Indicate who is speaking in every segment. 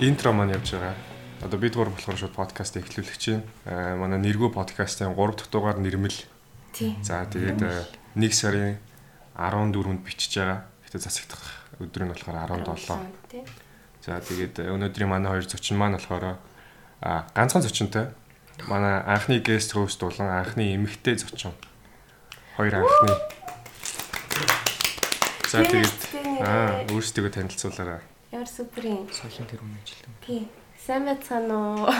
Speaker 1: интро маань явж байгаа. Одоо бид гур болохоор шууд подкаст эхлүүлэх чинь. Аа, Манай нэргүй подкастын 3 дахь дугаар нэрмэл.
Speaker 2: Тий.
Speaker 1: За тэгээд 1 сарын 14-нд бичиж байгаа. Гэтэ засагдах өдөр нь болохоор 17.
Speaker 2: Тий.
Speaker 1: За тэгээд э, өнөөдрийн манай хоёр зочин маань болохоор аа, ганцхан зочинтой. Манай анхны гест хост болон анхны эмэгтэй зочин. Хоёр анхны. За
Speaker 2: Тий,
Speaker 1: тэгээд
Speaker 2: тий,
Speaker 1: аа
Speaker 2: нэрээ.
Speaker 1: өөрсдөө танилцуулаарай.
Speaker 2: Ямар супер юм.
Speaker 3: Соёлын тэр өмнө ажилтан.
Speaker 2: Тий. Сайн байцгаана уу?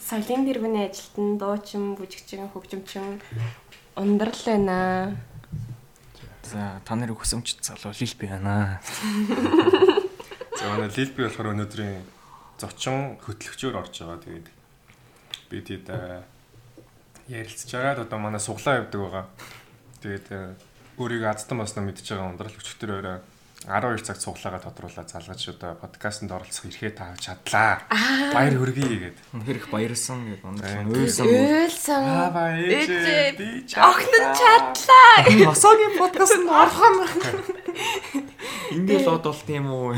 Speaker 2: Солийн дэргэний ажилтан дуучин, бүжигчин, хөгжимчин ундрал байна.
Speaker 3: За та нарыг хүсэмж залуу лил би байна.
Speaker 1: За манай Лилби болохоор өнөөдрийн зочин хөтлөгчөөр орж байгаа. Тэгээд бид хэд э, ярилцж байгаад одоо манай суглаа явдаг байгаа. Тэгээд э, өөрийгөө аздан басна мэдж байгаа ундрал өчтөр өрөө 12 цаг цуглаагаа тодруулаад залгаж одоо подкастт оролцох эрхээ таавч чадлаа. Баяр хүргэе гэдэг.
Speaker 3: Үнэхээр их баярлсан гэдэг
Speaker 1: Баян.
Speaker 3: ундрал. Үйлсэн бол
Speaker 2: Үйлсэн.
Speaker 1: Аваа
Speaker 2: Ээжээ,
Speaker 1: ээжээ би
Speaker 2: Огт чадлаа.
Speaker 3: Носогийн подкастт орхон. Ингээл од бол тийм үү.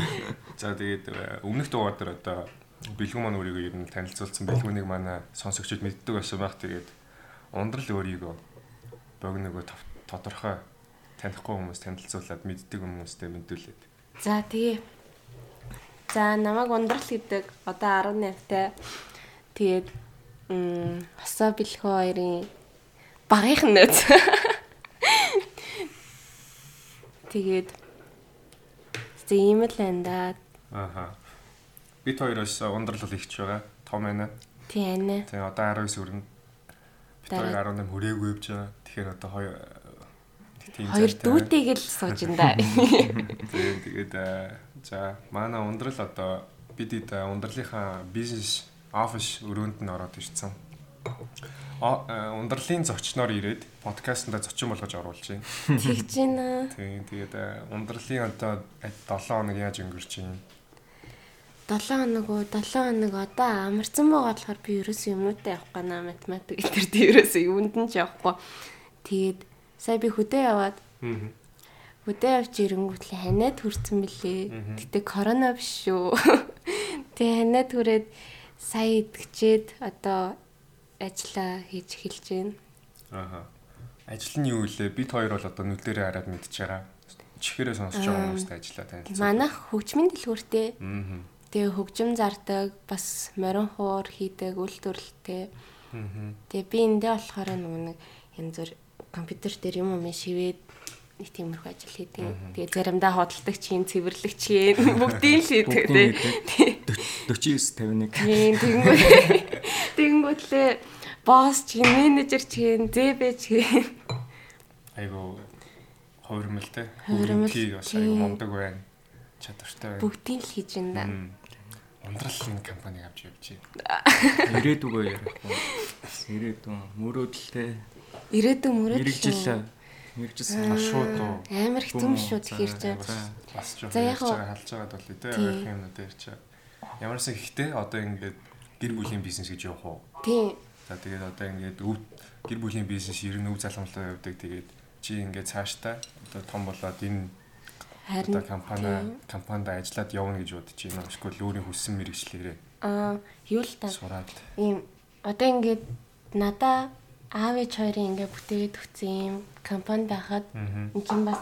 Speaker 1: За тэгээд э, өмнөх дугаар дээр одоо бэлгүү маань өөрийгөө ер нь танилцуулсан бэлгүүнийг манай э, сонсогчид мэддэг байсан байх. Тэгээд ундрал өөрийгөө богногоо тодорхой танихгүй хүмүүс танилцуулаад мэддэг хүмүүстэй мэдүүлээд.
Speaker 2: За тэгээ. За намайг ундрал гэдэг одоо 18-тай. Тэгээд м хосоо бэлхөө хоёрын багийнх нь нөөц. Тэгээд зэ ийм л энэ да.
Speaker 1: Ааха. Бид хоёроос ундрал бол ихч байгаа. Том байна.
Speaker 2: Тий анаа.
Speaker 1: Тэгээ одоо 19 өрнө. Бид
Speaker 2: Дараа-
Speaker 1: хоёр 18 хүрээгүй явж байгаа. Тэгэхээр одоо хоёр нэг тийм
Speaker 2: Хоёр
Speaker 1: зартай.
Speaker 2: дүүтэйгэл сууж энэ да.
Speaker 1: Тэгээд тэгээд э, за манай ундрал одоо бид эд э, ундралынхаа бизнес офис өрөөнд нь ороод ирсэн. А э, ундралын зочноор ирээд подкастнда зочин болгож оруулж байна.
Speaker 2: Тэгж байна.
Speaker 1: Тийм тэгээд э, ундралын одоо 7 хоног яаж өнгөрч байна?
Speaker 2: 7 хоног уу 7 хоног одоо амарсан байгаа болохоор би ерөөсөө юмнуудаа явах гана математик гэдэг дээр ерөөсөө юунд нь ч явахгүй. Тэгээд сая би хөдөө яваад
Speaker 1: Мгм.
Speaker 2: хөдөө явж ирэнгүүтлээ ханаад хүрсэн мөлий. Гэтэ корона биш шүү. Тэгээ ханаад хүрээд сая идэгчээд одоо ажиллаа хийж эхэлж байна.
Speaker 1: Ааха. Ажил нь юу вэ? Бид хоёр бол одоо нүдэрээ хараад мэдчихэгээ. Чихээрээ сонсож байгаа хүмүүстэй ажиллаа танилцсан.
Speaker 2: Манайх хөгжмийн дэлгүүртэй
Speaker 1: Мгм.
Speaker 2: Тэгээ хөгжим зардаг, бас морин хуур хийдэг үйлдвэрлэлтэй.
Speaker 1: Мгм.
Speaker 2: Тэгээ би эндээ болохоор нөгөө нэг янз бүр компьютер дээр юм юм шивээд нэг тиймэрхүү ажил хийдэг. Тэгээ заримдаа хөдөлдөг чинь, цэвэрлэг чинь бүгдийг л хийдэг
Speaker 3: Бүгдийг
Speaker 2: тий. Тий.
Speaker 3: 49 51.
Speaker 2: Тэгэнгүүт Тэгэнгүүтлээ босс чинь, менежер чинь, зэбэ чинь
Speaker 1: Айгу хувирмэлтэй.
Speaker 2: Хувирмэл.
Speaker 1: Хөрөмөлтэй бас айгу мундаг байна. Чадвартай байна.
Speaker 2: бүгдийг л хийж энэ да.
Speaker 1: Мм. Ундрал энэ компаниг авч явж байна.
Speaker 3: Ирээдүгөө ярих. Ирээдүн мөрөөдөлтэй.
Speaker 2: Ирээдүйн мөрөөдөл.
Speaker 3: Мэргэжил. Мэргэжсэн.
Speaker 1: А шууд уу.
Speaker 2: Амар хитэн шүү тэгэхээр чинь.
Speaker 1: Бас- Бас ч
Speaker 2: За, яг
Speaker 1: яаж
Speaker 2: уу.
Speaker 1: байгаа халж байгаа бол өдөө
Speaker 2: Тийм.
Speaker 1: авах юм уу ярьж байгаа. Ямарсан ихтэй одоо ингээд гэр бүлийн бизнес гэж явах уу?
Speaker 2: Тийм.
Speaker 1: За тэгээд одоо ингээд өв гэр бүлийн бизнес ер нь өв заламлаа явдаг. Тэгээд чи ингээд цааштай одоо том болоод энэ
Speaker 2: Харин
Speaker 1: одоо компани компанид ажиллаад явна гэж бодож байна. Эсвэл өөрийн хүссэн мэрэгчлэрээ
Speaker 2: аа юу л таа.
Speaker 1: сураад.
Speaker 2: ийм одоо ингээд надаа аав ээж хоёрын ингээд бүтээгээд өгсөн ийм компани байхад
Speaker 1: Мгм.
Speaker 2: энэ чинь бас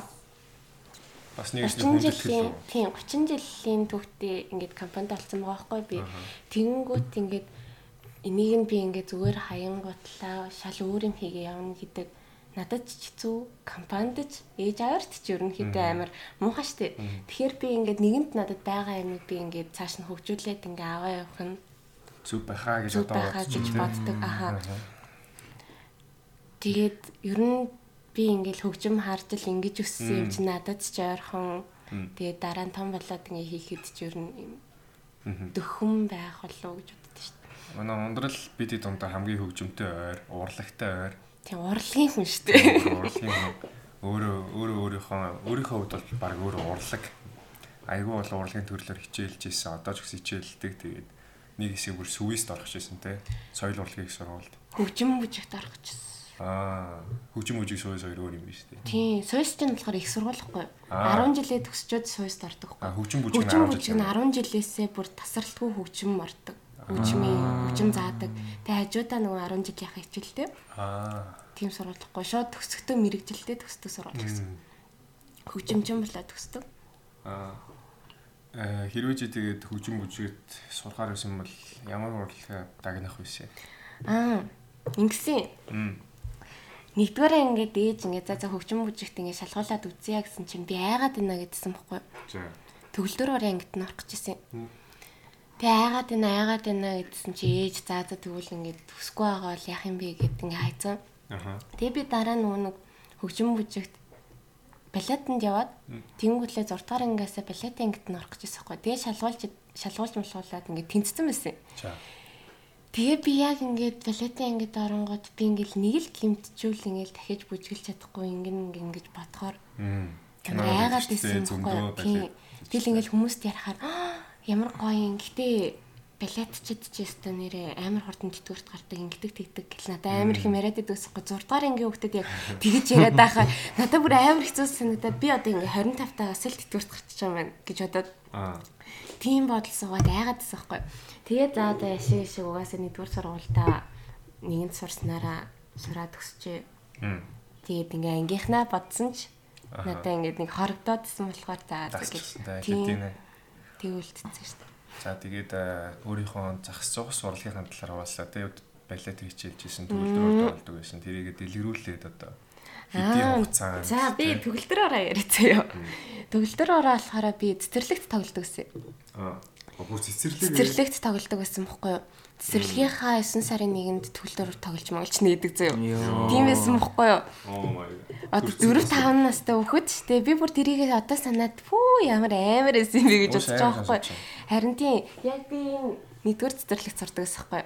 Speaker 1: Бас нэг их
Speaker 2: 30
Speaker 1: хүндэтгэл
Speaker 2: жилийн
Speaker 1: үү?
Speaker 2: тийм 30 жилийн түүхтэй ингээд компанид олцсон байгаа байхгүй би. Тэнгүүт ингээд энийг нь би ингээд зүгээр хаянгуутлаа шал өөр юм хийгээ явна гэдэг надад ч хэцүү компанид ч ээж аваарт ч ерөнхийдөө амар муухай штэ. Тэгэхээр би ингээд нэгэнт надад байгаа юм би ингээд цааш нь хөгжүүлээд ингээд аваа явах нь
Speaker 1: Зүг байхаа гэж
Speaker 2: зүг
Speaker 1: одоо
Speaker 2: байхаа гэж
Speaker 1: бодсон.
Speaker 2: боддог. Ахаа.
Speaker 1: Аха.
Speaker 2: Тэгээд ер нь би ингээл хөгжим харж л ингэж өссөн юм чи надад ч ойрхон. Тэгээд дараа нь том болоод ингээ хийхэд ч ер нь юм дөхөн байх болов гэж боддоо шүү дээ.
Speaker 1: Манай ундрал бидний дундаа хамгийн хөгжимтэй ойр, урлагтай ойр.
Speaker 2: Тийм урлагийн хүн шүү дээ.
Speaker 1: Урлагийн хүн. өөрөө өөрөө өөрийнхөө өөрийнхөө хувьд бол баг өөр урлаг. Айгүй бол урлагийн төрлөөр хичээлж ийсэн. Одоо ч гэсэн хичээлдэг. Тэгээд нэг хэсэг бүр сүвист орох гэсэн те. Соёл урлагийн их сургуульд.
Speaker 2: Хөгжим бүжигт орох гэсэн.
Speaker 1: Аа, хөгжим мөжиг сууж хоёр өөр юм биш үү?
Speaker 2: Тийм, суйс чинь болохоор их сургуулахгүй.
Speaker 1: Аа.
Speaker 2: 10 жилээ төгсчөөд суйс ордог.
Speaker 1: Аа, хөгжим бүжиг нь
Speaker 2: Хөгжим
Speaker 1: 10
Speaker 2: бүжиг
Speaker 1: жил.
Speaker 2: нь 10 жилээсээ бүр тасралтгүй хөгжим ордог. Хөгжмийн хөгжим заадаг. Тэгээ хажуудаа нөгөө 10 жилийнхаа хичээлтэй
Speaker 1: Аа.
Speaker 2: тийм сургуулахгүй. Шууд төгсөхдөө мэрэгжилтэй төгсдөг сургууль гэсэн. Хөгжимчин болоод төгсдөг.
Speaker 1: Аа. Э, Хэрвээ чи тэгээд хөгжим бүжигт сурахаар байсан бол ямар урлагаа дагнах вэ?
Speaker 2: Аа, ингэсэн.
Speaker 1: Мм.
Speaker 2: Нэгдүгээр ингээд ээж ингээд за за хөгжим бүжигт ингээд шалгуулад үзье гэсэн чинь би айгаад байна гэдсэн байхгүй.
Speaker 1: За.
Speaker 2: Төгөлдөр орой ангит нь орох гэж исэн.
Speaker 1: Мм.
Speaker 2: Тэгээ айгаад байна, айгаад байна гэдсэн чи ээж за за тэгвэл ингээд төсөхгүй байгаа бол яах юм бэ гэд ингээд хайцсан.
Speaker 1: Аха.
Speaker 2: Тэгээ би дараа нөгөө нэг хөгжим бүжигт балетанд яваад тэнгүүлээ 6 дугаар ангиасаа балет ангид нь орох гэж байсан хгүй. Тэгээ шалгуулж шалгуулж мэлгуулаад ингээд тэнцсэн байсан.
Speaker 1: За.
Speaker 2: Тэгээ би яг ингээд балетын ангид оронгууд би ингээд нэг л гимтчүүл ингээд дахиж бүжгэлж чадахгүй ингэн ингээд ингэж бодохоор
Speaker 1: Мм.
Speaker 2: амар айгаад байсан
Speaker 1: зөндөө
Speaker 2: байхгүй. Тэгэл ингээд хүмүүст ярахаар "Аа, ямар гоё юм. Гэтэ балетчид ч гэсэн нэрээ амар хурдан тэтгэврт гардаг ингээд тэгдэг гэл надаа амар их юм яриад байдагс байхгүй. 6 дугаар ангийн хүүхдэд яг тэгэж яриад байхаа надаа бүр амар хэцүү санагдаад би одоо ингээд 25 тагаас л тэтгэврт гарчих юм байна гэж бодоод
Speaker 1: Аа.
Speaker 2: тийм бодолсон гоо дайгаад байсан хгүй. Тэгээд за одоо яшиг шиг угаасаа нэгдүгээр сургуультаа нэгэнд сурсанараа сураад өсчээ.
Speaker 1: Мм.
Speaker 2: Тэгээд ингээ ангийнхнаа бодсон ч
Speaker 1: Аха.
Speaker 2: надаа ингээд нэг хорогдоодсэн болохоор за
Speaker 1: Дасчихсан та
Speaker 2: тийм
Speaker 1: хэлтийнэ.
Speaker 2: тэгүүлдсэн шүү дээ.
Speaker 1: За тэгээд э, өөрийнхөө зах зогс урлагийнхаа талаар хаваалаа. Тэгээд балет хичээлж исэн төгөлдөр болдог байсан. Тэрийгэ дэлгэрүүлээд одоо
Speaker 2: Аа,
Speaker 1: хэдийн хугацаанд
Speaker 2: За би
Speaker 1: тэ?
Speaker 2: төгөлдөр ороо яриацгаая юу. Төгөлдөр ороо болохоор би цэцэрлэгт тоглодог гэсэн.
Speaker 1: аа бүр цэцэрлэг ээ.
Speaker 2: Цэцэрлэгт тоглодог байсан бохгүй юу? Цэцэрлэгийнхаа 9 сарын 1-нд төгөлдөр тоглож мөглч нээдэг зөө.
Speaker 3: Йоо.
Speaker 2: Тийм байсан бохгүй юу?
Speaker 1: Oh my god.
Speaker 2: Одоо 4 5 настай хүүхэд ч тий би бүр тэрийг одоо санаад пүү ямар амар эсэн бэ гэж
Speaker 1: Уус
Speaker 2: бодож
Speaker 1: амар
Speaker 2: байгаа байхгүй.
Speaker 1: сонсож
Speaker 2: Харин тий яг би энэ нэгдүгээр цэцэрлэг сурдаг гэсэн байхгүй.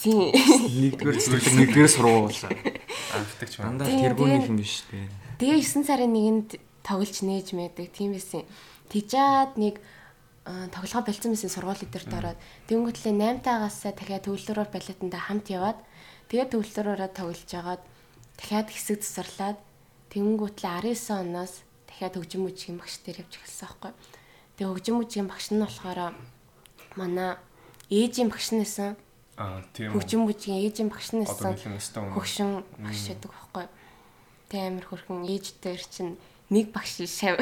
Speaker 2: Тий.
Speaker 3: Нэгдүгээр цэцэрлэг нэгдүгээр сургууль.
Speaker 1: Анхдагч байна.
Speaker 3: Дандаа
Speaker 2: Тийм,
Speaker 3: тэргүүний
Speaker 2: тэгээд-
Speaker 3: юм биш үү?
Speaker 2: Тэгээ 9 сарын 1-нд тоглож нээж мэдэг тийм байсан. Тэгжээд нэг аа, тоглогоо болцсон байсан сургууль эдэрт ороод тэнгуэтлээ 8 таагаас дахиад төвлөрөөр балетанда хамт яваад тэгээ төвлөрөөрөө тоглож жагаад дахиад хэсэг засарлаад тэнгуэтлээ 19 оноос дахиад хөгжим үжигийн багш дээр явж эхэлсэн аахгүй. Тэгээ хөгжим үжигийн багш нь болохоор манай ээжийн багш нь байсан.
Speaker 1: Аа тийм. үү.
Speaker 2: Хөгжим бүжгийн ээжийн багш нь
Speaker 1: Одоо
Speaker 2: нэссэн.
Speaker 1: нэлээд өстой өнөө.
Speaker 2: Хөгшин багш гэдэг байхгүй. Тэ амир хөрхөн ээждэр чинь нэг багш шав.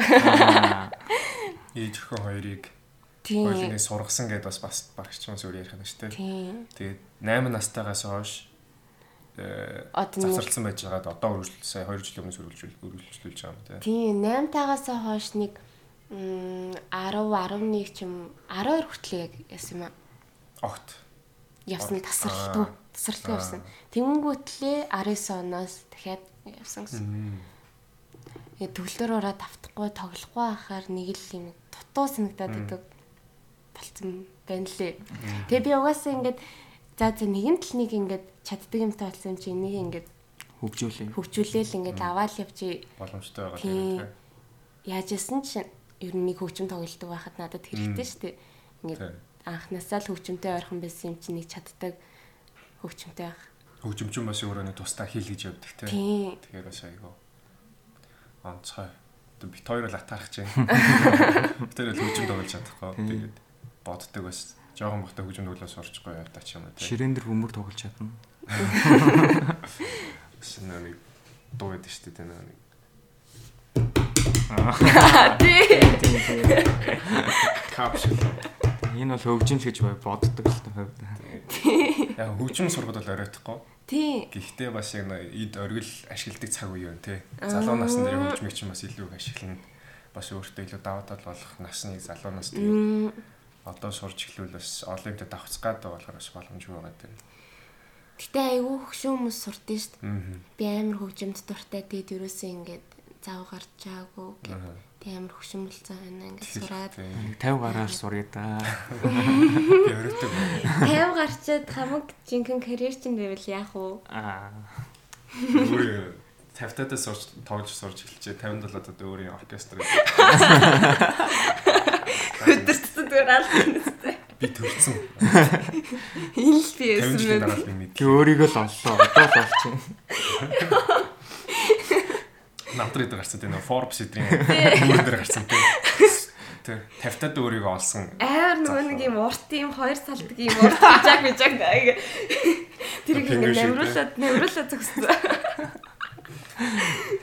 Speaker 1: ээж өхөн хоёрыг
Speaker 2: Тийм.
Speaker 1: хоёулаа сургасан гэдээ бас бас багчсан зүйл ярих юм шүү дээ.
Speaker 2: Тийм.
Speaker 1: Тэгээд 8 настайгаас хойш э
Speaker 2: Одоо нэг-
Speaker 1: завсарлсан байж байгаад одоо үргэлжлүүлж сая 2 жилийн өмнө үргэлжлүүлж үргэлжлүүлж байгаа юм тий.
Speaker 2: Тийм 8 тагаас хойш нэг м, 10 11 ч юм 12 хүртэл яг яасан юм аа.
Speaker 1: Огт.
Speaker 2: явсан
Speaker 1: Аа.
Speaker 2: тасралтгүй тасралтгүй явсан. Тэнгүүтлээ 19 оноос дахиад явсан гэсэн. Э, Тэгээ төвлөр ураа давтахгүй тоглохгүй байхаар нэг л юм дутуу санагдаад байдаг болцсон байна лээ. Тэгээ би угаасаа ингээд за за нэгэн тал нэг ингээд чаддаг юмтай болсон юм чи энийг ингээд
Speaker 3: Хөгжүүлээ.
Speaker 2: хөгжүүлээл ингээд аваад явчих
Speaker 1: Боломжтой байгаа тийм
Speaker 2: Тийм.
Speaker 1: үү.
Speaker 2: Яаж ясан ч ер нь нэг хөгжим тоглолдог байхад надад хэрэгтэй шүү дээ. Ингээд
Speaker 1: Тийм.
Speaker 2: анхнаасаа л хөгжимтэй ойрхон байсан юм чинь нэг чаддаг хөгжимтэй байх.
Speaker 1: Хөгжимчин бас өөрөө нэг тусдаа хэл гэж явдаг тий.
Speaker 2: Тийм.
Speaker 1: Тэгэхээр бас айгаа. Онцгой. Одоо бит хоёр л атаарах чинь. Бит хоёр л хөгжим тоглож чадахгүй. Тэгээд боддог бас жоохон бахта хөгжим тоглож сурчихгүй ятаа ч юм уу тий.
Speaker 3: Ширээн дээр хөмөр тоглож чадна.
Speaker 1: Бас нэг дуу байдаг шүү дээ нэг. Капшл.
Speaker 3: Энэ бол хөгжимс гэж бай- боддог л та хувьд.
Speaker 1: Яг хөгжим сургад бол оройтхгүй.
Speaker 2: Тий.
Speaker 1: Гэхдээ бас яг нэг эд оргил ашигладаг цаг үе юм тий. Залуу насны дээр хөгжмийг чинь бас илүү их ашиглана. Бас өөртөө илүү даваа тал болох насныг залуу нас тий.
Speaker 2: Мм,
Speaker 1: Одоо сурч эхлүүл бас олон юмтай давхцах гэдэг болохоор бас боломжгүй байгаа тий.
Speaker 2: Гэтэ айгүй хөгшин хүмүүс сурдээ шүү дээ.
Speaker 1: Аа.
Speaker 2: Би амар хөгжимд дуртай тэгээд юусэн ингээд зав гарч чаагүй гэх.
Speaker 1: Аха.
Speaker 2: Тэг амар хөгшин болсон байна ингээд сураад.
Speaker 1: Тий.
Speaker 3: 50 гараар сурья да.
Speaker 1: Би өрөвдөг.
Speaker 2: 50 гарчаад хамаг жинхэнэ карьер чинь байвал яах вэ?
Speaker 3: Аа.
Speaker 1: Өөр 50 татаа сурч тоглож сурч эхэлчихэ 57 татаа өөрийн оркестр.
Speaker 2: Өдөртсөн зүгээр алах юм тест.
Speaker 1: Би төрсөн.
Speaker 4: Энэ л би
Speaker 1: 50
Speaker 4: юм
Speaker 1: жилийн
Speaker 4: байна.
Speaker 1: дараа л би мэд.
Speaker 3: Тэг өөрийгөө л оллоо. Одоо л олчих.
Speaker 1: Намтрид гарсан тийм нөө Forbes эдрийн нүүр дээр гарсан тийм. Тэ 50 тад өөрийгөө олсон.
Speaker 4: Амар нөгөө нэг юм урт юм хоёр салдаг юм урт жаг жаг ингээ. Тэр их
Speaker 1: Тэнгэр
Speaker 4: ингээ
Speaker 1: шиг,
Speaker 4: намруулаад намруулаад зогссон.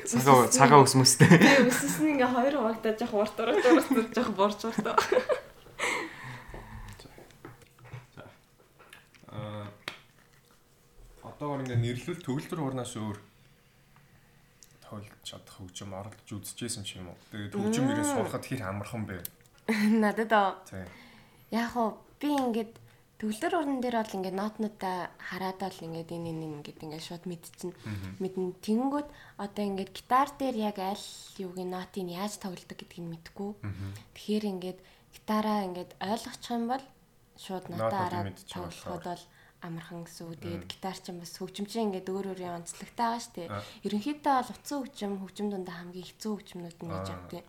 Speaker 3: Цагаа цагаа ус мөстэй.
Speaker 4: Би өсөс нь ингээ хоёр хуваагдаад жоох урт урт урт жоох борч урт.
Speaker 1: Аа одоогор ингээ нэрлүүл төгөлдөр хуурнаас өөр тойлж чадах хөгжим оролдож үзчихсэн ч юм уу. Тэгээд хөгжим ирээ сурахад хэр амархан бэ.
Speaker 2: Надад аа
Speaker 1: Тийм.
Speaker 2: яг уу би ингээд төгөлдөр уран дээр бол ингээд нотнуудаа хараад бол ингээд энэ энэ энэ ингээд ингээд шууд мэдчихнэ. Мэднэ. Тэнгүүд одоо ингээд гитар дээр яг аль юугийн нотыг яаж тоглодог гэдгийг нь мэдгүй. Тэгэхээр ингээд гитараа ингээд ойлгочих юм бол шууд
Speaker 1: Нотнуудыг
Speaker 2: нотаа хараад
Speaker 1: мэдчих болохоор.
Speaker 2: тоглоход бол амархан гэсэн үг. Тэгээд гитар чинь бас хөгжимчин ингээд өөр өөрийн онцлогтой байгаа шүү дээ.
Speaker 1: Аа.
Speaker 2: Ерөнхийдөө бол утсан хөгжим, хөгжим дундаа хамгийн хэцүү хөгжмнүүд нь гэж
Speaker 1: Аа.
Speaker 2: авдаг.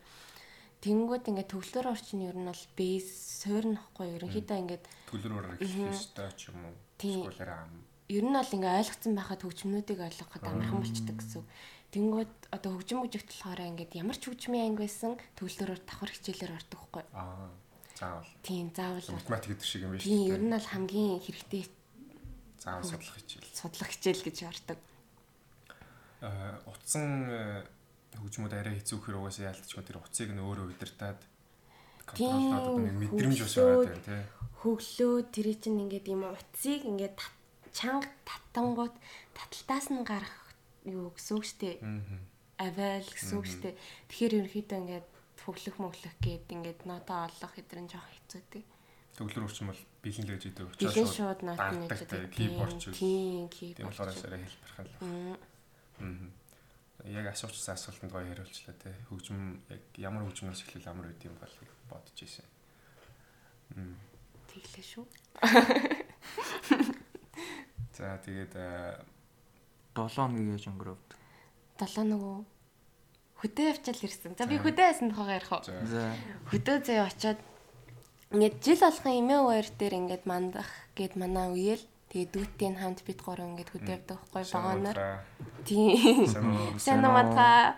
Speaker 2: Тэнгүүд ингээд төвлөр орчин ер нь бол бейс суурнахгүй ерөнхийдөө ингээд
Speaker 1: Төгөлдөр хуурнаа гэх юмстай ч юм уу.
Speaker 2: Тийм.
Speaker 1: Эсвэл ам.
Speaker 2: ер нь бол ингээд ойлгоцсон байхад хөгжмнүүдийг ойлгоход амархан болчдаг гэсэн. үг. Тэнгүүд одоо хөгжим бүжигт болохоор ингээд ямар ч хөгжмийн анги байсан төвлөрөөр давхар хичээлээр ордог хгүй.
Speaker 1: Аа. Заавал.
Speaker 2: Тийм заавал
Speaker 1: Математик гэдэг шиг юм биш.
Speaker 2: тийм ер нь бол хамгийн хэрэгтэй
Speaker 1: заавал судлах хичээл.
Speaker 2: судлах хичээл гэж ордог.
Speaker 1: Аа утсан э, хөгжмүүд арай хэцүү хэрэг угаасаа яалтчгүй тэр утсыг нь өөрөө удирдаад контролдоод одоо нэг мэдрэмж ус байгаа юм тий.
Speaker 2: Хөглөө тэр чинь ингээд юм утсыг ингээд тат- чанга татангууд таталтаас нь гарах юу гэсэн үг штеп.
Speaker 1: Аа.
Speaker 2: авайл гэсэн үг шүү дээ. Тэгэхээр ерөнхийдөө ингээд хөглөх мөглөх гээд ингээд нотоо олох хэдрэн жоох хэцүүтэй.
Speaker 1: Төгөлөр урчин бол бэлэн л гэж идэв учраас
Speaker 2: Жилийн шууд нот
Speaker 1: дагдаг
Speaker 2: нээдэг.
Speaker 1: киборд ч тийм
Speaker 2: Тийм, киборд.
Speaker 1: болохоор арай хэлбэрхэн л байна. Аа. Яг асуучсан асуултанд гоё хариулчлаа тий. Хөгжим яг ямар хөгжмөөс эхлэл амар үт юм бол гэж бодож ирсэн.
Speaker 2: Тэглээ шүү.
Speaker 1: За тэгээд э, аа,
Speaker 3: 7 хоног яаж өнгөрөвд.
Speaker 2: Долоо нөгөө хөдөө явчаал ирсэн. За би
Speaker 1: За.
Speaker 2: хөдөө байсан тухайгаар ярих уу?
Speaker 1: за
Speaker 3: За.
Speaker 2: хөдөө зөө очоод ингээд жил болгон эмээ уур дээр ингээд мандах гээд манаа уеэл тэгээ дүүтийн хамт бит гурав ингээд хөдөө явдаг байхгүй вагоноор.
Speaker 1: Сануулга,
Speaker 2: Тийм.
Speaker 1: сануулга,
Speaker 2: Сайн
Speaker 3: Сайн уу?
Speaker 2: наматаа.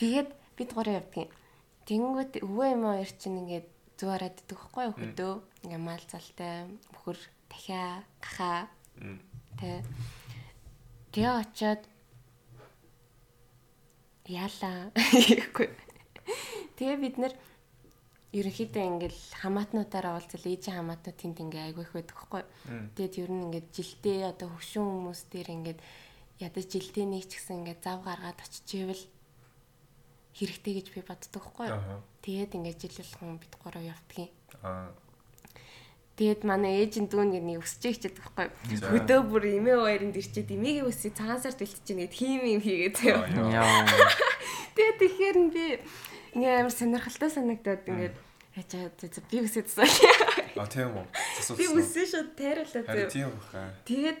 Speaker 2: Тэгээд бид гурав явдгийн. Тэнгүүд өвөө юм хоёр чинь ингээд зүг хараад идэх байхгүй юу хөдөө. Ингээд мал залтай, бүхэр дахиа, гахаа.
Speaker 1: Мм.
Speaker 2: Тэ. Тэгээ очоод яалаа гэхгүй. Тэгээ бид нэр ерөнхийдөө ингээд хамаатнуудаараа уулзал ээжийн хамаатнууд тэнд ингээ айгүйх байдаг хгүй.
Speaker 1: Мм.
Speaker 2: Тэгээд ер нь ингээд жилдээ одоо хөшүүн хүмүүс дээр ингээд ядаж жилдээ нэг ч гэсэн ингээд зав гаргаад очижээвэл хэрэгтэй гэж би боддог хгүй.
Speaker 1: Аха.
Speaker 2: Тэгээд ингээд жил болгон бид гурав явдгийн.
Speaker 1: Аа.
Speaker 2: Тэгээд манай ээж нь дүүн гээд нэг өсчээ хичээд байхгүй.
Speaker 1: За.
Speaker 4: Хөдөө бүр эмээ хоёрын дэрчээд эмээгийн үсийг цагаан сард бэлтчихнэ гэд хийм юм хийгээд заяа.
Speaker 1: Аа, яа.
Speaker 3: Яа.
Speaker 4: Тэгээ тэгэхээр нь би
Speaker 2: Ингээ амар сонирхолтой санагдаад ингээд ачаа за за, би үсээд засаа.
Speaker 1: А тийм үү.
Speaker 4: би
Speaker 1: Асуусан.
Speaker 4: үсээ шууд тайруулаад
Speaker 1: Харин
Speaker 4: заяа.
Speaker 1: тийм баха.
Speaker 4: Тэгээд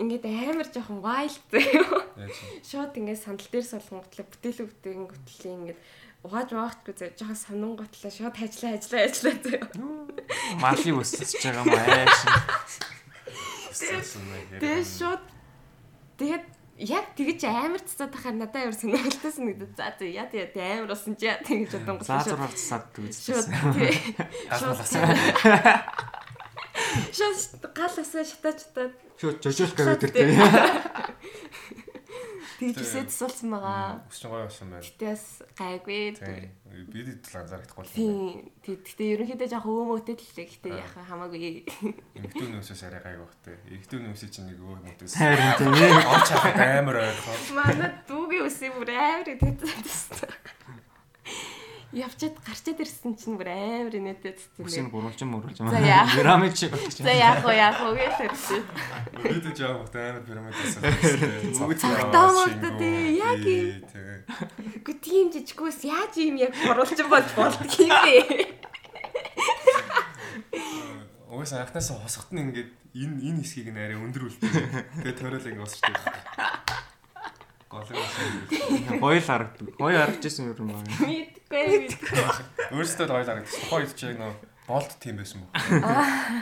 Speaker 4: ингээд амар жоохон wild заяа.
Speaker 1: Яаж юм?
Speaker 4: Шууд ингээд сандал дээр солон готлоо бүтээл бүтээн готлоо ингээд угааж баахгүй заяа. Жоохон сонин готлоо шууд ажиллаа ажиллаа ажиллаа заяа.
Speaker 3: Малыг өсөж байгаа юм ааш.
Speaker 1: Асуусан байх.
Speaker 4: Тэгээ шууд тэгээд яг тэгж амар цацаад тахаар надад амар сонирхолтой санагдаад за за яа яа тэ амар болсон чи яа тэгж бодсон гот
Speaker 3: За зураг засаад
Speaker 4: Шууд
Speaker 3: үзсэн.
Speaker 4: тий.
Speaker 1: Асуусан.
Speaker 4: Шууд гал асаа шатаа шатаа
Speaker 3: Шууд жожолтой өдөр
Speaker 4: тий.
Speaker 3: тий.
Speaker 4: Тэгж үсээ тусалсан байгаа.
Speaker 1: Өсч гоё болсон байл.
Speaker 4: Тэс гайгүй.
Speaker 1: Тийм. Бид идэл анзаарахгүй болсон.
Speaker 4: Тийм. Тэг- Тэгтээ ерөнхийдөө яг өөмөтэй л лээ. Гэтэ яг хамаагүй.
Speaker 1: Эмэгтэй нөөсөөс арай гайг багтай. Эрэгтэй нөөсөө чинь нэг өөр мөдөс.
Speaker 3: Хайрын тий.
Speaker 1: Олж авах амар ойлгоо.
Speaker 4: Манай дүүгийн үсээ бүр амар идэвхтэй. Явчаад гарчаад ирсэн чинь бүр амар инээдтэй
Speaker 3: Үсийг
Speaker 4: цэцэн.
Speaker 3: гурвалж мөрүүлж
Speaker 4: За, яа.
Speaker 3: байгаа. Грамыг чи болчих.
Speaker 4: За яах вэ яах вэ гэлээ.
Speaker 1: Бид ч яах вэ? Амар пирамид гэсэн.
Speaker 4: Цагтаа мөрдө тий, яг юм.
Speaker 1: Тийм.
Speaker 4: Гү тийм жижиггүйс яаж юм яг гурвалжин болж болдг юм бэ?
Speaker 1: Уус анхнаасаа хосгот нь ингээд энэ энэ хэсгийг нэрээ өндрүүлдэг. Тэгээ тойрол ингээд усчдаг. Гол гол.
Speaker 3: Гоё л харагдав. Гоё харагдажсэн юм байна.
Speaker 4: Мэдгүй мэдгүй.
Speaker 1: Өөрөөсөө л ойл харагдчих. Тухайн үед чинь нөө Болт тийм байсан мөн.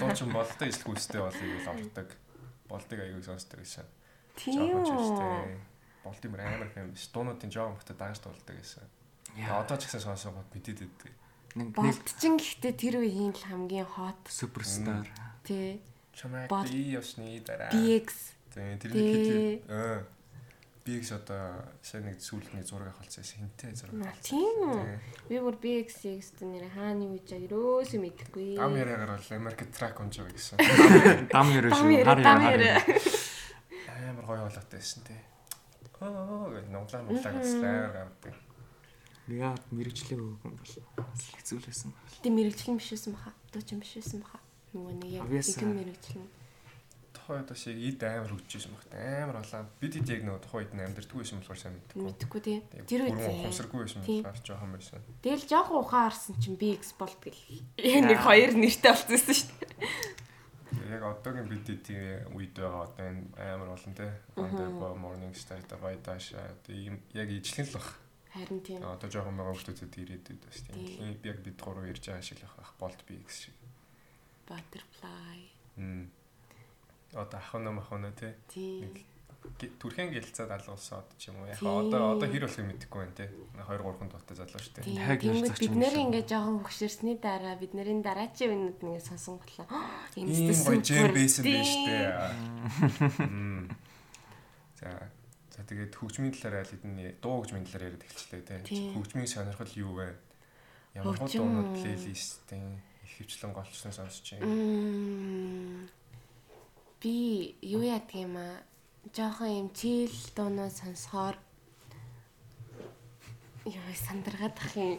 Speaker 1: Дуучин болтой ижлэх үстэй болыг л ордог. Болтыг аягүй сонсдог гэсэн.
Speaker 2: Тийм үү.
Speaker 1: Болт юм амар юм. Дуунуудын жоохон хөтө дааж дуулдаг гэсэн.
Speaker 3: Яа.
Speaker 1: Одоо ч гэсэн сонсоод мэдээд өгдөг.
Speaker 3: Нэг нэг
Speaker 2: Болтчин гэхдээ тэр үеийн л хамгийн хот
Speaker 3: суперстар.
Speaker 2: тий.
Speaker 1: Чамайг
Speaker 2: Болт.
Speaker 1: би явсны дараа.
Speaker 2: BX
Speaker 1: Тэгээ тэр
Speaker 2: Дээ.
Speaker 1: нэг хит. Аа. Бигс одоо сайн нэг сүүлний зураг авалцсан синтэй зураг.
Speaker 2: Наа, тийм үү?
Speaker 1: Тий.
Speaker 2: би бүр BX гэсэн нэр хааны үеж ерөөсөө мэдэхгүй.
Speaker 1: Ам яриа гарвал Америк трак унж байгаа гэсэн.
Speaker 3: Дам яруу
Speaker 2: Дам
Speaker 3: шүү.
Speaker 2: яруу,
Speaker 3: Гар
Speaker 2: дам
Speaker 3: яруу.
Speaker 1: Амар гоё болоотой байсан тий. Оо гэж нуглаа нуглаа гэслээр гардаг.
Speaker 3: Яа, мэрэгчлээ өгөн бол. Хэцүүлсэн.
Speaker 2: Тэ мэрэгчлэн биш байсан баха. Дуучин биш байсан баха. Нөгөө нэг яг
Speaker 3: Obvious,
Speaker 2: гэгэн
Speaker 3: аа.
Speaker 2: мэрэгчлэн.
Speaker 1: Тухайн үед бас яг ид амар хөгжижсэн багт амар болоо. Бид хэд яг нөгөө тухайн үед нь амьдртгүй байсан болохоор сайн мэдгүй.
Speaker 2: Мэдхгүй тий.
Speaker 1: Тэгээд
Speaker 2: Тэр
Speaker 1: бүрэн
Speaker 2: үед
Speaker 1: ухамсаргүй байсан
Speaker 2: Тий.
Speaker 1: болохоор жоохон байсан.
Speaker 2: Тэгэл жоохон ухаан харсан чинь BX болт гэл.
Speaker 4: Яг нэг хоёр нэртэй болчихсон шүү дээ.
Speaker 1: Тэгээд яг одоогийн бид хэд тийм үед байгаа одоо энэ амар болон тий. Underbo morning star та байдаш ийм яг ижлэн л баг.
Speaker 2: Харин тийм.
Speaker 1: Одоо жоохон байгаа хүмүүсд ирээдүйд бас тийм.
Speaker 2: Тий.
Speaker 1: Тэгээд яг бид гурав ирж байгаа шиг л байх. Болт би гэсэн шиг.
Speaker 2: Butterfly.
Speaker 1: Мм. Одоо ахна махна тий.
Speaker 2: Тийм.
Speaker 1: Нэг гэ- Түрхэн гэлцээд алгуулсан од ч юм уу. Яг
Speaker 2: Тий.
Speaker 1: одоо одоо хэр болохыг мэдэхгүй байна те. 2 3 дуутаа залуу шүү дээ.
Speaker 3: Таг ярьж
Speaker 2: Тэгвэл
Speaker 3: зарч
Speaker 2: бид
Speaker 3: юм
Speaker 2: нэр
Speaker 3: шиг.
Speaker 2: ингээ жоохон хөшөрсний дараа бид нарын дараачийн үеүүд ингээ сонсон готлоо. Энэ
Speaker 1: Ийм гоё жим байсан байж
Speaker 2: дээ.
Speaker 1: тээ. За за тэгээд хөгжмийн талаар аль хэдийн дуу хөгжмийн талаар яриад эхэлчлээ те.
Speaker 2: Тий.
Speaker 1: Хөгжмийн сонирхол юу вэ? Ямар хуу
Speaker 2: Хөгжим
Speaker 1: дуунууд
Speaker 2: үү?
Speaker 1: плейлистийн их хвчлэн голчлон сонсож байна.
Speaker 2: Мм. Би юу яадаг юм аа? Жохон юм чийл дуунаа сонсохоор Яа, сандаргаад ах юм.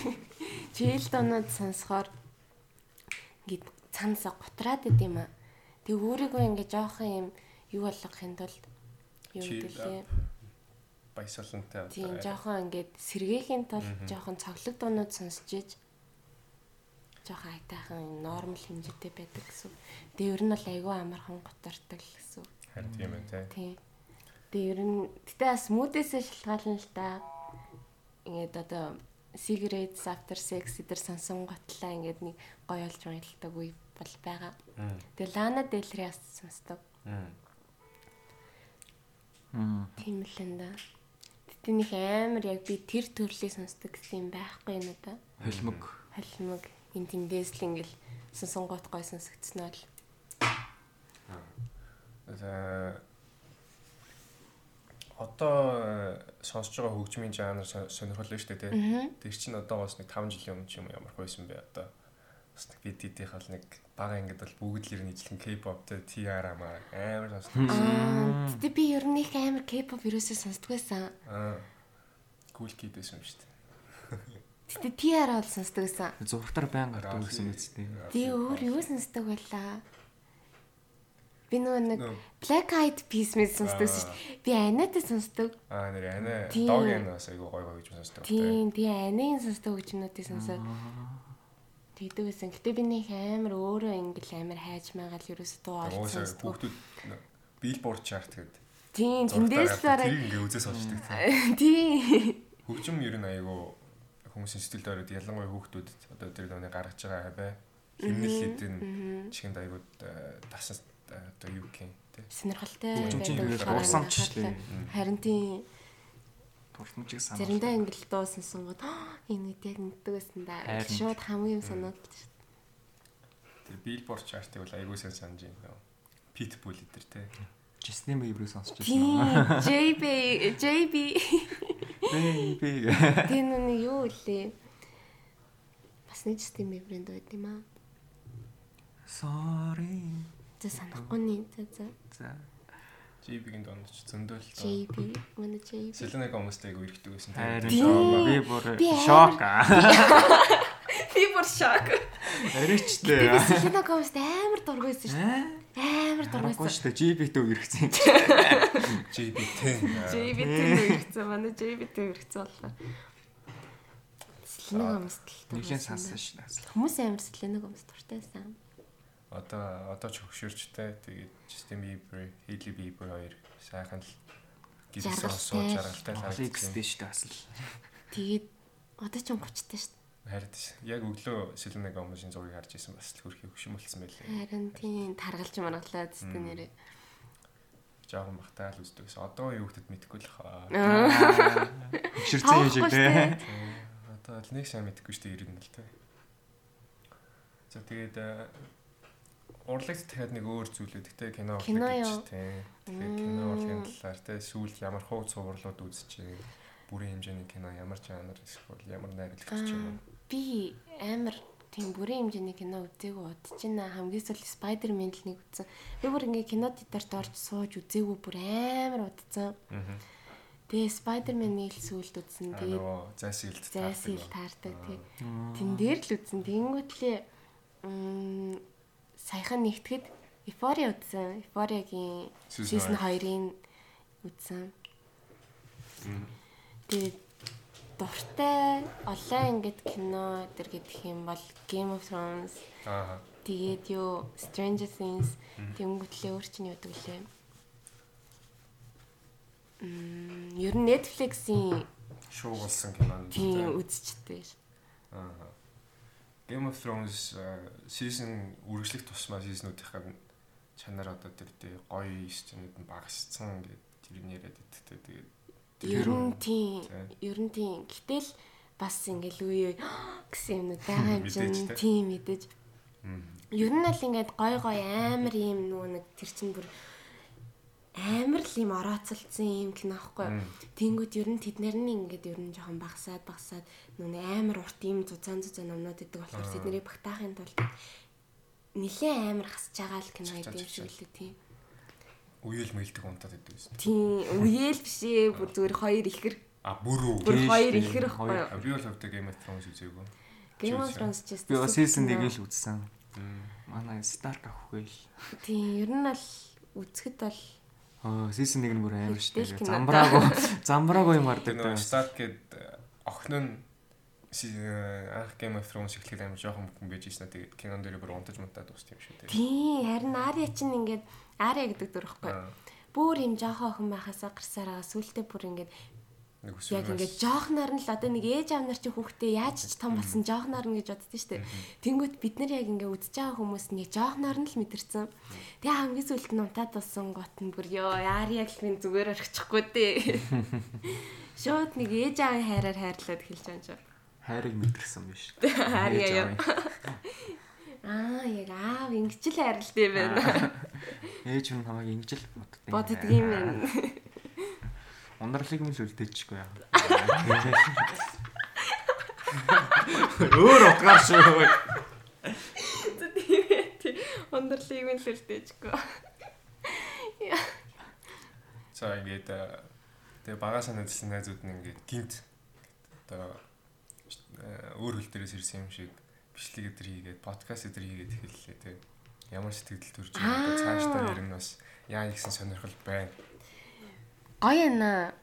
Speaker 2: Чийл дуунаад сонсохоор ингээд цанасаа готраад байд юм аа. Тэг өөрийгөө ингээ жоохон юм юу болгохын тулд юу
Speaker 1: Chill
Speaker 2: гэдэг лээ.
Speaker 1: out. Баясгалантай. одоо
Speaker 2: Тийм,
Speaker 1: яриад.
Speaker 2: жоохон ингээд сэргээхийн тулд жоохон цоглог дуунууд сонсож ийж жоохон айтайхан нормал хэмжээтэй байдаг гэсэн. Тэгээ ер нь бол айгүй амархан готардаг л гэсэн.
Speaker 1: Харин тийм ээ те.
Speaker 2: Тийм. Тэгээ ер нь гэтээ бас мүүдээсээ шалтгаална л та. Ингээд одоо cigarettes after sex эдэр сонсон готлаа ингээд нэг гоё олж байлдаг үе бол байгаа.
Speaker 1: Мм.
Speaker 2: Тэгээ Lana Del Rey бас сонсдог.
Speaker 1: Мм.
Speaker 3: Мм.
Speaker 2: Тийм л энэ да. Тэгтээ нэг амар яг би тэр төрлийг сонсдог гэсэн юм байхгүй юм надаа.
Speaker 3: Холимог.
Speaker 2: Холимог энэ тэндээс л ингээл сонсонгоот гой сонсогдсноо л.
Speaker 1: За одоо э, сонсож байгаа хөгжмийн жанр со- сонирхол нь шүү дээ тий. Тэр чинь одоогоос нэг 5 жилийн өмнө ч юм уу ямар хөөсөн бэ одоо. Бас нэг бид хэдийнх бол нэг бага ингээд бол бүгд л ер нь ижлэн K-pop тий TR амаа амар сонсдог.
Speaker 2: Аа тэгтээ би ер нь их амар K-pop ерөөсөө сонсдог байсан.
Speaker 1: Аа. Cool Kid байсан юм шүү дээ.
Speaker 2: Тэгтээ TR бол сонсдог байсан.
Speaker 3: Зургатар байн гардаг гэсэн үстэй.
Speaker 2: Би өөр юу сонсдог байлаа? Би нөгөө нэг
Speaker 1: Нөө.
Speaker 2: Black Eyed Peas мэд сонсдог шүү дээ. Би Анатай сонсдог.
Speaker 1: Аа нэр анаа
Speaker 2: Тийм.
Speaker 1: dog анаас айгу гой гой гэж сонсдог.
Speaker 2: Тийм, тийм Анийн сонсдог хөгжмөнүүдийг сонсоод тэгдэг байсан. Гэтэ би нэг амар өөрөө ингээл амар хайж байгаа л ерөөсөө дуу олж
Speaker 1: Уусаа
Speaker 2: сонсдог.
Speaker 1: хүүхдүүд Billboard chart гэдэг.
Speaker 2: Тийм,
Speaker 1: зургатаар
Speaker 2: тэндээс л
Speaker 1: гардаг.
Speaker 2: арай
Speaker 1: Тэрийг ингээд үзээс олчдаг.
Speaker 2: тийм.
Speaker 1: Хөгжим ер нь айгүй хүмүүсийн сэтгэлд ороод ялангуяа хүүхдүүдэд одоо тэр нөө гаргаж байгаа хабай химнэл хэдэн чихэнд айгууд тасс одоо юу гэх юм те
Speaker 2: сонирхолтой
Speaker 1: Хөгжимчийн
Speaker 2: байдаг
Speaker 1: хөгжил
Speaker 2: болохоор
Speaker 3: урсамч
Speaker 2: анхаарал
Speaker 3: лээ.
Speaker 2: таа. Харин тийм
Speaker 3: Дуртамжиг санаа.
Speaker 2: заримдаа ингээл дуу сонсонгод "Аа, энэ үед яг мэддэг байсан да.
Speaker 3: Харин.
Speaker 2: Шууд хамгийн юм санаад л шүү дээ.
Speaker 1: тэр billboard chart-ыг бол айгуу сайн санаж байна нөө pitbull эдэр те
Speaker 3: Justin Bieber сонсож
Speaker 2: Тийм.
Speaker 3: байсан.
Speaker 2: JB JB
Speaker 3: Baby.
Speaker 2: тэн нүг юу үлээ? Бас нэг систем брэнд байт юм аа.
Speaker 3: Sorry.
Speaker 2: За санахгүй нэ. За за.
Speaker 3: За.
Speaker 1: JB-гийн дондч зөндөл
Speaker 2: JB манай JB.
Speaker 1: Selena Gomez-тэй айгуу ирэхдэг байсан Тэр
Speaker 3: Харин жоо, би
Speaker 1: жоо-
Speaker 3: бүр
Speaker 2: Би амар-
Speaker 3: шок.
Speaker 4: Би бүр шок.
Speaker 2: Би
Speaker 3: Аричлээ.
Speaker 2: Selena Gomez-т амар дургүйсэн шүү
Speaker 3: Аа.
Speaker 2: дээ. Амар
Speaker 3: Э? Аргагүй
Speaker 2: дургүйсэн.
Speaker 3: шүү дээ. GB төв иргэсэн.
Speaker 1: JB те
Speaker 4: JB
Speaker 1: Э.
Speaker 4: тэнд хэрэгцээ. Манай JB тэнд хэрэгцээ боллоо.
Speaker 2: Selena Gomez-т л
Speaker 3: Нилийн
Speaker 2: дургүйсэн
Speaker 3: сансан
Speaker 2: да.
Speaker 3: шүү дээ.
Speaker 2: Хүмүүс амар Selena Gomez дуртай байсан.
Speaker 1: одоо одоо ч хөвшөрч те тэгээд Justin Bieber, Hailey Bieber хоёр сайхан л гэрээс
Speaker 2: Жаргалтай.
Speaker 1: сонсоо жаргалтай
Speaker 3: Оликс
Speaker 1: харагдсан.
Speaker 3: дээ шүү дээ. Асал.
Speaker 2: Тэгээд одоо ч 30 таа шүү. дээ.
Speaker 1: Харин тийм. Яг өглөө Сэлэнэг омгийн зургийг харж исэн бас л хөрхий хөшм болсон байлээ.
Speaker 2: Харин тийм таргалж маргалаад зү нэрээ.
Speaker 1: Жаахан бахтай л үздэг гэсэн. Одоо юу хөлтөд мэдгүй л хаа.
Speaker 3: Хөвшөрсөн юм шиг те.
Speaker 1: Одоо л нэг сайн мэдгүй шүү дээ ирнэ л те. За тэгээд э, урлагт дахиад нэг өөр зүйл өгдөгтэй кино урлаг
Speaker 2: Кино
Speaker 1: гэж
Speaker 2: юу?
Speaker 1: те. Тэгээд кино урлагийн талаар те сүүл ямар хууц суурлууд үзчихээ. Бүрийн хэмжээний кино ямар жанр эсвэл ямар найруулагч ч юм уу.
Speaker 2: Би амар тийм бүрийн хэмжээний кино үзээгүй удаж байна. Хамгийн сүүл Spider-Man л нэг үзсэн. Би бүр ингээ кино театрт орж сууж үзээгүй бүр амар удацсан.
Speaker 1: Аа.
Speaker 2: Тэгээ Spider-Man-ийг л сүүлд үзсэн.
Speaker 1: Аа,
Speaker 2: Тэгээд
Speaker 1: нөгөө зайсэлд
Speaker 2: зайсыг таардаг тий.
Speaker 3: Аа.
Speaker 2: Тэн дээр л үзэн тэнгүүтлээ м саяхан нэгтгэд Euphoria үзсэн. Euphoria-гийн
Speaker 1: Season
Speaker 2: season
Speaker 1: хоёр.
Speaker 2: 2-ын үзсэн. Тэгээд дуртай онлайн ингээд кино төр гэдэг юм бол Game of Thrones
Speaker 1: Аа.
Speaker 2: тэгээд юу Stranger Things тэнгүүтлээ өөр чинь юу гэдэг лээ. Мм ер нь Netflix-ийн
Speaker 1: Шоу болсон киноны.
Speaker 2: тийм үзчтэй.
Speaker 1: Аа. Game of Thrones э, season үргэлжлэх тусмаа season-уудынхаа чанар одоо тэр тий гоё сценүүд нь багасцсан гэдэг тэр нь яриад өгдөгтэй. Тэгээд
Speaker 2: Ер нь тийм.
Speaker 1: тий.
Speaker 2: Ер нь тийм. Гэтэл бас ингээл үе үе гэсэн юмнууд байгаа юм
Speaker 1: Мэдээж
Speaker 2: чинь
Speaker 1: тэ.
Speaker 2: тийм мэдээж.
Speaker 1: Мм.
Speaker 2: Ер нь л ингээд гой гой амар юм нөгөө нэг тэр чинь бүр амар л юм орооцолцсон юм кино аахгүй.
Speaker 1: Мм.
Speaker 2: Тэнгүүд ер нь тэднэр нь ингээд ер нь жоохон багасаад багасаад нөгөө нэг амар урт юм зузаан зузаан номнууд гэдэг болохоор
Speaker 1: Аа.
Speaker 2: тэднэрийг багтаахын тулд нилээ амар хасж байгаа л кино
Speaker 1: Хасж
Speaker 2: гэдэг юм
Speaker 1: чадчих.
Speaker 2: шиг л үү, тийм.
Speaker 1: үеэл мэлдэг унтаад идэв гэсэн.
Speaker 2: Тийм үеэл биш ээ бүр зүгээр хоёр ихэр
Speaker 1: А бүр үү.
Speaker 2: бүр
Speaker 3: Дээж
Speaker 2: хоёр
Speaker 3: тийм,
Speaker 2: ихэр ахгүй юу.
Speaker 1: А би бол хөвдө Game of Thrones үзээгүй.
Speaker 2: Game of
Speaker 1: Чүлсэ.
Speaker 2: Thrones ч
Speaker 3: Би бас season 1-ийг
Speaker 2: л
Speaker 3: л үзсэн.
Speaker 1: Мм.
Speaker 3: Манай Stark авахгүй л.
Speaker 2: тийм ер нь ал үзэхэд бол
Speaker 3: Аа, season 1 нь бүр амар штэ.
Speaker 2: Хэвтэл кино.
Speaker 3: Замбраагүй, замбраагүй юм гардаг
Speaker 1: Тэр нөгөө
Speaker 3: байсан.
Speaker 1: Stark гэд э, охин нь си- анх Game of Thrones эхлэхэд амар жоохон бүхэн байж ийсэн. Тэгээд кинон дээр бүр унтаж мунтаад дууссан юм шүү дээ.
Speaker 2: тийм харин Ария чинь ингээд Ария гэдэг дүр ихгүй.
Speaker 1: Аа.
Speaker 2: Бүр юм жоохон охин байхасаа гарсараа сүултээ бүр ингээд
Speaker 1: Нэг өсвөр.
Speaker 2: яг ингээд жоохноор нь л одоо нэг ээж аав нар чи хүүхдээ яаж ч том болсон жоохноор нь гэж боддөө штэ. Тэнгүүт бид нар яг ингээд үдчихэж байгаа хүмүүс нэг жоохноор нь л мэдэрсэн. Тэгээ хамгийн сүлд нь унтаад болсон гот нь бүр ёо Ария гэх минь зүгээр орчихгүй дээ. Шууд нэг ээж аавын хайраар хайрлаад эхэлж байгаа юм шиг.
Speaker 3: Хайрыг мэдэрсэн биш.
Speaker 2: Харьяа
Speaker 3: Ээж
Speaker 2: юу.
Speaker 3: аваа.
Speaker 2: Аа яг аав ингэж л харилт юм байна.
Speaker 3: Ээж хүн хамааг ингэж л боддог. юм
Speaker 2: Боддог
Speaker 3: байна.
Speaker 2: юм байна.
Speaker 3: Ундралыг мэл үлдээчихгүй яа. Өөр утгаар шүү.
Speaker 2: Ундралыг минь л үлдээчихгүй.
Speaker 1: За ингээд э, тэгээ багаа санаадсан найзууд нь ингээд гинт одоо э, өөр хөл дээрээс ирсэн юм шиг бичлэг өдр хийгээд подкаст өдр хийгээд эхэллээ тэг. Ямар сэтгэл төрж байгаа вэ? цааш та ер нь бас яа гэсэн сонирхол байна.
Speaker 2: Гоё ээ.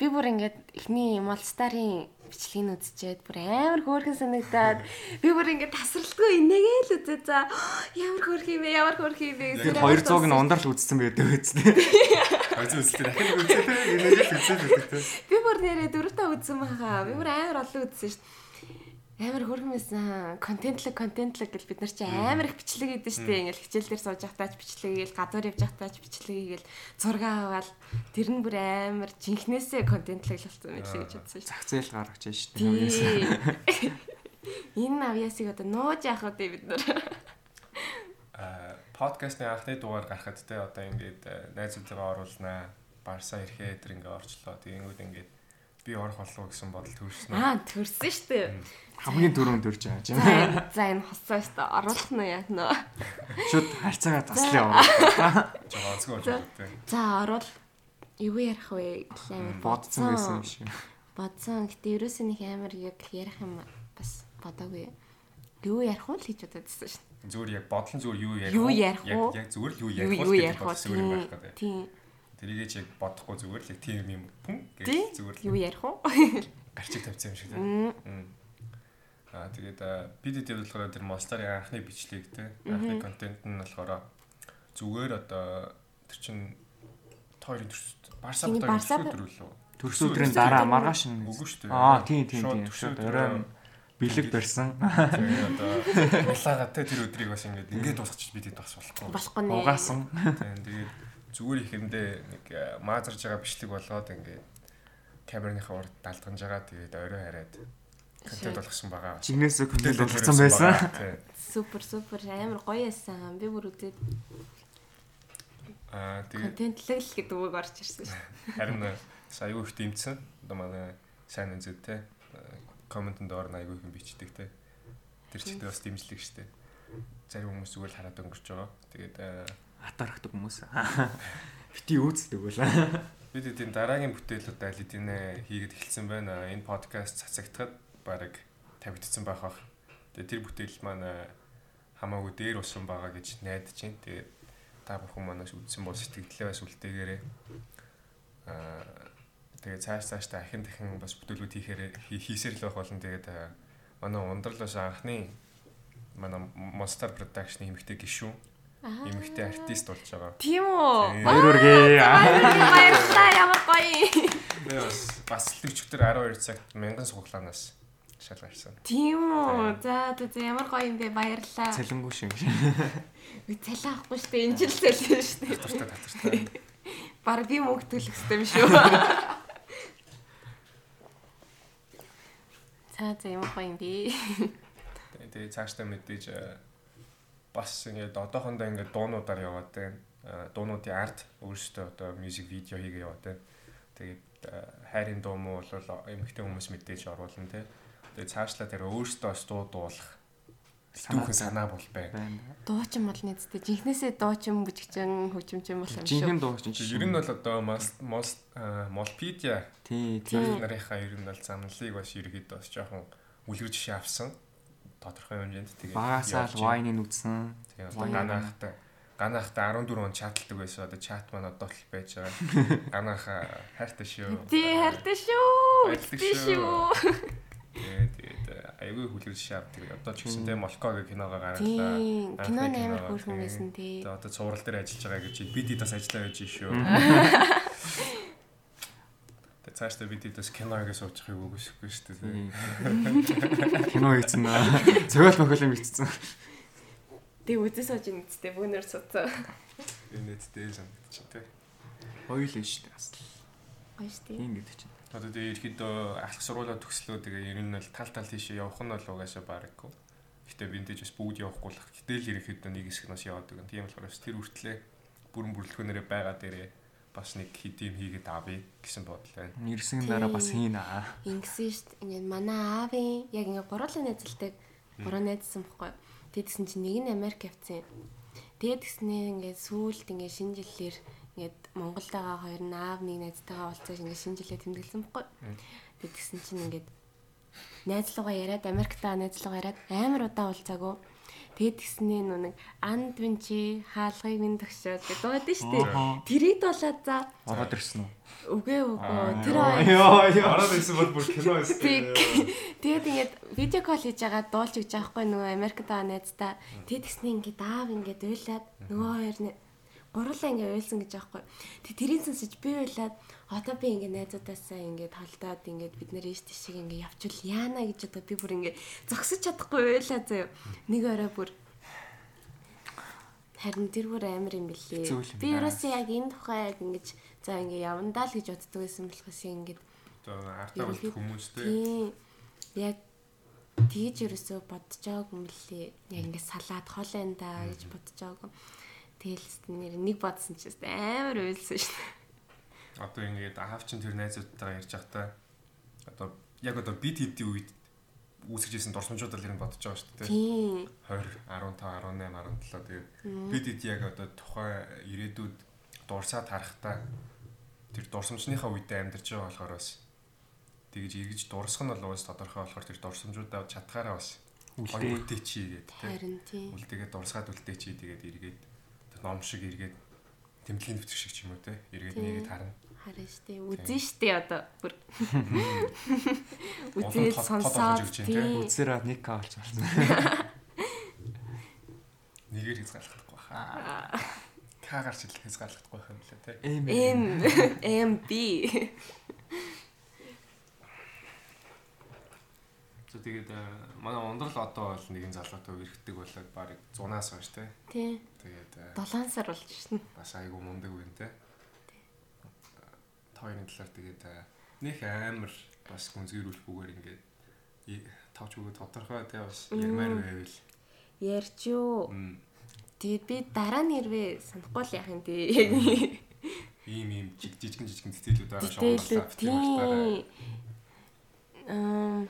Speaker 2: Би бүр ингээд эхний Молстарын бичлэгийг үзчихэд бүр амар хөөрхөн санагдаад би бүр ингээд тасралтгүй инээгээ л үзээ за ямар хөөрхөн юм бэ ямар хөөрхөн юм бэ гэсэн.
Speaker 3: Бид 200-г нь ундрал үзсэн байдаг үстэй.
Speaker 1: Хойц үзэлтэй дахин үзэлтэй гинэж үзэл өгдөгтэй.
Speaker 2: Би бүр нэрээ дөрөв та үзсэн баха. Би бүр амар олон үзсэн шүү дээ. Амар хөөрхөн байсан. Контентлог контентлог гэл бид нар чи амар их бичлэг хийдэж шүү дээ. Ингээл хичээл дээр сууж явахтаач бичлэг хийгээл гадуур явж явахтаач бичлэг хийгээл зурга аваад тэр нь бүр амар жинхнээсээ контентлог л болсон мэт л гэж бодсон шүү
Speaker 3: Зах зээл гаргаж байна шүү дээ.
Speaker 2: дээ. Тийм. Энэ авьяасыг одоо нууж яах вэ бид нар?
Speaker 1: Аа, Э, подкастны анхны дугаар гарахад те одоо ингээд э, найзуудтайгаа оруулнаа. Барса ирэхэд тэр ингээд орчлоо. Тэгэнгүүт ингээд би орох болов уу гэсэн бодол төрснөө.
Speaker 2: Аа төрсөн шүү дээ.
Speaker 3: Хамгийн түрүүнд төрж байгаа
Speaker 2: За
Speaker 3: юм.
Speaker 2: энэ- за энэ хосоо шүү дээ. Оруулах нь яах нь.
Speaker 3: Шүд харьцаагаа таслаа яваа.
Speaker 1: Жоо онцгой болж байна те.
Speaker 2: За оруул юу ярих вэ? гэж Амар
Speaker 3: Бодсон байсан юм
Speaker 2: бодсон.
Speaker 3: шиг.
Speaker 2: бодсон. Гэтэ ерөөсөө нэг амар яг ярих юм бас бодоогүй. Юу ярих вэ л гэж бододсон шин.
Speaker 1: зүгээр яг бодлон зүгээр юу ярих
Speaker 2: Юу
Speaker 1: уу?
Speaker 2: ярих
Speaker 1: Яг-
Speaker 2: уу?
Speaker 1: яг зүгээр л юу
Speaker 2: Юу
Speaker 1: ярих уу
Speaker 2: юу ярих вэ?
Speaker 1: гэсэн юм байх гэдэг.
Speaker 2: Тийм.
Speaker 1: Тэрийгээ ч яг бодохгүй зүгээр л яг тийм юм пүн гэж
Speaker 2: Тийм.
Speaker 1: зүгээр
Speaker 2: Юу
Speaker 1: л
Speaker 2: ярих вэ?
Speaker 1: гарчиг тавьсан юм шиг тийм.
Speaker 2: Мм.
Speaker 1: Аа тэгээд аа, бид хэд болохоор тэр Monster-ийн анхны бичлэг тийм анхны контент нь болохоор зүгээр одоо тэр чин тойрын төрс Барса
Speaker 2: Чиний
Speaker 1: бодоо
Speaker 2: Барса
Speaker 1: өдрөө лөө.
Speaker 3: Төрс өдрийн дараа маргааш нь.
Speaker 1: Үгүй шүү дээ.
Speaker 3: Аа, тийм тийм
Speaker 1: Шууд
Speaker 3: тийм.
Speaker 1: төрсөн
Speaker 3: Шүд
Speaker 1: өдрөө
Speaker 3: оройн бэлэг барьсан.
Speaker 1: Тэгээ одоо улаагаад те тэр өдрийг бас ингээд ингээд дуусгачих бид хэд бас болохгүй.
Speaker 2: болохгүй нэ.
Speaker 3: Угаасан.
Speaker 1: Тийм, Тэгээд зүгээр ихэндээ нэг э, маазарж байгаа бичлэг болгоод ингээд камерныхаа урд далдганж байгаа тэгээд орой хараад контент болгосон байгаа.
Speaker 3: Жигнэсээ
Speaker 1: Бүтээл
Speaker 3: бүтээл болгосон
Speaker 1: болгосон
Speaker 3: байсан.
Speaker 1: байгаа. Тийм.
Speaker 4: Супер супер амар гоё эсэн. Би бүр үдээд
Speaker 1: Аа тэгээд
Speaker 4: контентлэг л гэдэг үг орж ирсэн шүү.
Speaker 1: Харин э, бас аюу их дэмцсэн. Одоо манай сайн үзүү те. э, Комментэнд орно аюу их юм бичдэг те. Тэр чигтээ бас дэмжлэг штэ. Зарим хүмүүс зүгээр л хараад өнгөрч байгаа. Тэгээд э,
Speaker 3: Атарахдаг хүмүүс. Бити үүс тэгвэл.
Speaker 1: бид эдийн дараагийн бүтээлүүд аль эдийнэ хийгээд эхэлсэн байна. Энэ подкаст цацагдахад баг тавигдсан байх бах. Тэгээд тэр бүтээл маань э, хамаагүй дээр усан байгаа гэж найдаж байна. Тэгээд та бүхэн манаас үзсэн бол сэтгэлдээ бас үлдээгээрээ аа тэгээд цааш цааш та ахин дахин бас бүтээлүүд хийхээр хийсээр л байх болно. Тэгээд аа, манай ундрал бас анхны манай Monster Production хэмэгтэй гишүүн эмэгтэй артист болж байгаа.
Speaker 4: Тийм үү?
Speaker 1: Тэгээд-
Speaker 3: Баяр үргээ.
Speaker 4: Баярлалаа ямар гоё.
Speaker 1: Би бас бас л өчтөр 12 цагт 1000 суглаанаас шалгарсан.
Speaker 4: Тийм үү? За за за, ямар гоё юм бэ? Баярлалаа.
Speaker 3: Цалинггүй шиг.
Speaker 4: Би цалин авахгүй шүү дээ. Энэ жил цалин шүү дээ.
Speaker 1: Татвартай татвартай.
Speaker 4: Бараг би мөнгө төлөх систем шүү.
Speaker 2: За за ямар гоё юм бэ.
Speaker 1: Тэгээ цаашдаа мэдээж э, бас ингээд одоохондоо ингээд дуунуудаар яваад байна. Э, Дуунуудын арт өөрөөсөө одоо мьюзик видео хийгээ яваад байна. Тэгээд э, хайрын дуу муу бол эмэгтэй хүмүүс мэдээж оруулна те. Тэгээд цаашлаа тэр өөрөөсөө бас дуу дуулах түүхэн санаа бол байна.
Speaker 2: Дуучин бол нэцтэй. Жинхнээсээ дуучин бүжгчин хөгжимчин бол юм шүү.
Speaker 3: Жинхэнэ дуу чинь.
Speaker 1: Тэгээ ер нь бол одоо мас мос э, молпедиа
Speaker 3: тий, тий.
Speaker 1: Бид нарынхаа ер нь бол замналыг бас ергээд бас жоохон үлгэр жишээ авсан тодорхой хэмжээнд тэгээд
Speaker 3: Багасаал вайныг үзсэн.
Speaker 1: Тэгээд одоо ганаахтай ганаахтай 14 он чаталдаг байсан одоо чат маань одоо л байж байгаа. Ганаах э, хайртай шүү.
Speaker 4: Тий, хайртай шүү.
Speaker 1: Баярлалаа
Speaker 4: Тий шүү.
Speaker 1: Тэгээд тэгээд э, аюулгүй хүлгэр жишээ авдаг. Одоо ч гэсэн тэгээд Молкогийн киногоо гаргалаа.
Speaker 2: Тийм.
Speaker 1: Анхны
Speaker 2: Кинон амар
Speaker 1: киногоо.
Speaker 2: хөөрхөн
Speaker 1: Тийм.
Speaker 2: байсан тий.
Speaker 1: Тэгээд одоо цуврал дээр ажиллаж байгаа гэж бид хэд бас ажиллаа байж шүү. Тэгээд цаашдаа бид хэд бас киногоо суучих юм үгүйсэхгүй шүү дээ. тий.
Speaker 3: Кино хийсэн аа. Цогөл мөхөлөм хийсэн.
Speaker 4: Тэг үзээс сууж ин үсттэй бүүнөр суудсан.
Speaker 1: Энэ дэдтэй санагдчих тий.
Speaker 3: Хоёул нь шүү дээ. Асал.
Speaker 4: Гоё шүү дээ.
Speaker 3: Тийм гэдэг чинь.
Speaker 1: Одоо тэгээ ерхдөө алх сургуулаа төгслөө тэгээ ер нь бол тал тал тийшээ явах нь бол угаасаа барахгүй. Гэтэ бинтэж бас бүгд явахгүй л ах. Гэтэл ерхдөө нэг хэсэг нас яваад байгаа. Тийм болохоор бас тэр үртлээ бүрэн бүрэлдэхүүнээрээ байгаа дээрээ бас нэг хэдийн хийгээд авъя гэсэн бодол байна.
Speaker 3: Ирсэн дараа бас хийнэ аа.
Speaker 2: Ингэсэн шүү дээ. Ингээд манай аавын яг ингээд гурлын найзлдаг гурван найзсан байхгүй. Тэгээд тэгсэн чинь нэг нь Америк явцсан. Тэгээд тэгснээр ингээд сүүлд ингээд шинэ жилээр ингээд Монголд байгаа хоёр нь аав нэг найзтайгаа уулзаж ингээд шинэ жилээр тэмдэглэсэн байхгүй. Тэгээд тэгсэн чинь ингээд найзлуугаа яриад Америктаа найзлуугаа яриад амар удаа уулзаагүй. Тэгээд тэгснээ нөө нэг анд винчи хаалгыг минь тогшоод гэдэг байдаг шүү дээ.
Speaker 3: Охо.
Speaker 2: Тэрийг дуулаад за
Speaker 3: Ороод ирсэн үү?
Speaker 2: үгүй үгүй тэр хоёр
Speaker 3: Йоо ёо.
Speaker 1: Ороод ирсэн бол бүр кино
Speaker 2: Тэг. Тэгээд ингээд видео кол хийж байгаа дуулж өгч байгаа хгүй нөгөө Америкт байгаа найзтай. Тэгээд тэгснэ ингээд аав ингээд уйлаад нөгөө хоёр нь гурлаа ингээд уйлсан гэж байгаа хгүй. Тэг тэрийн сонсож би уйлаад одоо би ингээд найзуудаасаа ингээд толдоод ингээд бид нэр ийш тийш ингээд явчвал яана гэж одоо би бүр ингээд зогсож чадахгүй уйлаа заяа. Нэг орой бүр Харин тэр бүр амар юм бэлээ.
Speaker 3: Хэцүү л юм
Speaker 2: Би
Speaker 3: даа.
Speaker 2: ерөөсөө яг энэ тухай яг ингэж за ингээ явандаа л гэж боддог байсан болохоос ингээд
Speaker 1: Одоо артаа бол хүмүүстэй
Speaker 2: Тийм. Яг тэгж ерөөсөө бодож байгааг юм лээ. Яг ингээд салаад хол энэ да гэж бодож байгааг. Тэгэлс нэр нэг бодсон ч гэсэн амар уйлсан шүү дээ.
Speaker 1: одоо ингээд аав чинь тэр найзуудтайгаа ярьж байхдаа одоо яг одоо бид хэдийн үед үүсгэжсэн дурсамжуудаа л ер нь бодож байгаа шүү дээ.
Speaker 2: Тийм.
Speaker 1: 20 15 18 17 тэгээд бид хэд яг одоо тухайн ирээдүйд дурсаад харахтаа тэр дурсамжныхаа үедээ амьдарч байгаа болохоор бас тэгж эргэж дурсах нь бол уус тодорхой болохоор тэр дурсамжуудаа чатгаараа бас
Speaker 3: Үлдээ.
Speaker 1: үлдээ чи гэдэг тийм
Speaker 2: Харин тийм.
Speaker 1: үлдээгээд дурсаад үлдээ чи тэгээд эргээд тэр ном шиг эргээд тэмдэглэлийн дэвтэр шиг ч юм уу тийм эргээд
Speaker 2: Тийм.
Speaker 1: нэгэд харна
Speaker 2: Харин шүү дээ.
Speaker 4: Үзэн шүү дээ одоо. Бүр.
Speaker 1: Олон
Speaker 4: Үзээд
Speaker 1: тод- тод
Speaker 4: сонсоод.
Speaker 1: орж ирж байна, тийм.
Speaker 4: тий.
Speaker 3: Үзэрээ нэг каа болж байна.
Speaker 1: нэгээр хязгаарлахдаггүй хаа ка гарч ил хязгаарлахдаггүй юм лээ тийм
Speaker 3: Эм.
Speaker 4: М М Б.
Speaker 1: За тэгээд э, манай ундрал одоо бол нэгэн залуутай өргөдөг болоод баг 100-аас хойш те.
Speaker 5: Тий.
Speaker 1: Тэгээд э,
Speaker 5: 7 сар болж шин.
Speaker 1: бас айгүй мундаг үн те. Тойрны талаар тэгээд э, нөх амар бас гүнзгийрүүлэхгүйгээр ингээд и- тавч өгөө тодорхой те бас ярмаар байвал.
Speaker 2: Ярьч юу.
Speaker 1: Мм.
Speaker 2: Тэгээд би дараа нь хэрвээ санахгүй л яах юм те.
Speaker 1: ийм ийм жиг жижигэн жижигэн детейлүүд байгаа
Speaker 5: Дээлүү. Тий. Эм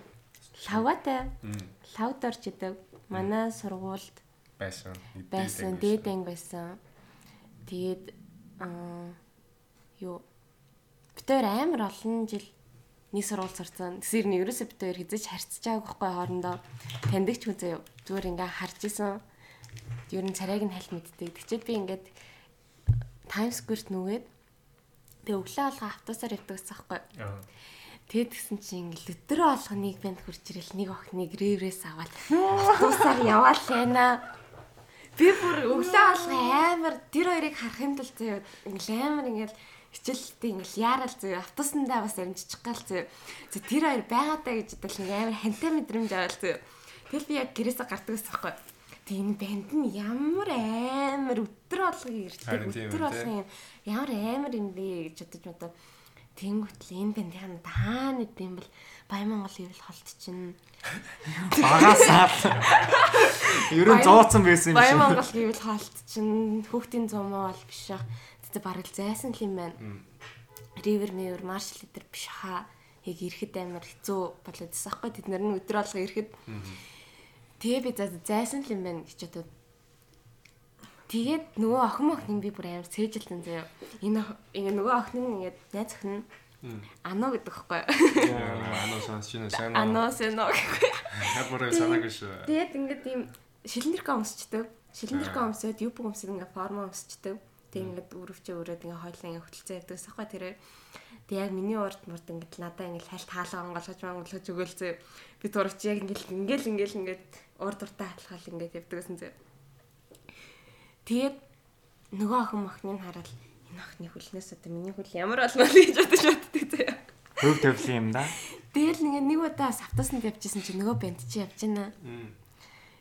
Speaker 5: лаватай
Speaker 1: Мм,
Speaker 5: лавд орж идэв. Манай сургуульд
Speaker 1: байсан.
Speaker 5: байсан дээд анги байсан. Тэгээд аа юу битээр амар олон жил нэг сургууль сурцсан. Тэсэр нь ерөөсөө битээр хязгаарч харьцаж байгааг байхгүй хоорондоо таньдаг ч үзээ зүгээр ингээ харж исэн. Ер нь царайг нь хальт мэддэг. Тэгчээд би ингээд Times Square-т нүгээд тэг өглөө алга автобусаар явдаг гэсэн байхгүй.
Speaker 1: Аа.
Speaker 5: Тэгэд гсэн чи ингээл өдрөө олгоныг банд хурж ирэл нэг охиныг реврээс аваад автобусаар яваал яана.
Speaker 2: Би бүр өглөө алга амар тэр хоёрыг харахын тулд зөө ингээл амар ингээл хичээлтэй ингээл яарал зөө автобусандаа бас амжиж гал зөө. Зөө тэр хоёр байгаадаа гэж бодол ингээл амар хантай мэдрэмж аваад зөө. Тэгэл би яг гэрээсээ гардаг гэсэн хэвгүй. Тэг энэ банд нь ямар амар өтөр болгоо ирдэг
Speaker 1: Харин тийм
Speaker 2: өтөр
Speaker 1: үү,
Speaker 2: болгоо юм. Ямар амар юм бэ гэж бодож бодоо. Тэнгөтл энэ банд яна таа нэг юм бол Баямонгол ивэл холт чинь.
Speaker 3: Багасаал. Ер нь
Speaker 2: Баян-
Speaker 3: зооцсон байсан юм
Speaker 2: Баян
Speaker 3: шиг.
Speaker 2: Монгол гэвэл хаалт чинь хүүхдийн зумаа бол биш ах. Тэгтээ бараг л зайсан л юм байна. Ривер Мэйвер маршал эдэр биш хаа. Яг ирэхэд амар хэцүү болоод байсан хгүй тэд нар нь өдрө алга ирэхэд. Тэгээ би за- зайсан л юм байна гэж бодоод Тэгээд нөгөө охин охин би бүр амар цээжилтэн заяа. Энэ ох- ингэ нөгөө охин нь ингээд найз охин нь Ано гэдэг хэвгүй.
Speaker 1: Анаа сонсч байна. Сайн уу?
Speaker 2: Ано сэно гэх.
Speaker 1: Хабараа санааг ш.
Speaker 2: Тэгээд ингээд ийм шилэндэрхээ өмсчдөг. Шилэндэрхээ өмсөд юп өмсөд ингээд форма өмсчдөг. Тэг ингээд өрөвчөө өрөөд ингээд хойлоо ингээд хөтөлцөө яддаг сахгүй тэрээ. Тэг яг миний урд мурд ингээд надаа ингээд хальт хаалаа онгоолгож монголгож өгөөлцөө. Би турч яг ингээд ингээд ингээд ингээд урд уртаа хатлахал ингээд явдаг гэсэн зэ. Тэгээд нөгөө охин мохныг хараад энэ охины хүлнээс одоо миний хүл ямар болмоо л гэж бодож боддөг зэ.
Speaker 3: Хөв тавьсан юм да.
Speaker 2: Дээл ингээд нэг удаа савтасанд явчихсан чи нөгөө бэнт чи явж байна.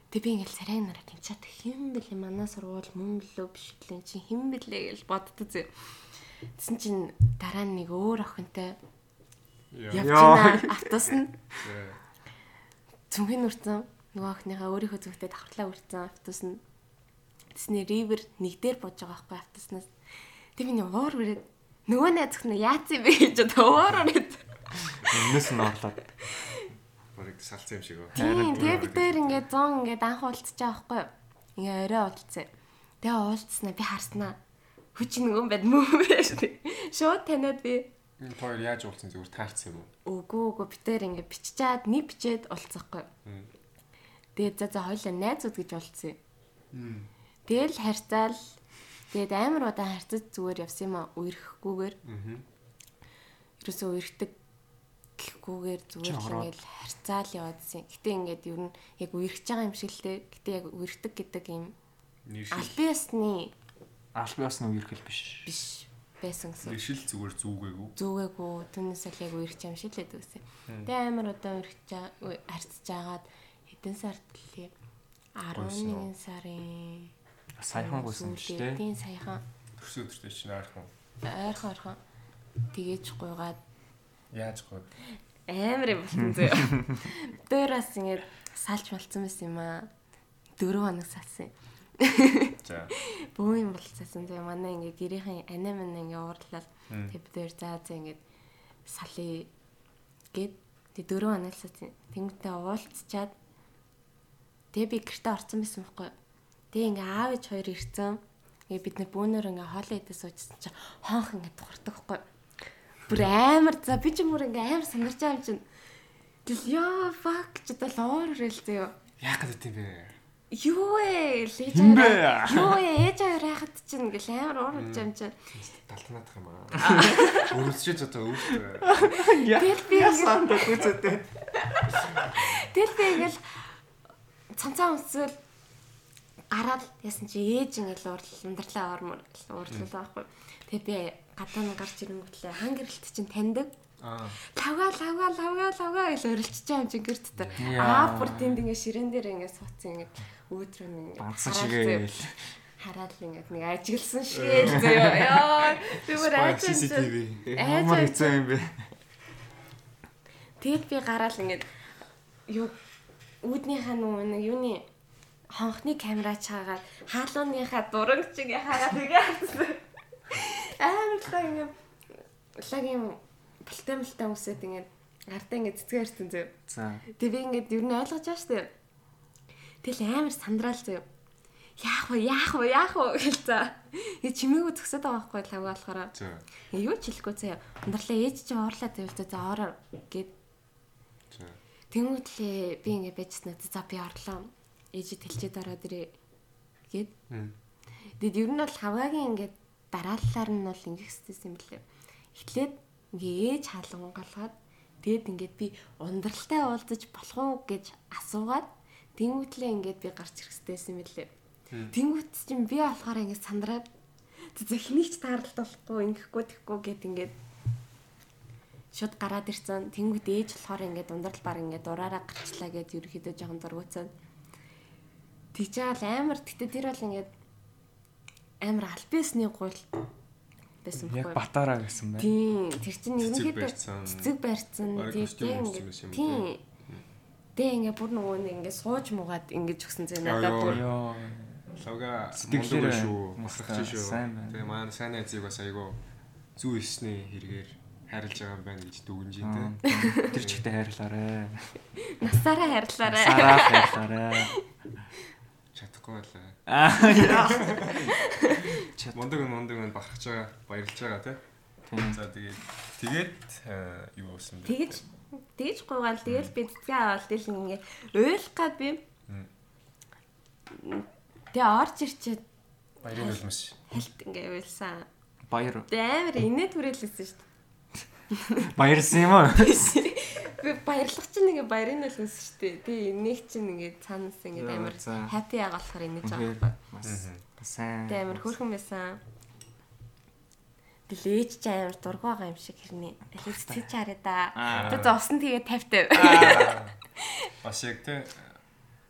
Speaker 2: Тэг би ингээл царай нараа тэнчаад хэм бэлээ манай сургууль мөн лөө биш гэлэн чи хэм бэлээ гэж боддог зэ. Тэсэн чин дараа нь нэг өөр охинтой
Speaker 1: Яа.
Speaker 2: явчихна автобус нь
Speaker 1: за.
Speaker 2: цүнхэн үрцэн нөгөө охиныхаа өөрийнхөө зүгтээ давхарлаа үрцэн автобус нь тэсний ривер нэгдэр бож байгаа байхгүй автобуснаас тэг миний уур үрээд нөгөө найз охин нь яац юм бэ гэж уур үрээд
Speaker 3: Өмнөөс нь орлоод.
Speaker 1: Бараг салцсан юм шиг байна.
Speaker 2: Тийм, тэгээ бид нэр ингээд 100 ингээд анх уулзчаа байхгүй юу? Ингээ орой уулзсан. Тэгээ уулзснаа би харснаа. Хүч нөгөө юм байд мөн байж тий. Шууд таниад би
Speaker 1: Энэ хоёр яаж уулцсан зүгээр таарсан юм уу?
Speaker 2: үгүй үгүй бид нэр ингээд биччихээд нэг бичээд уулзахгүй юу?
Speaker 1: Мм.
Speaker 2: Тэгээд за за хоёлаа найзууд гэж уулзсан юм. Тэгэл харьцаал тэгээд амар удаан харьцаж зүгээр явсан юм аа үерхгүйгээр.
Speaker 1: Аа.
Speaker 2: ерөөсөө үерхдэг гэхгүйгээр зүгээр л
Speaker 3: Жороод.
Speaker 2: ингээд харьцаал яваадсэн. Гэтэ ингээд ер нь яг үерхэж байгаа юм шиг л те. Гэтэ яг үерхдэг гэдэг юм
Speaker 1: Нэршил.
Speaker 2: албан ёсны
Speaker 3: Албан ёсны үерхэл биш.
Speaker 2: биш байсан гэсэн.
Speaker 1: Нэршил зүгээр зүгээгүй.
Speaker 2: Зүгээгүй түүнээс л яг үерч юм шиг л байдаг гэсэн. Тэгээ амар удаан үерч харьцаж агаад хэдэн сард лээ?
Speaker 1: Гуйсан уу?
Speaker 2: 11 сарын
Speaker 3: Саяхан гуйсан ч
Speaker 2: сүүлдээ. Тийм
Speaker 3: тийм.
Speaker 2: саяхан
Speaker 1: Төрсөн өдөртэй чинь арахгүй.
Speaker 2: ойрхон ойрхон тгийж гуйгаад
Speaker 1: Яаж гоо.
Speaker 2: амар юм болсон зөө. Дөрөөс ингэж салж болцсон байсан юм аа. 4 хоног салсан.
Speaker 1: За.
Speaker 2: Бөө юм болцсон. Тэгээ манай ингээ гэрийнхэн анаа мань ингээ уурлал.
Speaker 1: Мм.
Speaker 2: Тэгээ бид нэр заа заа ингээ салъя гээд тэг дөрөв анализ тэнгуүтэ уулзчаад тэгээ би гэрте орсон байсан байхгүй юу. Тэгээ ингээ аав ээж хоёр ирсэн. Тэгээ бид нэр бүүнөр ингээ хоол идэ суучсан чи хонх ингээ тухардаг байхгүй юу. Бүр амар за би ч юм уу ингээ амар сандарч байгаа юм чинь. Тэгэл яа фак ч гэдэг л уур ирэл зөө.
Speaker 1: Яах гэдэг юм бэ?
Speaker 2: Юу ээ лэж
Speaker 3: Хин бэ?
Speaker 2: аваа- Юу ээ ээж аваа хайхад чинь ингээл амар уур урж юм чинь.
Speaker 1: Талтнаадах юм аа. Өрөвсчээд одоо өөртөө.
Speaker 2: Тэгэл би ингээл
Speaker 3: Яасан гэдэг үстэй.
Speaker 2: тэгэл би ингээл цанцаа өмсөөл гараад ясан чи ээж ингээл уурлал амдэрлаа ормор уурлал байхгүй. Тэгээ би гадаа нь гарч ирэнгүүтлээ хан гэрэлт чинь таньдаг.
Speaker 1: Аа.
Speaker 2: лавга лавга лавга лавга гэж орилчж байгаа юм чи гэр дотор.
Speaker 3: Яа.
Speaker 2: Аа бүр тэнд ингээ ширээн дээр ингээ суудсан ингээ өөдрөө ингээ
Speaker 3: Онцсон
Speaker 2: хараад
Speaker 3: шигээ.
Speaker 2: заяа. хараад л ингээ нэг ажиглсан шигээ л заяа. Яа би бүр ажиглсан.
Speaker 1: CCTV.
Speaker 3: Амар хэцүү юм бэ.
Speaker 2: Тэгэд би гараал ингээд юу үүднийхээ нөө нэг юуны хонхны камера чаагаад хаалууныхаа дуранг чиг хаагаад игээсэн. Амар л ингээд лагийн бэлтэмэлтэй үсэт ингээд гартаа ингээд цэцгээрсэн зөө.
Speaker 3: За.
Speaker 2: Тэг би ингээд юу нэг ойлгож байгаа штэ. Тэгэл амар сандраал зөө. Яах вэ? Яах вэ? Яах вэ? гэл за. Ий чимээгүй зөксөд байгаа байхгүй лав болохоор.
Speaker 1: За.
Speaker 2: Яа, Юу ч хэлэхгүй заяа. Ундралаа ээж чинь уурлаад байв та за ороо гэд.
Speaker 1: За.
Speaker 2: Тэнгүүтлээ би ингэ байжснаа за би орлоо. Ээж тэлчээд ороод ирээ гэд.
Speaker 1: Мм.
Speaker 2: Тэгэд ер нь бол хаваагийн ингээд дарааллаар нь бол ингэх хэвчээсэн юм блээ. Эхлээд ингээ ээж хаалгангалгаад тэгэд ингээд би ундралтай уулзаж болох уу гэж асуугаад тэнгүүтлээ ингээд би гарч ирэх хэвчээсэн юм блээ. Тэнгүүт чинь би болохоор ингээд сандраад зөхнийч тааралт болохгүй ингэхгүй тэгэхгүй гэд ингээд шууд гараад ирцэн тэнгүүд ээж болохоор ингээд ундрал баг ингээд дураараа гарчлаа гэд ерөөхдөө жоохон зургуцсан. Тэгж байгаа л амар тэгтээ тэр бол ингээд амар альбисны гуйл байсан
Speaker 3: Яг
Speaker 2: байхгүй.
Speaker 3: батараа гэсэн байна.
Speaker 2: Тийм тэр чинь
Speaker 1: Цэцэг
Speaker 2: ерөнхийдөө
Speaker 1: барьцсан.
Speaker 2: цэцэг барьцсан
Speaker 1: Бараг
Speaker 2: тийм
Speaker 1: костюм
Speaker 2: ингээд-
Speaker 1: өвссөн юм
Speaker 2: тийм
Speaker 1: байна.
Speaker 2: Тэ ингээ бүр нөгөө нэг ингээ сууж муугаад ингэж өгсөн зэ
Speaker 1: Яа,
Speaker 2: надад
Speaker 1: яа.
Speaker 2: бүр
Speaker 3: Йоо.
Speaker 1: Лавга
Speaker 3: Сэтгэлээр
Speaker 1: сэтгэлээр шүү.
Speaker 3: мусгах
Speaker 1: Мусгах
Speaker 3: чинь
Speaker 1: шүү.
Speaker 3: сайн байна.
Speaker 1: Тэгээ маань сайн айзыг бас айгу зүү ирсний хэрэгээр хайрлаж байгаа юм байна гэж дүгнжийтэй.
Speaker 3: Аа. Тэр чигтээ хайрлаарэ.
Speaker 2: насаараа харьлаарай.
Speaker 3: Сараа хайрлаарэ.
Speaker 1: Чадахгүй байлаа.
Speaker 3: Аа. яа.
Speaker 1: Мундаг нь мундаг нь бахархж байгаа, баярлж байгаа тий.
Speaker 3: Тийм.
Speaker 1: За тэгээд тэгээд э, юу болсон бэ?
Speaker 2: Тэгэж тэгэж гуйгаал тэгэл би цэцгээ аваад тэгэл ингээ ойлгох гад би.
Speaker 1: Мм.
Speaker 2: Тэ орж ирчээд
Speaker 1: баярын үлмэс.
Speaker 2: хальт ингээ уйлсан.
Speaker 3: Баяр.
Speaker 2: Тэ амар инээ түрээлсэн шүү
Speaker 3: Баярсан юм уу?
Speaker 2: дээ. Би баярлах чинь ингээ баярын үлсэн шүү дээ. Тэ инээх чинь ингээ цаанаас ингээ
Speaker 3: Яа,
Speaker 2: амар
Speaker 3: за.
Speaker 2: хаппи байгаа болохоор инээж байгаа
Speaker 3: Үнэхээр
Speaker 2: байхгүй.
Speaker 3: Бас бас сайн.
Speaker 2: Тэ амар хөөрхөн байсан. Гэлээч ч амар дург байгаа юм шиг хэрнээ. Алиг цэцгээ хараа да.
Speaker 3: Аа.
Speaker 2: Тэ зовсон тэгээ 50 50.
Speaker 1: Аа. Бас яг тий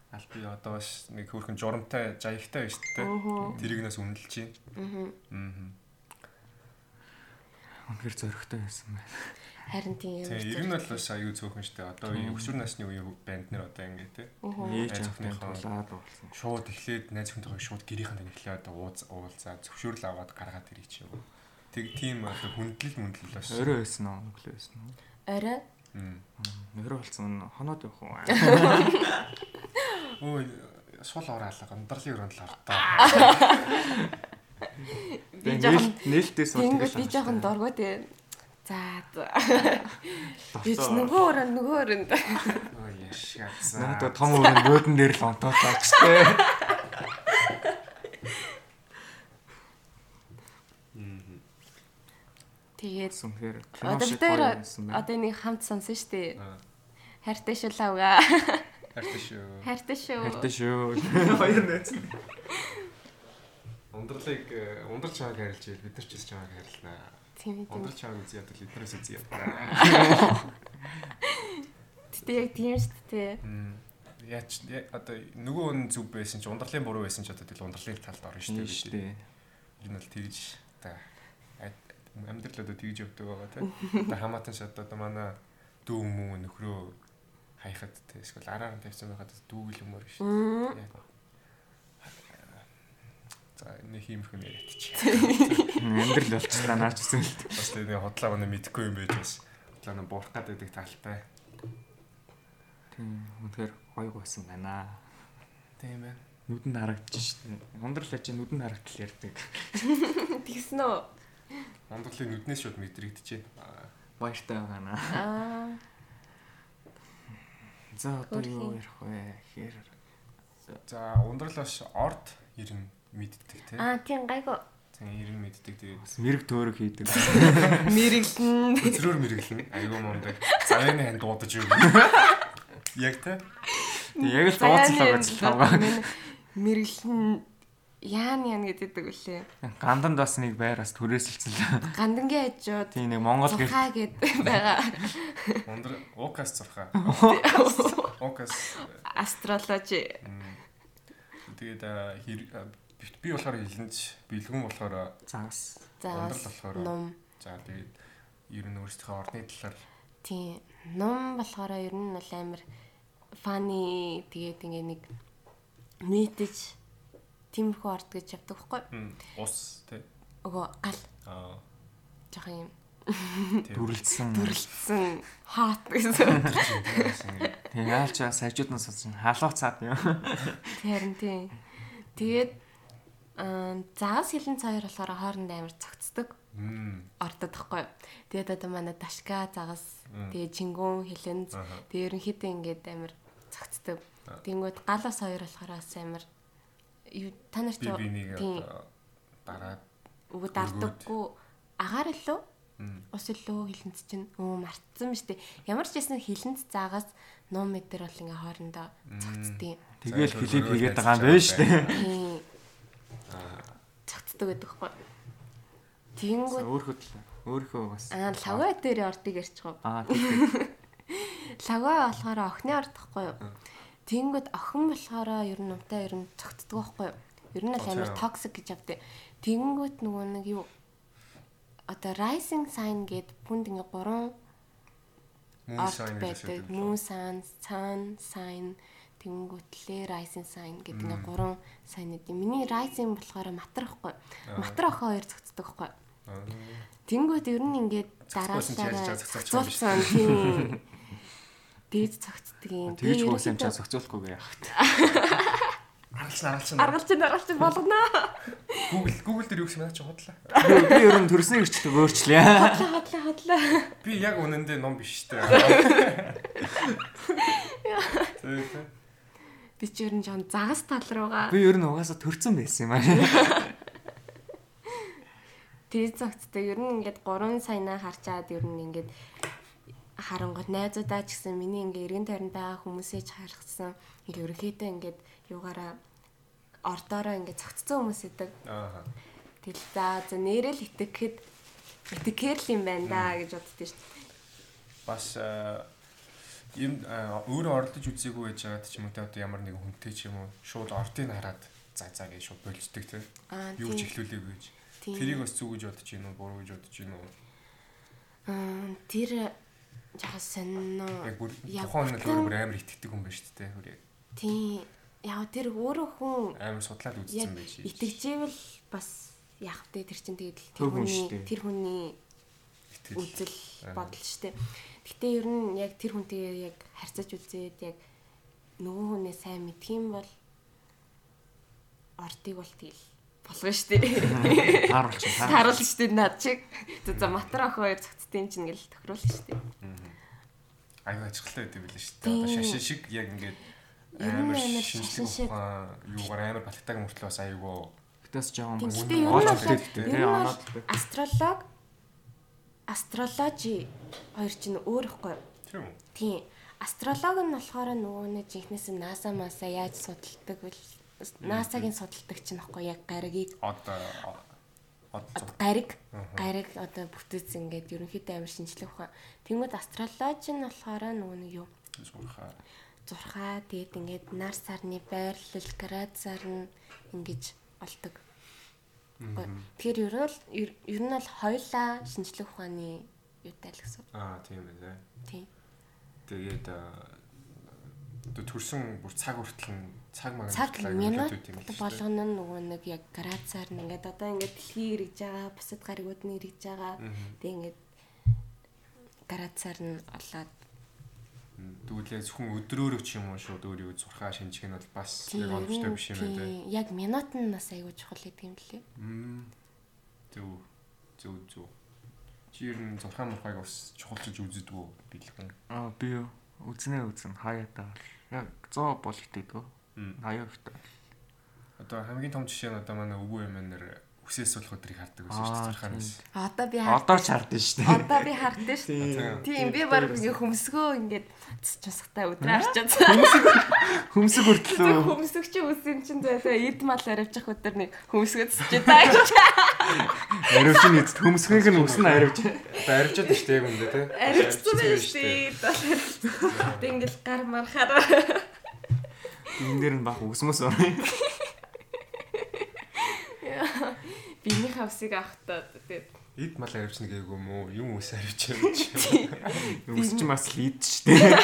Speaker 1: аль би одоо бас нэг хөөрхөн журамтай, жаягтай байж тээ. Тэрэгнээс үнэлж чинь. Аа.
Speaker 3: Үнэхээр зөрөгтэй байсан байна.
Speaker 2: Харин тийм
Speaker 1: Тэгээ ер нь бол бас аюу зөөхөн штэ. Одоо энэ өсвөр насны үеийн банд нар одоо ингэ тий.
Speaker 3: Ээж
Speaker 1: Найз
Speaker 3: ахны
Speaker 1: охиныхоо.
Speaker 3: тулаад болсон.
Speaker 1: Шууд эхлээд найз хүнтэйгээ шууд гэрийнхэн тань эхлээд одоо ууз уулзаа зөвшөөрөл аваад гаргаад ирэх чинь. Тэг тийм одоо хүндлэл мүндлэл бас.
Speaker 3: Өөрөө байсан уу? Өглөө байсан уу?
Speaker 2: Орой
Speaker 1: Мм.
Speaker 3: Өөрөө болсон нь хоноод явах уу?
Speaker 1: Өө сул ураалга, ундралын өрөөнд л автаа.
Speaker 2: би жоохон
Speaker 3: Нээлт нээлтээс бол
Speaker 2: Тэнгүүд би жоохон дургуй тий. За. за. Би ч нөгөө өрөө нөгөө өрөөнд
Speaker 1: Өө яшгаасан.
Speaker 3: Надад том өрөө нөөдөн дээр л онтоолаач тээ.
Speaker 2: тэгээд
Speaker 3: Сүнхээр
Speaker 2: одоо бид хоёр одоо нэг хамт сонсон шүү дээ. Хайртай шүү лавга.
Speaker 1: Хартай шүү.
Speaker 2: Хайртай
Speaker 3: Хайртай
Speaker 2: шүү.
Speaker 3: шүү. Хоёр найз.
Speaker 1: Ундралыг э, ундрал чааг харилж ийл бид нар ч чааг харилнаа.
Speaker 2: Тийм тийм.
Speaker 1: Ундрал чааг үзье ядал эднээс үзье ядал.
Speaker 2: Тэгтээ яг тийм шүү дээ.
Speaker 1: Яач я- одоо нөгөө хүн зүв байсан чи ундралын буруу байсан ч одоо тэл ундралын талд орно шүү
Speaker 3: Тийм
Speaker 1: дээ.
Speaker 3: шүү
Speaker 1: бид.
Speaker 3: дээ.
Speaker 1: Энэ бол тэгж та амьдрал одоо тэгж явдаг байгаа тийм. Одоо хамаатан шат одоо манай дүү мүү нөхрөө хаяхад тийм эсвэл араар нь тавьсан байхад дүүгэл юмор шүү.
Speaker 2: Мм.
Speaker 1: Яг. За энэ хиймэрхүү нэрэт чи.
Speaker 3: Амдрал болчихлаа наач гэсэн л дээ.
Speaker 1: Бас тэгээ хотлаа өнө мэдэхгүй юм байж бас хотлаа нь буурах гад байдаг талтай.
Speaker 3: Тийм. Үнэхээр гоё байсан байна.
Speaker 1: Тийм байна.
Speaker 3: Нүдэнд харагдчих шүү дээ. Ундрал ажи нүдэнд харагдтал ярддаг.
Speaker 2: Тэгсэн үү?
Speaker 1: Ундралын нүднээс шууд мэдрэгдэжээ. Аа,
Speaker 3: Баяртай байна.
Speaker 2: Аа.
Speaker 3: За одоо юу
Speaker 2: Хөөрхөн.
Speaker 3: ярих вэ? Хэр
Speaker 1: За ундрал бас орд ирэн мэддэг те.
Speaker 2: Аа тийм гайгүй.
Speaker 1: Зин ирэн мэддэг тэгээд
Speaker 3: мэрэг төөрөг хийдэг.
Speaker 2: Мэрэглэн.
Speaker 1: хөзрөөр мэргэлэн. Айгуу мундаг. Завын ханд дуудаж юу. Яг те.
Speaker 3: Тэг, Яг л дууцлаа
Speaker 2: Заяаны
Speaker 3: байсан.
Speaker 2: мэрэглэн. Яан яан гэдэг үлээ.
Speaker 3: Ганданд бас нэг байр бас түрээсэлцэн.
Speaker 2: Гандангийн хажууд
Speaker 3: Тийм нэг Монгол гэр
Speaker 2: Тухай гэд байгаа.
Speaker 1: Ундар Укас зурхаа. Укас.
Speaker 2: Астрологи.
Speaker 1: Тэгээд аа, хэр- аа, бит- би болохоор хилэнч, бэлгүн болохоор
Speaker 3: загас.
Speaker 1: ундар
Speaker 2: За
Speaker 1: болохоор.
Speaker 2: ном.
Speaker 1: За тэгээд ер нь өөрсдийнхөө орны талаар
Speaker 2: Тийм. Ном болохоор ер нь бол амар фани тэгээд ингээ нэг мэдэж тиймэрхүү арт гэж явдаг байхгүй.
Speaker 1: м, ус тий.
Speaker 2: Өгөө гал
Speaker 1: Аа,
Speaker 2: жоох юм
Speaker 1: тийм.
Speaker 3: Дүрлэлсэн.
Speaker 2: бүрлдсэн хаат гэсэн.
Speaker 3: Тийм яалч сажиуднаас сонсон. Халуун цаад юм.
Speaker 2: Харин тийм. Тэгээд аа заас хилэн цааяр болохоор хооронд амар цогцдог.
Speaker 1: Мм.
Speaker 2: ордод тахгүй. Тэгээд одоо манай Дашка загас
Speaker 1: Мм.
Speaker 2: тэгээд Чингүн хилэнз
Speaker 1: Аха.
Speaker 2: тэгээд ерөнхийдөө ингээд амар цогцдог. Тэнгүүд гал бас хоёр болохоор бас амар юу та нарт
Speaker 1: Би бинийг
Speaker 2: тийм
Speaker 1: одоо дараад
Speaker 2: өгд ардаггүй агаар илүү
Speaker 1: Мм.
Speaker 2: ус илүү хилэнц чинь өө мартсан мэт. Ямар ч гэсэн хилэнц загас нуум мэдэр бол ингээ хоорондоо цогцдیں۔
Speaker 3: Тэгэл
Speaker 1: За,
Speaker 3: хилээд
Speaker 1: өөрөө танилцж
Speaker 3: хийгээд байгаа юм байна шүү дээ.
Speaker 2: Тийм. Цогцдог гэдэг хгүй. Тэнгүүд
Speaker 3: Өөрөө төлөө. Өөрөө бас.
Speaker 2: аа лавга дээр ордыг ярьчихв.
Speaker 3: Аа тийм.
Speaker 2: Лага болохоор охины орд тахгүй юу? Тэнгүүд охин болохоор ер нь умтай ер нь цогтдгоо байхгүй юу? Ер нь л
Speaker 1: Тооцоо
Speaker 2: амар
Speaker 1: яваа.
Speaker 2: токсик гэж авдаг. Тэнгүүд нөгөө нэг юу одоо rising sign гэд бүнд ингээ гурван
Speaker 1: мөн сайн юм
Speaker 2: орд
Speaker 1: шиг
Speaker 2: байдаг. Moon sign, sun sign тэнгүүтлээ rising sign гэдэг ингээ гурван сайн гэдэг. Миний rising болохоор матар ихгүй. Матар охин хоёр цогтдгоо байхгүй юу? Тэнгүүд ер нь ингээд
Speaker 1: Цогцолсон ч ялж
Speaker 2: дараалалаа
Speaker 1: чадах цогцолч юм биш.
Speaker 2: цогцолсон, тийм. Дээд цогцдаг юм.
Speaker 3: Тэгж хөөс юм чаа зохицуулахгүй яах.
Speaker 1: Аргалсан аргалсан.
Speaker 2: Аргалч нь аргалч нь болгоно.
Speaker 1: Google Google дээр юу гэсэн мэдээ чи худлаа.
Speaker 3: Би би ер нь төрсний гэрчлэг өөрчлөе.
Speaker 2: Хадлаа хадлаа хадлаа.
Speaker 1: Би яг үнэндээ ном биш шүү дээ.
Speaker 2: Би ч ер нь жоон загас тал руугаа
Speaker 3: Би ер нь угаасаа төрцөн байсан юм аа.
Speaker 2: дээд цогцдаг. Ер нь ингээд 3 саянаа харчаад ер нь ингээд харангуут найзуудаа ч гэсэн миний ингээ эргэн тойронд байгаа хүмүүсээ ч харахсан. Ингээ ерөөхдөө ингээд юугаараа ордоороо ингээ цогцсон хүмүүс идэг.
Speaker 1: Аа.
Speaker 2: Тэгэл за за нэрэл итгэхэд итгэхэр л юм байна да гэж боддөө шүү.
Speaker 1: Бас аа, юм аа, өөрөө оролдож үзээгүй байж байгаа ч юм уу те одоо ямар нэгэн хүнтэй ч юм уу шууд ортыг хараад за за гэж шууд болждаг те.
Speaker 2: Аа,
Speaker 1: Юу ч
Speaker 2: тийм.
Speaker 1: ихлүүлээ гэж.
Speaker 2: Тийм.
Speaker 1: Тэрийг бас зүг гэж бодож гинөө буруу гэж бодож гинөө.
Speaker 2: Аа, тэр жоохон сонно.
Speaker 1: Яг бүр
Speaker 2: Яг
Speaker 1: тухайн нэг
Speaker 2: бүтэн-
Speaker 1: өөр бүр амар итгэдэг хүн байж тээ. Бүр яг
Speaker 2: Тийм. Яг тэр өөрөө хүн
Speaker 1: амар судлаад
Speaker 2: яг
Speaker 1: үзсэн байж.
Speaker 2: итгэжээвэл бас яг тэ тэр чинь тэгэл
Speaker 3: Тэр хүн шүү дээ.
Speaker 2: тэр хүний үзэл бодол шүү дээ. Гэтэ ер нь яг тэр хүнтэйгээ яг харьцаж үзээд яг нөгөө хүнээ сайн мэдх юм бол ортыг бол тэгэл болгоно шүү дээ.
Speaker 3: Тааруулч.
Speaker 2: Таруул шүү дээ над чиг. За за матер охин хоёр цогцтой юм чинь гэл тохируулах шүү дээ.
Speaker 1: аюу ажиглалтай байдаг билээ шүү дээ. Одоо
Speaker 2: Тийм.
Speaker 1: шашин шиг яг ингээд
Speaker 2: Ер нь
Speaker 1: амар
Speaker 2: амар шашин
Speaker 1: шинжлэх
Speaker 2: шиг.
Speaker 1: ухаан юугаар амар батлагтайг мөртлөө бас аюугаа
Speaker 3: Тэгтээс жоохон
Speaker 2: Тийм гэхдээ ер нь
Speaker 3: бас гооч
Speaker 2: бол
Speaker 3: үлдээдтэй,
Speaker 2: ер
Speaker 3: тий,
Speaker 2: нь бол
Speaker 3: оноод л бай.
Speaker 2: астролог астрологи хоёр чинь өөр ихгүй. юу?
Speaker 1: тийм үү?
Speaker 2: Тийм. Астролог нь болохоор нөгөө нэг жинхнээс нь NASA маса яаж судалдаг вэ? NASA-гийн судалдаг чинь ихгүй яг гаригийг
Speaker 1: Одоо одоо
Speaker 2: од- гариг гариг одоо бүтээц ингээд ерөнхийдөө амар шинжлэх ухаан. Тэнгүүд астрологи нь болохоор нөгөө нэг юу?
Speaker 1: сурхаа.
Speaker 2: Зурхаа тэгээд ингээд нар сарны байрлал градусаар нь ингэж олдог. Тэгэхээр ер нь л ер ер нь бол хоёлаа шинжлэх ухааны юутай л гэсэн.
Speaker 1: Аа тийм үү.
Speaker 2: Тийм.
Speaker 1: Тэгээд аа, одоо төрсөн бүр цаг хүртэл нь цаг магнит
Speaker 2: Цаг минут
Speaker 1: болгоно.
Speaker 2: болгоно нь нөгөө нэг яг градусаар нь ингээд одоо ингээд дэлхий эргэж байгаа, бусад гаригууд нь эргэж байгаа. Тэгээд ингээд градусаар нь олоод
Speaker 1: Тэгвэл яг зөвхөн өдрөөрөө ч юм уу шууд өөрийгөө зурхаа шинжих нь бол бас яг
Speaker 2: Тийм,
Speaker 1: оновчтой биш юм байна.
Speaker 2: тийм. Яг минут нь бас айгүй чухал гэдэг юм лээ.
Speaker 1: Зөв. Зөв зөв. Чи ер нь зурхаа мурхайг бас чухалчилж үздэг үү? Билхэн.
Speaker 3: Аа би юу? Үзнэ үзэн хаяатаа бол. Яг 100 бол итгэдэг.
Speaker 1: Мм.
Speaker 3: 80 ихтэй.
Speaker 1: Одоо хамгийн том жишээ нь одоо манай өвөө эмээнэр хүсээс болох өдрийг хардаг байсан
Speaker 3: Аа,
Speaker 1: шүү дээ цархаар
Speaker 3: тийм.
Speaker 1: байсан.
Speaker 2: Одоо би хаа
Speaker 3: Одоо ч хардсан шүү дээ.
Speaker 2: Одоо би хардсан шүү. дээ.
Speaker 1: Тийм.
Speaker 2: Тийм би баг ингээ хөмсгөө ингээд цэс чусгатай өдрөө арчаад
Speaker 3: Хөмсг хүртлөө
Speaker 2: хөмсөг чи үсэн чинь зөө эд мал аривчих өдөр нэг хөмсгөө цэсчээ даа.
Speaker 3: аривчин эцэд хөмсгийнх нь үснэ аривж.
Speaker 1: Одоо арилжаад байна шүү дээ яг үндэ тий.
Speaker 2: Аривчсан байж
Speaker 1: шүү
Speaker 2: тий. Тэгээд ингээл гар мархаар
Speaker 3: Энд дэр нь баг үсмэс орно.
Speaker 2: биний хавсыг авахтаа тэгээд
Speaker 1: Эд мал арилжна гээг юм уу? Юм ус арилж юм чи.
Speaker 3: Үсч бас л ийд шүү дээ.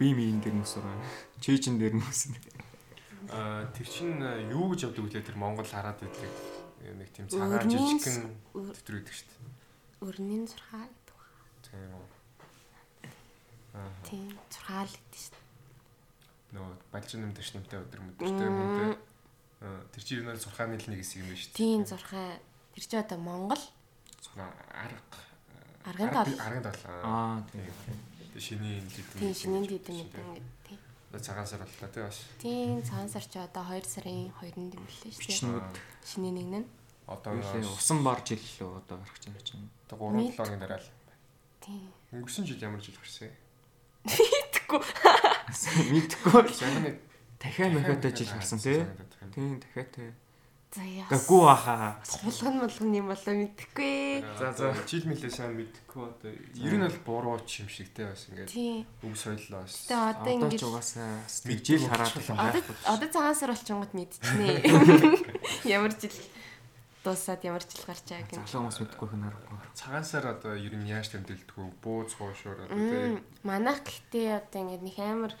Speaker 3: Би ми энэ дэр нь ус орно. Чэйжин дэр нь үснэ.
Speaker 1: Аа тэр чин э, юу гэж явдаг үлээ тэр Монгол хараад байдлыг э, нэг тийм цагаан
Speaker 2: Өрнийн
Speaker 1: жижигхэн
Speaker 2: өр-
Speaker 1: төтөр үүдэг шүү дээ.
Speaker 2: өрнийн зурхаа гэдэг. ба.
Speaker 1: Тийм үү.
Speaker 2: Тийм зурхаа л гэдэг шүү. дээ.
Speaker 1: Нөгөө балжин юм дэш нэмтэй өдөр мөдөртэй юм үү? Аа тэр чинь юу нэр зурхааны л нэг хэсэг юм байна шүү дээ.
Speaker 2: Тийм зурхаа тэр чи одоо Монгол
Speaker 1: Зурхаа арга.
Speaker 2: арган тал
Speaker 1: Арган тал.
Speaker 3: Аа тийм.
Speaker 1: Шинийн л гэдэг.
Speaker 2: тийм шинийн дэд юм ингээд тийм.
Speaker 1: Цагаан сар боллоо тий бас.
Speaker 2: Тийм цагаан сар чи одоо 2 сарын 2-нд юм лээ шүү. дээ.
Speaker 3: Бичнүүд
Speaker 2: Шинийн нэг нь
Speaker 1: Одоо
Speaker 3: Юулээ, усан бар жил лөө одоо гарах гэж байна. чинь.
Speaker 1: 3 долоогийн дараа л.
Speaker 2: тийм.
Speaker 1: Өнгөрсөн жил ямар жил гарсан?
Speaker 2: Тэгэхгүй
Speaker 3: Мэдхгүй. л.
Speaker 1: Сайн нэг
Speaker 3: Дахиад нөхөдөө жил гарсан тий.
Speaker 1: Дахиад.
Speaker 3: Тийм дахиад тий.
Speaker 2: За яа.
Speaker 3: Гаггүй баха.
Speaker 2: Суулган болгон юм болоо мэдхгүй.
Speaker 1: За за жил мэлээ сайн мэдэхгүй одоо ер нь бол буруу ч юм шигтэй бас ингээд
Speaker 2: Тийм.
Speaker 1: өв соёл бас
Speaker 2: Тэгээ одоо
Speaker 3: Одоо
Speaker 2: ингэж
Speaker 3: ч угаасаа бас
Speaker 1: Мэдгүй
Speaker 3: нэг жил хараад
Speaker 1: болчихлоо.
Speaker 3: байгаа.
Speaker 2: одоо одоо цагаан сар болчихгонд мэдчихнэ. Ямар жил дуусаад ямар жил гарчаа гэнэ.
Speaker 3: Залуу хүмүүс мэдхгүй хүн харахгүй.
Speaker 1: цагаан сар одоо ер нь яаж тэмдэглэдэг вэ? Бууз хуушуур одоо
Speaker 2: Мм,
Speaker 1: тий.
Speaker 2: Манайх гэхдээ одоо ингэ нэг амар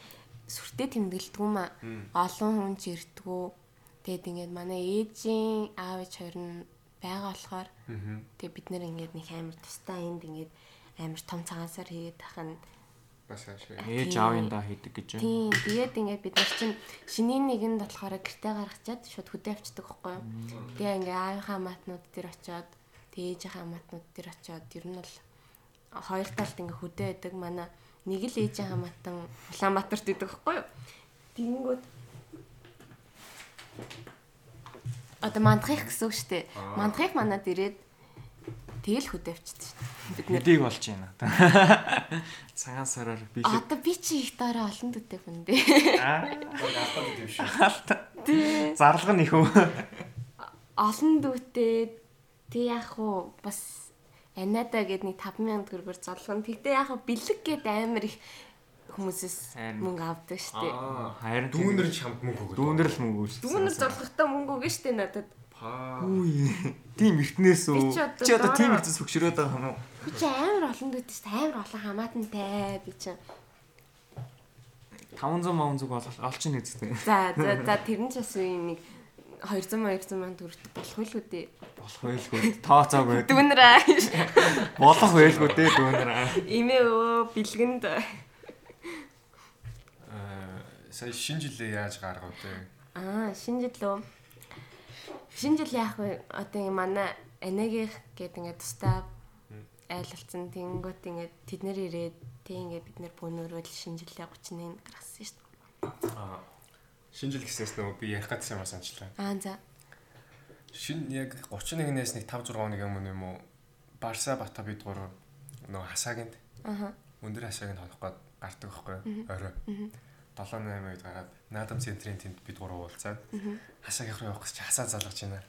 Speaker 2: сүртэй тэмдэглэдэггүй маа.
Speaker 1: Мм.
Speaker 2: Олон хүн ч ирдэггүй. Тэгээд ингэ манай ээжийн аав ээж хоёр нь байгаа болохоор
Speaker 1: Мгм.
Speaker 2: тэгээд бид нэр ингэ нэг амар тустай энд ингэ амар том цагаан сар хийгээд тахна.
Speaker 1: Бас ашиг.
Speaker 3: Ээж
Speaker 2: Тийм.
Speaker 3: аавын да хийдэг гэж байна.
Speaker 2: Тийм, тэгээд ингээд бид нар чинь шинийн нэгэнд болохоор гэртээ гаргачаад шууд хөдөө авчдаг байхгүй юу. Тэгээ ингээд аавынхаа матнууд дээр очиод, тэгээ ээжийнхаа матнууд дээр очиод ер нь бол хоёр талд ингээд хөдөө байдаг. Манай нэг л ээжийнхаа матан Улаанбаатарт байдаг байхгүй юу. Тэнгүүд Одоо мандахыг гэсэн үг шүү дээ.
Speaker 1: Аа.
Speaker 2: Мандахыг манад ирээд тэгэл хөдөө авчдаг шүү дээ. Бид нэр
Speaker 3: Хэдийг болж байна. Цагаан сараар би л
Speaker 2: Одоо би чи их дараа олон төдөө хүн дээ.
Speaker 1: Гаалтаа гэдэг шүү.
Speaker 2: Тий.
Speaker 3: зарлага нэх үү?
Speaker 2: олон дүүтэй тэг яах вэ бас анадаа гээд нэг 5000 төгрөгөөр золгоно. Тэгтээ яах вэ бэлэг гээд амар их хүмүүсээс
Speaker 3: Харин.
Speaker 2: мөнгө авдаг штеп.
Speaker 3: Харин
Speaker 1: Дүүнэр ч хамт мөнгө өгöd.
Speaker 3: дүүнэр л мөнгө үүссэн.
Speaker 2: Дүүнэр золгохтой мөнгө өгнө штеп надад.
Speaker 1: Паа.
Speaker 3: Үгүй. Тийм эртнээс үү?
Speaker 2: Би ч одоо
Speaker 3: Чи одоо тийм
Speaker 2: дараа-
Speaker 3: эртнээс хөксөрөөд байгаа юм уу?
Speaker 2: Би чи амар олон дүүтэй штеп амар олон хамаатантай би чи.
Speaker 3: 500 мөн зүг олчих нь үсттэй.
Speaker 2: За за за тэр нь ч бас үе нэг 200 200 мянга төгрөгт болох үү л дээ.
Speaker 3: Болох байлгүй. Тооцоог байд.
Speaker 2: Дүүнэр аа.
Speaker 3: Болох байлгүй дээ дүүнэр.
Speaker 2: Имээ өө бэлгэнд
Speaker 1: Аа э, сая шинэ жилээ яаж гаргав те?
Speaker 2: Аа, шинэ жил үү? Шинэ жил яах вэ? Одоо ингэ манай анагийнх гээд ингэ тустай айлалцсан тэнгүүт ингэ тэд нэр ирээд тэг ингэ бид нэр бүүнөрөөл шинэ жилээ 31-нд гаргасан шүү дээ.
Speaker 1: Аа. Шинэ жил гэсээс нөгөө би ярих гэсэн юм санчлаа.
Speaker 2: Аа, за.
Speaker 1: Шинэ яг 31-ээс нэг 5 6 хоног юм уу юм уу? Барса Бата бид гурав нөгөө хасаагинд
Speaker 2: Аха.
Speaker 1: өндөр хасааг нь хонох гээд гардаг байхгүй орой 7 8 үед гараад наадам центрийн тэнд бид гурав уулзаад хасааг явах явах гэж чи хасаа залгаж байна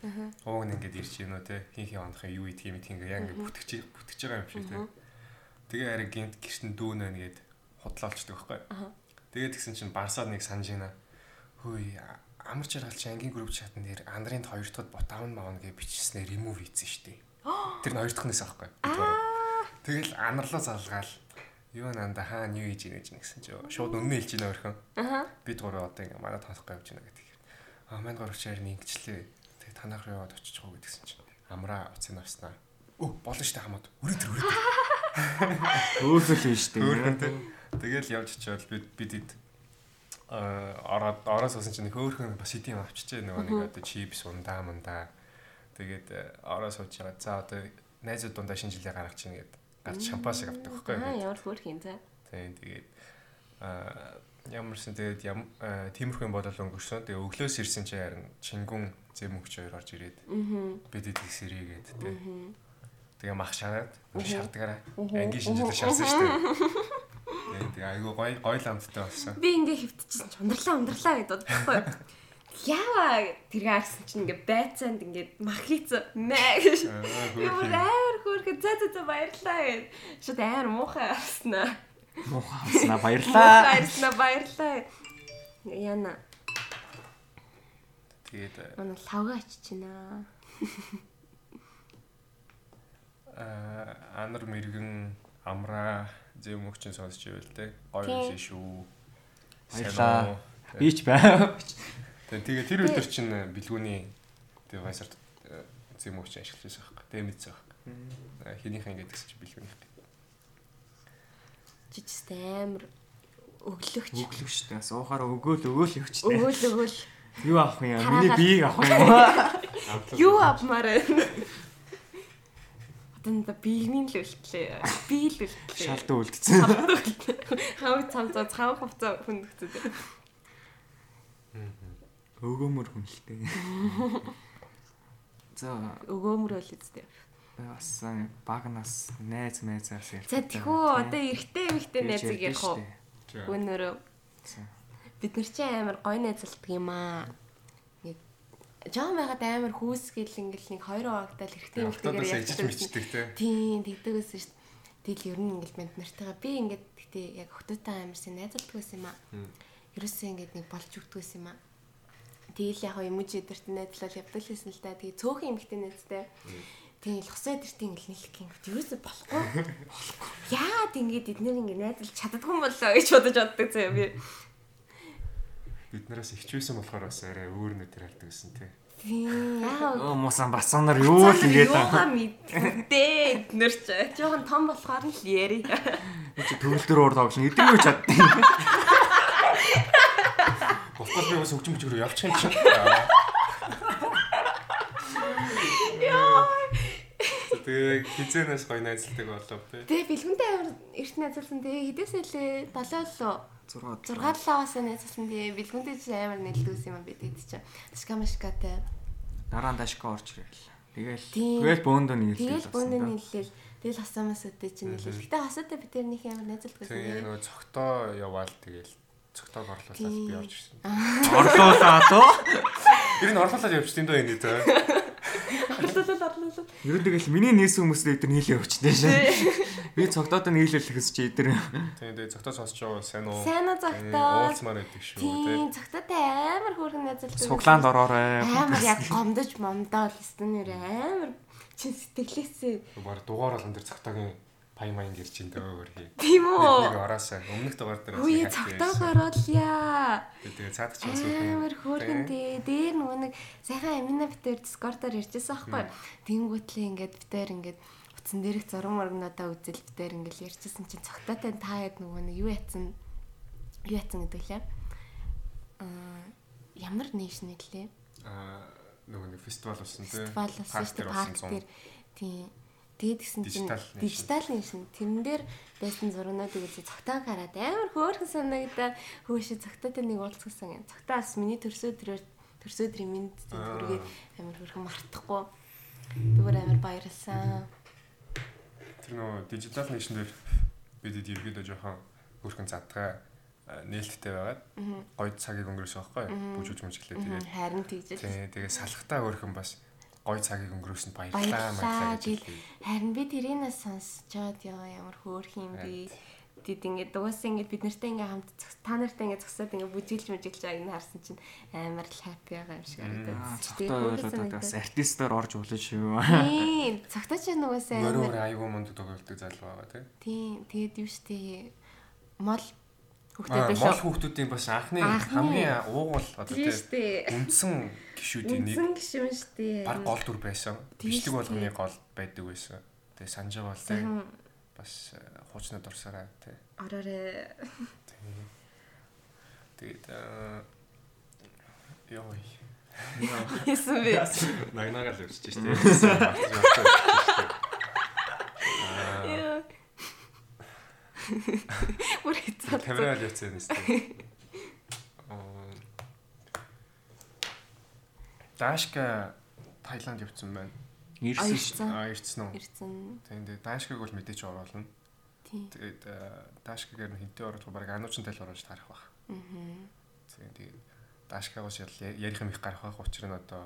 Speaker 1: ууг нь ингээд ирж гинөө те хин хин ондох юу идэх юм тийм ингээ ингээд бүтгэж бүтгэж байгаа юм шиг те тэгээ арай гинт гэртэн дүүн байна гээд худлаалчдаг байхгүй тэгээд тэгсэн чинь барсаад нэг санаж гинэ хөөе амар жаргалч ангийн групп чатан дээр андрийн хоёр дахь бот аавн маавн гэж бичснээр remove хийсэн штеп тэр нь хоёр дахь нэс аахгүй бид гурав. Тэгэл анарлаа залгаал. Юу нанда хаана юу хийж ийнэ гэж нэ гэсэн чи шууд өмнө хэлж ийнэ өөрхөн. Бид гурав одоо ингээ манай тоосохгүй явж ийнэ гэдэг. Аа мань гурав чаар нэгчлээ. Тэгээ танах руу яваад очиж гоо гэдгсэн чи. Амраа уцын авснаа. Өө болно штэ хамаад. Өрөө төр өрөө.
Speaker 3: Өөрсөл нь штэ.
Speaker 1: Өөрхөнтэй. Тэгэл явж очивол бид бид ид а ороод ороос осон чинь хөөхөн бас идэм авчижээ нөгөө нэг одоо чипс ундаа мундаа тэгээд э, ороос сууж байгаа за одоо найзууд дундаа шинэ жилээ гаргаж чинь гээд гарч шампан шиг авдаг
Speaker 2: Аа,
Speaker 1: байхгүй
Speaker 2: ямар хөөрх юм за.
Speaker 1: тийм тэгээд а ямарсан тэгээд ям- э, тиймэрхүү юм болол өнгөрсөн тэгээд өглөөс ирсэн чи харин чингүн зэм өгч хоёр орж ирээд бид эдийг сэрээгээд тэ. Тэгээ мах шараад шардгаараа ангийн шинжилгээ шарсан шүү дээ. Тэгээ айгүй гой гой ламттай болсон.
Speaker 2: Би ингээ хөвтчихсэн ч ундралаа ундралаа гэдэг бодохгүй. Ява тэргээ арсан чинь ингээ байцаанд ингээ махиц мэ гэж. Би бүр амар хөөрхө за за за баярлаа гэд. Шууд амар муухай арснаа.
Speaker 3: Мухаснаа
Speaker 2: Муухай
Speaker 3: баярлаа.
Speaker 2: арснаа баярлаа. Яна
Speaker 1: Тэгээд
Speaker 2: манай лавга аччихна.
Speaker 1: аа, анар мэрэгэн амраа зэм өгчэн сонсч байвал тэ. Гой
Speaker 6: Тийм.
Speaker 1: байсан шүү.
Speaker 3: Баярлаа.
Speaker 1: Сайн уу?
Speaker 3: Би ч байв.
Speaker 1: Тэг- Тэгээ тэр өдөр чинь э, бэлгүүний тэг вайсарт зэм өгч ажиллаж байсан байхгүй. Тэг мэдсэн байхгүй. Хинийхэн ингээд гэсэн чинь бэлгүүнийх.
Speaker 2: Жижигтэй амар өглөгч.
Speaker 3: Өглөв шүү дээ. Суухаар өгөөл өгөөл явчихлаа.
Speaker 2: Өгөөл өгөөл.
Speaker 3: Юу авах юм? яа? Миний биеийг авах юм уу?
Speaker 2: Юу авмаар байна? Одоо надаа биений л үлтлээ. Би л үлтлээ.
Speaker 3: Шалт үлдсэн.
Speaker 2: Хав цам цам цам хувцаа хүндгцээ.
Speaker 3: Өгөөмөр хүнэлтэй. За
Speaker 2: Өгөөмөр бол үстэй.
Speaker 3: бас э, багнаас найз найзаас ярьж.
Speaker 2: За тэхүү одоо эргэтэй эмэгтэй найзыг ярих уу?
Speaker 1: Тэг.
Speaker 2: Өнөөрөө
Speaker 3: За.
Speaker 2: бид нар чи амар гой найзалдаг юм аа. Нэг жоо байгаад амар хүүсгээл ингээл нэг хоёр хуваагдал эргэтэй
Speaker 1: Автодос
Speaker 2: эмэгтэйгээр
Speaker 1: ажиллаж мичдэг те.
Speaker 2: Тийм, тэгдэг гэсэн шүү дээ. Тэгэл ер нь ингээл мэд нартайгаа би ингээд гэтээ яг хөтөтэй амарсан найзалдаг байсан юм аа. Ерөөсөө ингээд нэг болж өгдөг байсан юм аа. Тэгэл яг хоо юм чи эдэрт найзлал явдаг л байсан л та. Тэгээ цөөхөн эмгтэн найзтай. Тэгэл хосоо эдэрт ингээл нэлэх гингэв. Ерөөсөө болохгүй. Болохгүй. Яагаад ингээд эднэр ингээд найзалж чаддгүй юм болоо гэж бодож боддог зөө би.
Speaker 1: Биднээс ихчвэсэн болохоор бас арай өөр нөтер хардаг гэсэн те.
Speaker 2: Тийм. Яагаад
Speaker 3: Оо мусан бацаанаар юу л
Speaker 2: Тэгээд
Speaker 3: ингэж
Speaker 2: яага
Speaker 3: байгаа.
Speaker 2: мэддээ эднэр ч жоохон том болохоор нь л яри.
Speaker 3: Чи төгөлдөр уур тоглоно. Эдгэргүй чаддیں۔
Speaker 1: Голтол би бас хөгжим хөчгөрөө явчих юм чинь. Аа. Тэгээ хизэнээс гой найзлдаг болов те.
Speaker 2: Тэгээ бэлгүнтэй амар эрт найзалсан. Тэгээ хідээс нэлээ 7 лөө
Speaker 3: 6
Speaker 2: 6-7-аас найзалсан. Тэгээ бэлгүнтэй ч амар нэлдүүс юм бид эд чинь. Скамашкатай.
Speaker 3: дараа нь дашка орж ирэл. Тэгэл
Speaker 2: Тийм.
Speaker 3: тэгэл бөөндөө нэг хэлсэн.
Speaker 2: Тэгэл бүндэн нэлээл. Тэгэл хасаамаас өдөө чинь нэлээл. Гэтэ хасаатай бид тэрнийх амар найзалдаг гэсэн.
Speaker 1: Тэгээ
Speaker 2: Тэгээ
Speaker 1: нөгөө цогтоо яваал тэгэл цогтоо орлуулаад би явж ирсэн.
Speaker 3: Орлуулаад уу?
Speaker 1: Тэр нь орлуулаад явчих тийм дөө энэ дээ.
Speaker 2: орлуулал орлуулал.
Speaker 3: Ер нь тэгэл миний нээсэн хүмүүстэй эдгээр нийлээ явчихсан шээ. Би цогтоод нь нийлүүлэхс чи эдгээр
Speaker 1: Тийм дээ цогтоо сонсож байгаа бол сайн уу?
Speaker 2: Сайн уу цогтоо?
Speaker 1: Э, Уулзмаар байдаг шүү те.
Speaker 2: Тийм цогтойтой амар хөөргөн найзалдаг.
Speaker 3: цуглаанд ороорой.
Speaker 2: амар яг гомдож момдоол эсвэл амар чин сэтгэлээсээ
Speaker 1: Бара дугаар болгон дээр цогтоогийн пай маянд ирж ин дөө өөр хий.
Speaker 2: тийм
Speaker 1: Нэг
Speaker 2: үү?
Speaker 1: ороосаа өмнөх дугаар дээр бас
Speaker 2: Үе
Speaker 1: яах вэ?
Speaker 2: цогтойг оруулъя.
Speaker 1: Тэгээ цаадч бас
Speaker 2: Амар хөөргөн дээ. Дээр нөгөө нэг сайхан амина битэр дискордоор ярьжсэн байхгүй. Тэнгүүтлээ ингээд битэр ингээд утсан дээрх зураг мөргнөдөө үзэл битэр ингээд ярьжсэн чинь цогтойтой та яд нөгөө нэг юу яцсан юу яцсан гэдэг лээ. Аа ямар нэшн гэлээ?
Speaker 1: Аа нөгөө нэг фестивал болсон тий.
Speaker 2: фестивал болсон шүү дээ парк дээр тийм тэгээд гэсэн чинь
Speaker 1: Дижитал нэшн.
Speaker 2: дижитал нэшн тэрэн дээр байсан зургуудыг үзээ цогтаа хараад амар хөөрхөн санагдаад хөөшө цогтаатай нэг уулзсан юм. Цогтаа бас миний төрсө өдрөөр төрсө өдрийн минь
Speaker 1: Аа.
Speaker 2: зүргээ амар хөөрхөн мартахгүй зүгээр амар баярлсан.
Speaker 1: Тэр нөгөө дижитал нэшн дээр бидэд ерөөдөө жоохон хөрхэн задгаа а, нээлттэй байгаад гоё цагийг өнгөрөөсөн байхгүй юу? бүжүүж мөжглээ
Speaker 2: Мгм,
Speaker 1: тэгээд
Speaker 2: Харин тийжэл
Speaker 1: тий тэгээ салхтаа өөрхөн бас гоё цагийг өнгөрөөсөнд баярлаа
Speaker 2: баярлаа
Speaker 1: маяглаа гэж
Speaker 2: тэгэл
Speaker 1: хэлээ.
Speaker 2: харин би тэрийнээс сонсчоод яа ямар хөөрхөн юм бэ тэд ингээд дуусаа ингээд бид нартай ингээд хамт зогс- та нартай ингээд зогсоод ингээд бүжиглж мөжиглж байгааг нь харсан чинь амар л хаппи байгаа юм шиг харагдаад
Speaker 3: Цогтоо ойлоод бас артистаар орж болно шүү.
Speaker 2: Тийм цогтооч нугасаа
Speaker 1: Өөр өөр
Speaker 2: амар
Speaker 1: айгүй мунд төгөлдөг залуу байгаа тий.
Speaker 2: тийм тэгэд юу штэ мол
Speaker 1: Аа,
Speaker 2: хөхтэй биш
Speaker 1: Монгол хүүхдүүдийн бас анхны
Speaker 2: Анхны.
Speaker 1: хамгийн уугуул одоо
Speaker 2: тийм
Speaker 1: тий
Speaker 2: штэ
Speaker 1: үндсэн гişүүдийн нэг
Speaker 2: үнсэн гişүн штэ
Speaker 1: баг гол дүр байсан.
Speaker 2: Тийм
Speaker 1: Бичлэг
Speaker 2: шүү
Speaker 1: болгоны
Speaker 2: дээ.
Speaker 1: гол байдаг байсан. Тэгээ санаж байгаа бол тийм бас э, хуучнад орсараа тий.
Speaker 2: ороорой
Speaker 1: Тэгээд э, ёй.
Speaker 2: хийсэн би
Speaker 1: Нагнагаа л өрсөж штеп. Аа
Speaker 2: бүр хэцүү
Speaker 1: камераа л яцсан юм штеп. Дашка Таиланд явцсан байна.
Speaker 3: Ирсэн ш.
Speaker 2: Аялцсан.
Speaker 1: Аа ирцэн үү?
Speaker 2: Ирсэн.
Speaker 1: Тэгээд Дашкаг бол мэдээч оруулна.
Speaker 2: Тийм.
Speaker 1: Тэгээд э, Дашкагаар нь хинтээ оруулах баг ануучин тал оруулж тарах баг. Аа. Тэгээд Дашкагаас ял- ярих юм их гарах баг. Учир нь одоо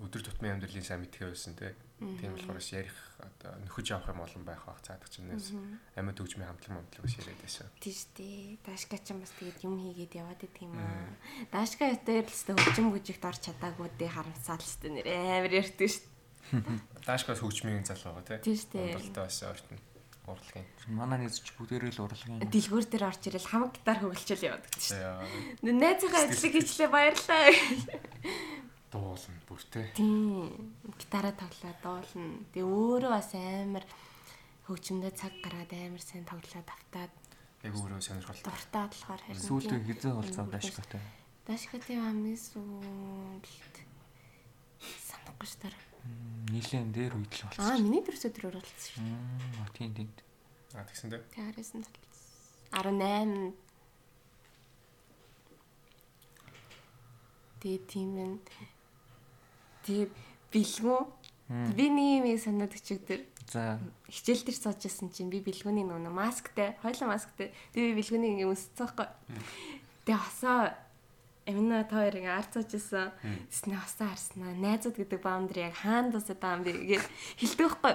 Speaker 1: өдөр тутмын амьдралын сайн мэдхээ байсан тий. Тийм болохоор бас ярих одоо нөхөж авах юм олон байх баг. Цаадаг чинээс амьд төгжмийн хамтлаг хамтлаг бас яриад байсан.
Speaker 2: Тийш дээ. Дашка ч юм бас тэгээд юм хийгээд яваад байт юм аа. Дашка өтер л өстө хөгжим бүжигт орч чадаагүй дээ харамсаал өстө нэр амар ярьдаг ш.
Speaker 1: Дашкаас хөгжмийн зал байгаа тий.
Speaker 2: Тийм шүү дээ.
Speaker 1: Ундралтай бас ортно. Урлагийн.
Speaker 3: Манай нэзч бүгдээрээ л урлагийн.
Speaker 2: Дэлгүүр дээр орч ирэл хамаг гитар хөвөлчөл яваад байт ш.
Speaker 1: За
Speaker 2: Найзынхаа ажлыг хийчлээ баярлаа.
Speaker 1: дуулна бүртэй.
Speaker 2: Тийм. Гитараа тоглоод дуулна. Тэгээ өөрөө бас амар хөгжимдөө цаг гаргаад амар сайн тоглоод автаад
Speaker 1: Яг өөрөө сонирхолтой.
Speaker 2: дуртай болохоор харин
Speaker 3: Сүүлдээ
Speaker 2: тийм.
Speaker 3: хизээ болцоо дашгатай.
Speaker 2: Дашка тийм амнис үлд санахгүй ш дараа.
Speaker 3: Нийлэн дээр үйдэл
Speaker 2: Аа,
Speaker 3: болцоо.
Speaker 2: миний төрсө төрөөр болсон ш.
Speaker 3: Аа тийм тийм.
Speaker 1: Аа тэгсэн дээ.
Speaker 2: Тэгээ 19 цалцсан. 18 Тэгээ тийм байна. Тэгээ бэлгүү. Би нэг юм ийм санаад өчигдөр
Speaker 3: За
Speaker 2: хичээл дээр сууж байсан чинь би бэлгүүний нөгөө масктай, хойлоо масктай. Тэгээ би бэлгүүний ингээм өссөн байхгүй. Тэгээ хосоо Эмнэ та хоёрыг арцаж исэн. Тэснэ хасаа харснаа. Найзууд гэдэг баундар яг хаан дусаад байгаа юм би гэж хэлдэгхгүй.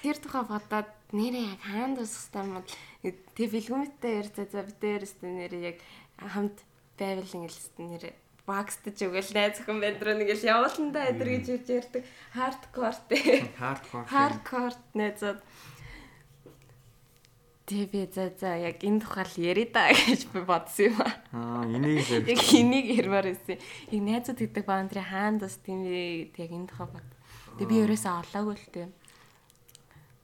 Speaker 2: Тэр тухай бодоод нэрээ яг хаан дусахтай юм бол тэг бэлгүмэттэй ярьцаа за бид дээрстэй нэрээ яг хамт байвал ингэлстэй нэрээ багстаж өгөл найз охин бэндрөө нэгэл явууландаа өдр гэж ирж ярьдаг хардкортэй.
Speaker 3: хардкор.
Speaker 2: Хардкорт найзууд Тэг би за за яг энэ тухай л яри да гэж би бодсон юм аа.
Speaker 3: Аа энийг л
Speaker 2: Яг энийг ярмаар байсан. Яг найзууд гэдэг баундрын хаан дус тийм ээ гэдэг яг энэ тухай бод. Тэгээ би ерөөсөө олоогүй л тийм.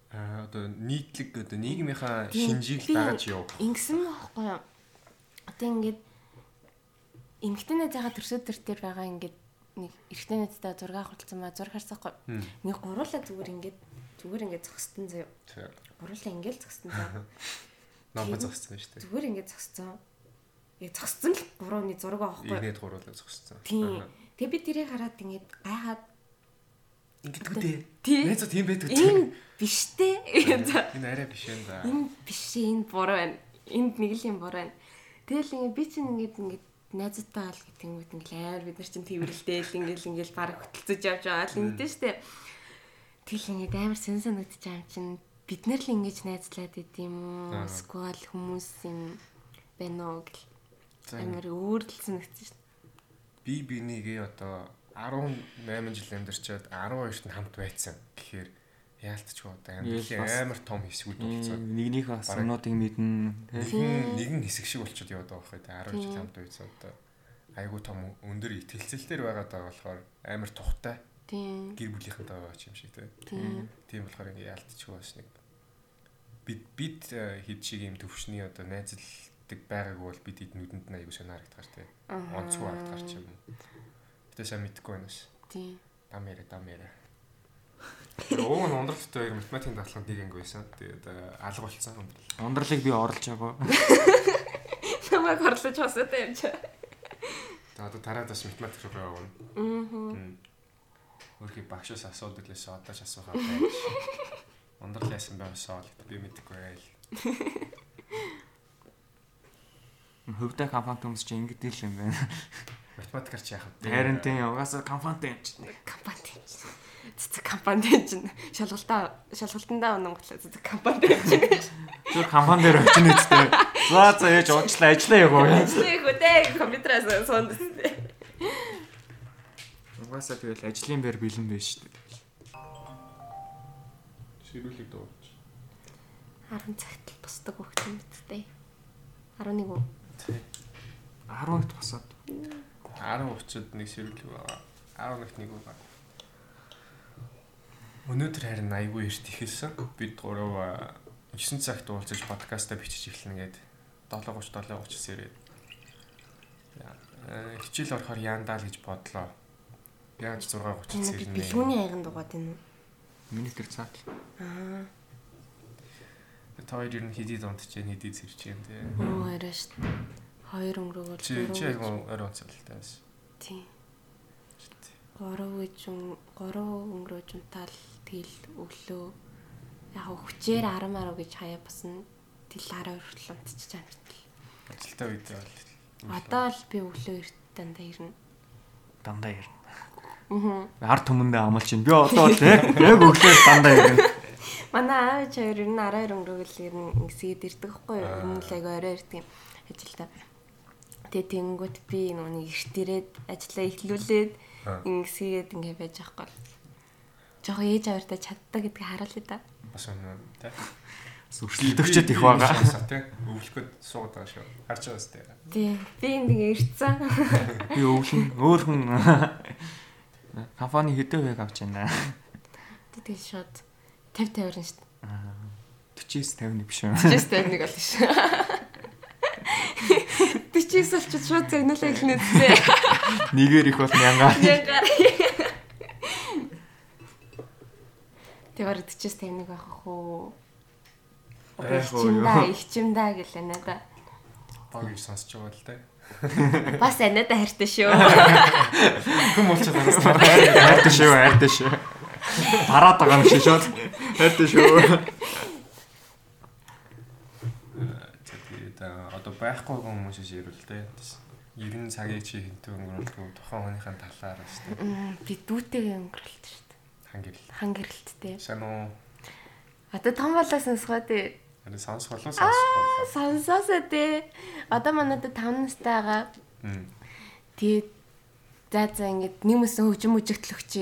Speaker 1: Аа одоо нийтлэг одоо нийгмийнхаа шинжийг дагаж явах.
Speaker 2: Ингэсэн байхгүй юу? Одоо ингээд эмгтэн найзаага төрсөд төр төр байгаа ингээд нэг эрэгтэй найзтай зураг хурцсан ба зураг харсахгүй. Нэг гуруула зүгээр ингээд зүгээр ингээд зогсдон заяа.
Speaker 1: Тэр
Speaker 2: Гуруула ингээд зогсдон заяа.
Speaker 1: номбо зогссон шүү дээ.
Speaker 2: Зүгээр ингээд зогсцоо. Яг зогсцон л гурууны зураг авахгүй. юу?
Speaker 1: Игнэт гуруулаа зогссон.
Speaker 2: Тийм. Тэгээ би тэрийг хараад ингээд гайхаад
Speaker 1: Ингээд үтэй.
Speaker 2: Тийм.
Speaker 1: Найзууд тийм байдаг
Speaker 2: энэ биштэй гэдэг.
Speaker 1: Энэ арай биш энэ да.
Speaker 2: энэ биш энэ буруу байна. Энд нэг л юм буруу байна. Тэгэл ингээ би чинь ингээд ингээд найзтай бол гэтэнгүүт ингээл амар бид нар чинь тэрвэрлдээл ингээл ингээл баг хөтөлцөж явж байгаа л ингэдэж штэ. Тэгэл ингээд амар сэн санагдаж байгаа юм чинь бид нар л ингэж найзлаад байд юм уу?
Speaker 1: Аа.
Speaker 2: Сквал хүмүүс юм байна уу гэл.
Speaker 1: За,
Speaker 2: Амар өөрлөлсөн нэгтсэн штэ.
Speaker 1: Би бинийгээ одоо 18 жил амьдарчаад 12-т нь хамт байцсан. гэхээр яалтчгүй одоо
Speaker 3: Ял
Speaker 1: амьдралын
Speaker 3: бас-
Speaker 1: амар том хэсгүүд болцоо.
Speaker 3: нэгнийхээ асуунуудыг мэднэ. тэ.
Speaker 1: Нэгэн нэгэн хэсэг шиг болчиход яваад байгаа байхгүй. тэ. 12 жил хамт байцсан одоо айгуу том өндөр ихтгэлцэлтэр байгаад байгаа болохоор амар тухтай
Speaker 2: Тийм.
Speaker 1: гэр бүлийнхэнтэй байгаа юм шиг тийм.
Speaker 2: Тийм.
Speaker 1: Тийм болохоор ингээ яалтчихгүй бас нэг бид бид э, хэд шиг юм төвшний одоо найзлдаг байгаагүй бол бид хэд нүдэнд нь аягүй санаа харагдгаар тий. Онцгүй харагдгаар ч юм. Гэтэ сайн мэдэхгүй байна ш.
Speaker 2: Тийм.
Speaker 1: Дам яриа дам яриа. Өвөн ундралтай яг математикийн дадланд нэг анги байсан. Тэгээд э, алга болсон ундрал.
Speaker 3: Ундралыг би оролж байгаа.
Speaker 2: Намайг хорлож хасаад юм чаа.
Speaker 1: За одоо тараад бас математик руу явна. Аа. Өөрхий багшаас асуудал лээс одооч асуухаа байж. Ундрал яасан байгаасаа л би мэдэхгүй байл.
Speaker 3: Хөвдөө компани төмс чи ингэдэл л юм байна.
Speaker 1: Математикаар ч яах вэ?
Speaker 3: Харин тийм угаасаа компанитай юм чи.
Speaker 2: компанид юм чинь. Цэцэг компанид чинь. Шалгалтаа шалгалтандаа өнөн готлоо цэцэг компанид юм чинь.
Speaker 3: Зүгээр компани дээр очно үстэй. За за яаж уучлаа ажиллаа яг уу.
Speaker 2: Чих үтэй компьютераас сонд.
Speaker 3: Угаасаа тэгэл ажлын байр бэлэн байж шүү дээ.
Speaker 1: Ширүүлэг дууч.
Speaker 2: 10 цагт л бусдаг хөх юм биттэй. 11 үү?
Speaker 3: 10-т босоод
Speaker 1: 10:30-д нэг сэргэлэг байгаа. 11-т нэг байгаа. Өнөөдөр харин айгүй эрт ихэлсэн. Бид гурав аа, 9 цагт уулзаж подкастаа бичиж эхэлнэ гээд 7:30 7:30-с ирээд. Яа, э, Хичээл орохоор яандаа л гэж бодлоо. Яаж 6:30-с
Speaker 2: Энэ би
Speaker 1: ирнэ.
Speaker 2: бэлгүүний айганд дугаад байна.
Speaker 3: миний төр цаатал.
Speaker 1: Тэр ер нь хидий дундчээ, хидий зэрчээ тий.
Speaker 2: Оо араш. Хоёр өнгөрөөгөл
Speaker 1: Чи чи айгүй орой онцолтой байсан.
Speaker 2: Тийм. 3 гэж 3 өнгөрөө жунтаал тэгэл өглөө яг хүчээр 10 10 гэж хаяа басна тэл 12 хүртэл унтчих чам битгий.
Speaker 1: Ажилтаа үед бол.
Speaker 2: Одоо л би өглөө эрт дандаа ирнэ.
Speaker 3: дандаа ирнэ.
Speaker 2: Аа.
Speaker 3: Ард түмэндээ амлаж чинь. Би одоо л те яг өглөө дандаа ирнэ.
Speaker 4: Манай аав ч хоёр ер нь 12 өнгөрөөл ер нь ингэсгээд ирдэг хгүй юу? Ер нь л яг орой ирдэг юм ажилдаа. Тэгээ тэнгүүт би нүг эрт ирээд ажиллаа эхлүүлээд
Speaker 1: Аа.
Speaker 4: ингэсгээд ингэ байж байгаа хгүй. Жохоо ээж аваартай чаддаг гэдгийг харуулъя да.
Speaker 1: Бас юм тий.
Speaker 3: Өрсөлдөгчд их байгаа.
Speaker 1: тий. Өвлөхөд суугаад байгаа шүү. Харж байгаас тий.
Speaker 4: Тий. Би ингэ ирцэн.
Speaker 3: Би өвлөн өөр хүн компани хэдэн хувийг авч байна.
Speaker 4: Тэгээ шууд 50 50 орно шүү дээ.
Speaker 3: 49 50 биш үү?
Speaker 4: Just time нэг болно шүү. 49 болчиход шууд зэгнүүлээ эхлэнэ дээ.
Speaker 3: Нэгээр их бол мянгаар.
Speaker 4: Янгаар. Тэр 49 тамиг байх хөө.
Speaker 3: Байх уу юу?
Speaker 4: Ичимдаа, ичимдаа гэлээ надаа.
Speaker 1: Баг ив сонсож байгаа л тий.
Speaker 4: Бас анадаа хайртай шүү.
Speaker 1: Хүм болчиход байгаа юм.
Speaker 3: Хайртай шүү, хайртай шүү. Тараад байгаа юм шиг шууд. Хайртай шүү.
Speaker 1: За тэгээд э, одоо байхгүй хүмүүс шиг ирвэл тий. Бас 90 цагийг чи хинтээ өнгөрүүлгүй тухайн хүнийхэн талаар бас тий.
Speaker 2: Би дүүтэйгээ өнгөрөлт шүү дээ.
Speaker 1: Хангил.
Speaker 2: Хан гэрэлттэй.
Speaker 1: Шануу.
Speaker 2: Одоо том болоо сонсгоо дээ.
Speaker 1: Энэ сонс болов сонсох
Speaker 2: Сонсоосоо дээ. Одоо манайд 5 настай байгаа.
Speaker 1: болов.
Speaker 2: Тэгээд за за ингээд нэмсэн хөгжим үжигтлөгч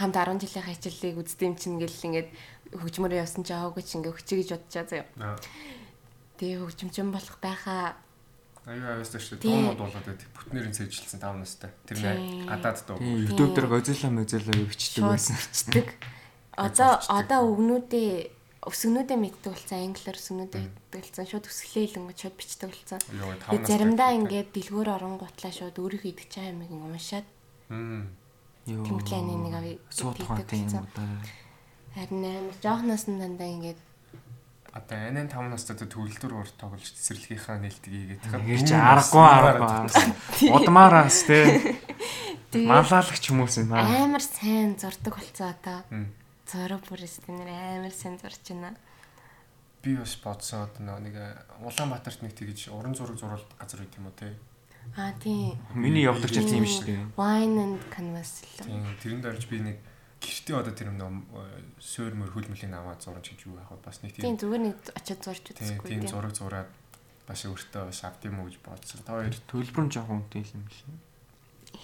Speaker 2: хамт 10 жилийн хичээлийг үздэм чинь гэл ингээд хөгжмөрөө явсан ч аваагүй ч ингээд хүчээ гэж бодчаа заяа.
Speaker 1: Аа.
Speaker 2: Тэгээ хөгжимчин болох байхаа.
Speaker 1: Аюу авьяастай шүү.
Speaker 2: Тий.
Speaker 1: Дуунууд болоод байдаг. Бүтнээрэн цэжилсэн 5 настай. Тэр
Speaker 2: Тий.
Speaker 1: нэ гадаад дуу.
Speaker 3: Өдөө төр гозила мозила өвчтдэг
Speaker 2: Шууд
Speaker 3: байсан.
Speaker 2: бичдэг. Одоо
Speaker 1: бичдэг.
Speaker 2: одоо өвгнүүдээ өсгнүүдээ мэддэг болсон англиар өсгнүүдээ мэддэг болсон шууд өсгөлээ илэнгөт шууд бичдэг болсон.
Speaker 1: Юу вэ, тав настай
Speaker 2: Тэгээ заримдаа
Speaker 1: гэдэг.
Speaker 2: ингээд дэлгүүр оронгуутлаа шууд өөрийнхөө идэх чам амиг уншаад
Speaker 1: Мм.
Speaker 3: Йоо.
Speaker 2: Тэмдэглэний нэг авъя.
Speaker 3: 100 тухайн тийм
Speaker 2: Тэгдэг
Speaker 3: одоо.
Speaker 2: харин амар жоохноос нь дандаа ингээд
Speaker 1: Одоо анийн 5 настайд төрөлдөр уур тоглож цэцэрлэгийнхаа нээлтийг хийгээд
Speaker 3: Гэр чи аргагүй аргагүй. Удмаараас те. Маллаалагч хүмүүс юм аа.
Speaker 2: амар сайн зурдаг болцоо одоо.
Speaker 1: Мм.
Speaker 2: Зураг бүрээс тэнэр амар сайн зурж байна.
Speaker 1: Би бас бодсон одоо нөгөө нэг э, Улаанбаатарт нэг тэгж уран зураг зурвалт газар үйт юм уу те.
Speaker 2: Аа тийм.
Speaker 3: Миний явдаг жил тийм шүү дээ.
Speaker 2: Wine and Canvas л.
Speaker 1: Тийм тэрэнд орж би нэг гэртээ одоо тэр нөгөө суур мөр хөл мөлийн аваад зурж гэж юу яах вэ? Бас нэг
Speaker 2: Тийм
Speaker 1: тийм
Speaker 2: зүгээр нэг очиад зурж
Speaker 1: тийм
Speaker 2: үзэхгүй
Speaker 1: тийм
Speaker 2: тийм.
Speaker 1: зураг зураад бас өөртөө бас авд юм уу гэж бодсон. Та хоёр
Speaker 3: Төлбөр нь жоохон үнэтэй юм лээ.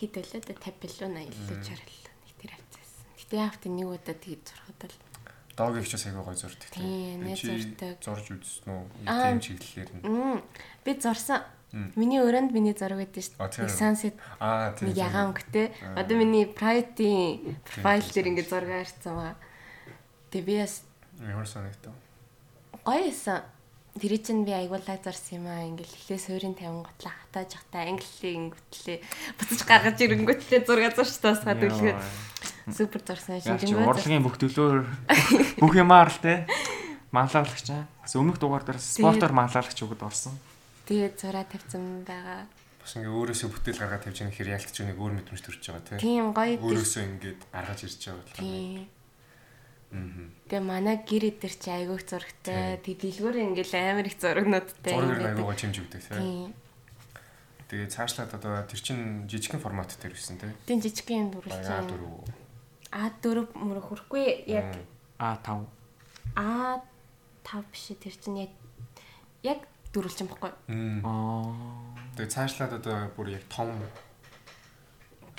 Speaker 2: Хит байлаа да 50 билүү 80 билүү 60 билүү нэг тэр авчихсан. Гэтэ яах вэ нэг удаа тэгээд зурхад л
Speaker 1: дог их ч сайн гоё зурдаг
Speaker 2: Тийм,
Speaker 1: Би
Speaker 2: нэг
Speaker 1: чи
Speaker 2: зурдаг.
Speaker 1: Зурж үзсэн үү?
Speaker 2: Аа.
Speaker 1: Тийм чиглэлээр нь.
Speaker 2: Мм, би зорсон.
Speaker 1: Мм.
Speaker 2: Миний өрөөнд миний зураг байдаг шүү
Speaker 1: А,
Speaker 2: дээ.
Speaker 1: тийм.
Speaker 2: Нэг sunset
Speaker 1: Аа тийм.
Speaker 2: нэг ягаан өнгөтэй.
Speaker 1: Аа.
Speaker 2: Одоо миний private profile
Speaker 1: тийм,
Speaker 2: дээр
Speaker 1: тийм.
Speaker 2: ингээд зураг харцсан байгаа. Тэгээ би бас
Speaker 1: Ямар санагдав?
Speaker 2: гоё эсэн. Тэр чинь би аягуулаг зарсан юм аа. Ингээл эхлээ суурийн 50 готлаа хатааж хатаа англилээ ингэтлээ буцаж гаргаж ирэнгүүтлээ зураг зурч тасгаад үлгэр. Супер зурсан
Speaker 3: Яг чи
Speaker 2: шинжэнгөө. зурсан.
Speaker 3: урлагийн бүх төлөөр бүх юмар л те. Маллаалагч аа. Бас өмнөх дугаар дээр спортоор маллаалагч өгд орсон.
Speaker 2: Тэгээ зураг тавьсан байгаа.
Speaker 1: Бас ингээ өөрөөсөө бүтээл гаргаад тавьж байгаа гэхээр яалтч нэг өөр мэдрэмж төрж байгаа тийм.
Speaker 2: Тийм гоё дээ.
Speaker 1: Өөрөөсөө ингээд гаргаж ирж байгаа болохоо.
Speaker 2: Тийм. Тэгээ манай гэр эдэр чи айгуух зурагтай. Тэг дэлгүүр ингээл амар их зурагнуудтай.
Speaker 1: Зургаар
Speaker 2: юм байдаг.
Speaker 1: аягаа чимж өгдөг тийм.
Speaker 2: Тийм.
Speaker 1: Тэгээ цаашлаад одоо тэр чин жижигхэн формат дээр байсан тийм.
Speaker 2: Тин жижиг юм
Speaker 1: Бага
Speaker 2: дүрлсэн.
Speaker 1: дөрөв.
Speaker 2: А дөрөв мөр хүрхгүй яг
Speaker 3: А5.
Speaker 2: А тав биш ээ, тэр чинь яг яг дөрвөлчин баггүй.
Speaker 1: Мм.
Speaker 3: Аа.
Speaker 1: Тэгээ цаашлаад одоо бүр яг том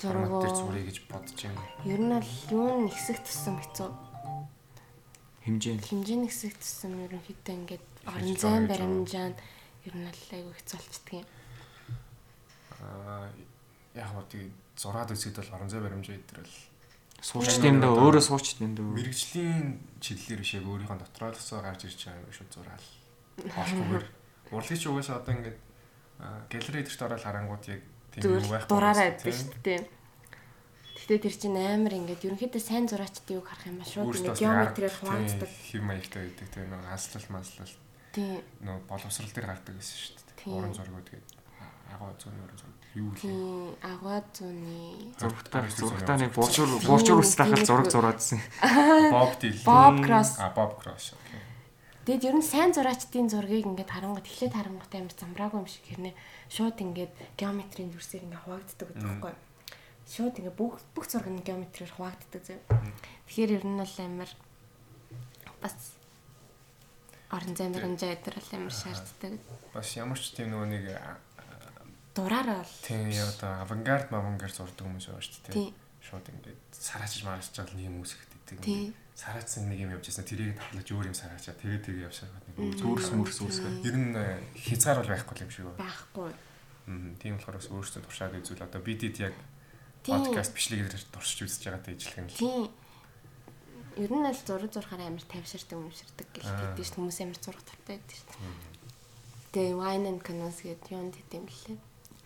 Speaker 1: формат
Speaker 2: Зургуу.
Speaker 1: дээр зуръя гэж бодож байна.
Speaker 2: Ер нь бол юу н хэсэг туссан хэцүү.
Speaker 3: Хэмжээ.
Speaker 2: Хэмжээний хэсэг туссан ерөнхийдөө ингээд орон
Speaker 1: Хэцүү
Speaker 2: зайн
Speaker 1: гэж
Speaker 2: баримжаанд ер нь бол айгүй хэцүү болчихдээ.
Speaker 1: Аа яг гоо тэгээ зураад үзэхэд бол орон зай баримжаа идрэл
Speaker 3: Суучт юм дөө өөрөө суучт юм дөө.
Speaker 1: мэрэгжлийн чиглэлээр биш яг өөрийнхөө дотроос гарч ирж байгаа юм шүү зураал. Олхгүйгээр урлагч угаасаа одоо ингээд аа, галерей дээрт ороод харангууд яг тийм юу
Speaker 2: Зүгээр
Speaker 1: байхгүй.
Speaker 2: л дураараа байдаг шүү дээ. Гэхдээ тэр чинь амар ингээд ерөнхийдөө сайн зураачтай юу харах юм ба шууд
Speaker 1: Өөртөө
Speaker 2: ингээд
Speaker 1: геометрээр
Speaker 2: геометрээр хуваалцдаг.
Speaker 1: хуваалцдаг. Хэм маягтай байдаг тийм нэг аслал маслал
Speaker 2: Тийм.
Speaker 1: нөө боловсрал дээр гардаг гэсэн шүү дээ.
Speaker 2: Тийм.
Speaker 1: Уран зургууд гэдэг. Агаа 100-ны орон зам. Юу вэ?
Speaker 2: Тийм агаа зууны
Speaker 3: Зургтаа зургтаа нэг буучур буучур үстэй хахад зураг зураадсэн.
Speaker 1: Боб Дил.
Speaker 2: Боб Кросс.
Speaker 1: А Боб Кросс. Окей.
Speaker 2: Тэгэд ер нь сайн зураачдын зургийг ингээд харангуут эхлээд харангуут амар замраагүй юм шиг хэрнээ шууд ингээд геометрийн дүрсээр ингээд хуваагддаг гэдэг байхгүй юу? Шууд ингээд бүх бүх зураг нь геометрээр хуваагддаг зав. Тэгэхээр ер нь бол амар бас орон замир хэмжээ дээр бол амар шаарддаг.
Speaker 1: Бас ямар ч тийм нөгөө нэг а,
Speaker 2: Дураараа бол
Speaker 1: тийм яа одоо авангард мавангард зурдаг хүмүүс байгаа шүү дээ.
Speaker 2: Тийм.
Speaker 1: Шууд ингээд сараачж мараачаад нэг юм үсгэдэг.
Speaker 2: Тийм.
Speaker 1: Сараачсан нэг юм явж ясна тэрийг таглаж өөр юм сараачаад тэгээ тэгээ явшаад нэг
Speaker 3: Зүрс мөрс үсгээ.
Speaker 1: Ер нь э, хязгаар бол байхгүй юм шиг байна.
Speaker 2: байхгүй.
Speaker 1: Аа, Тийм болохоор бас өөрсдөө туршаад үзвэл одоо бидэд яг
Speaker 2: Тийм.
Speaker 1: подкаст бичлэгээр туршиж үзэж байгаатай ижилхэн л.
Speaker 2: Тийм. Ер нь аль зураг зурхаар амар тайвширдаг юм ширдэг гэж хэлдэг шүү. дээ. Хүмүүс амар зураг тавтай байдаг шүү. дээ. Тэгээ Wine and Canvas гэдэг юунд хэдэм блээ.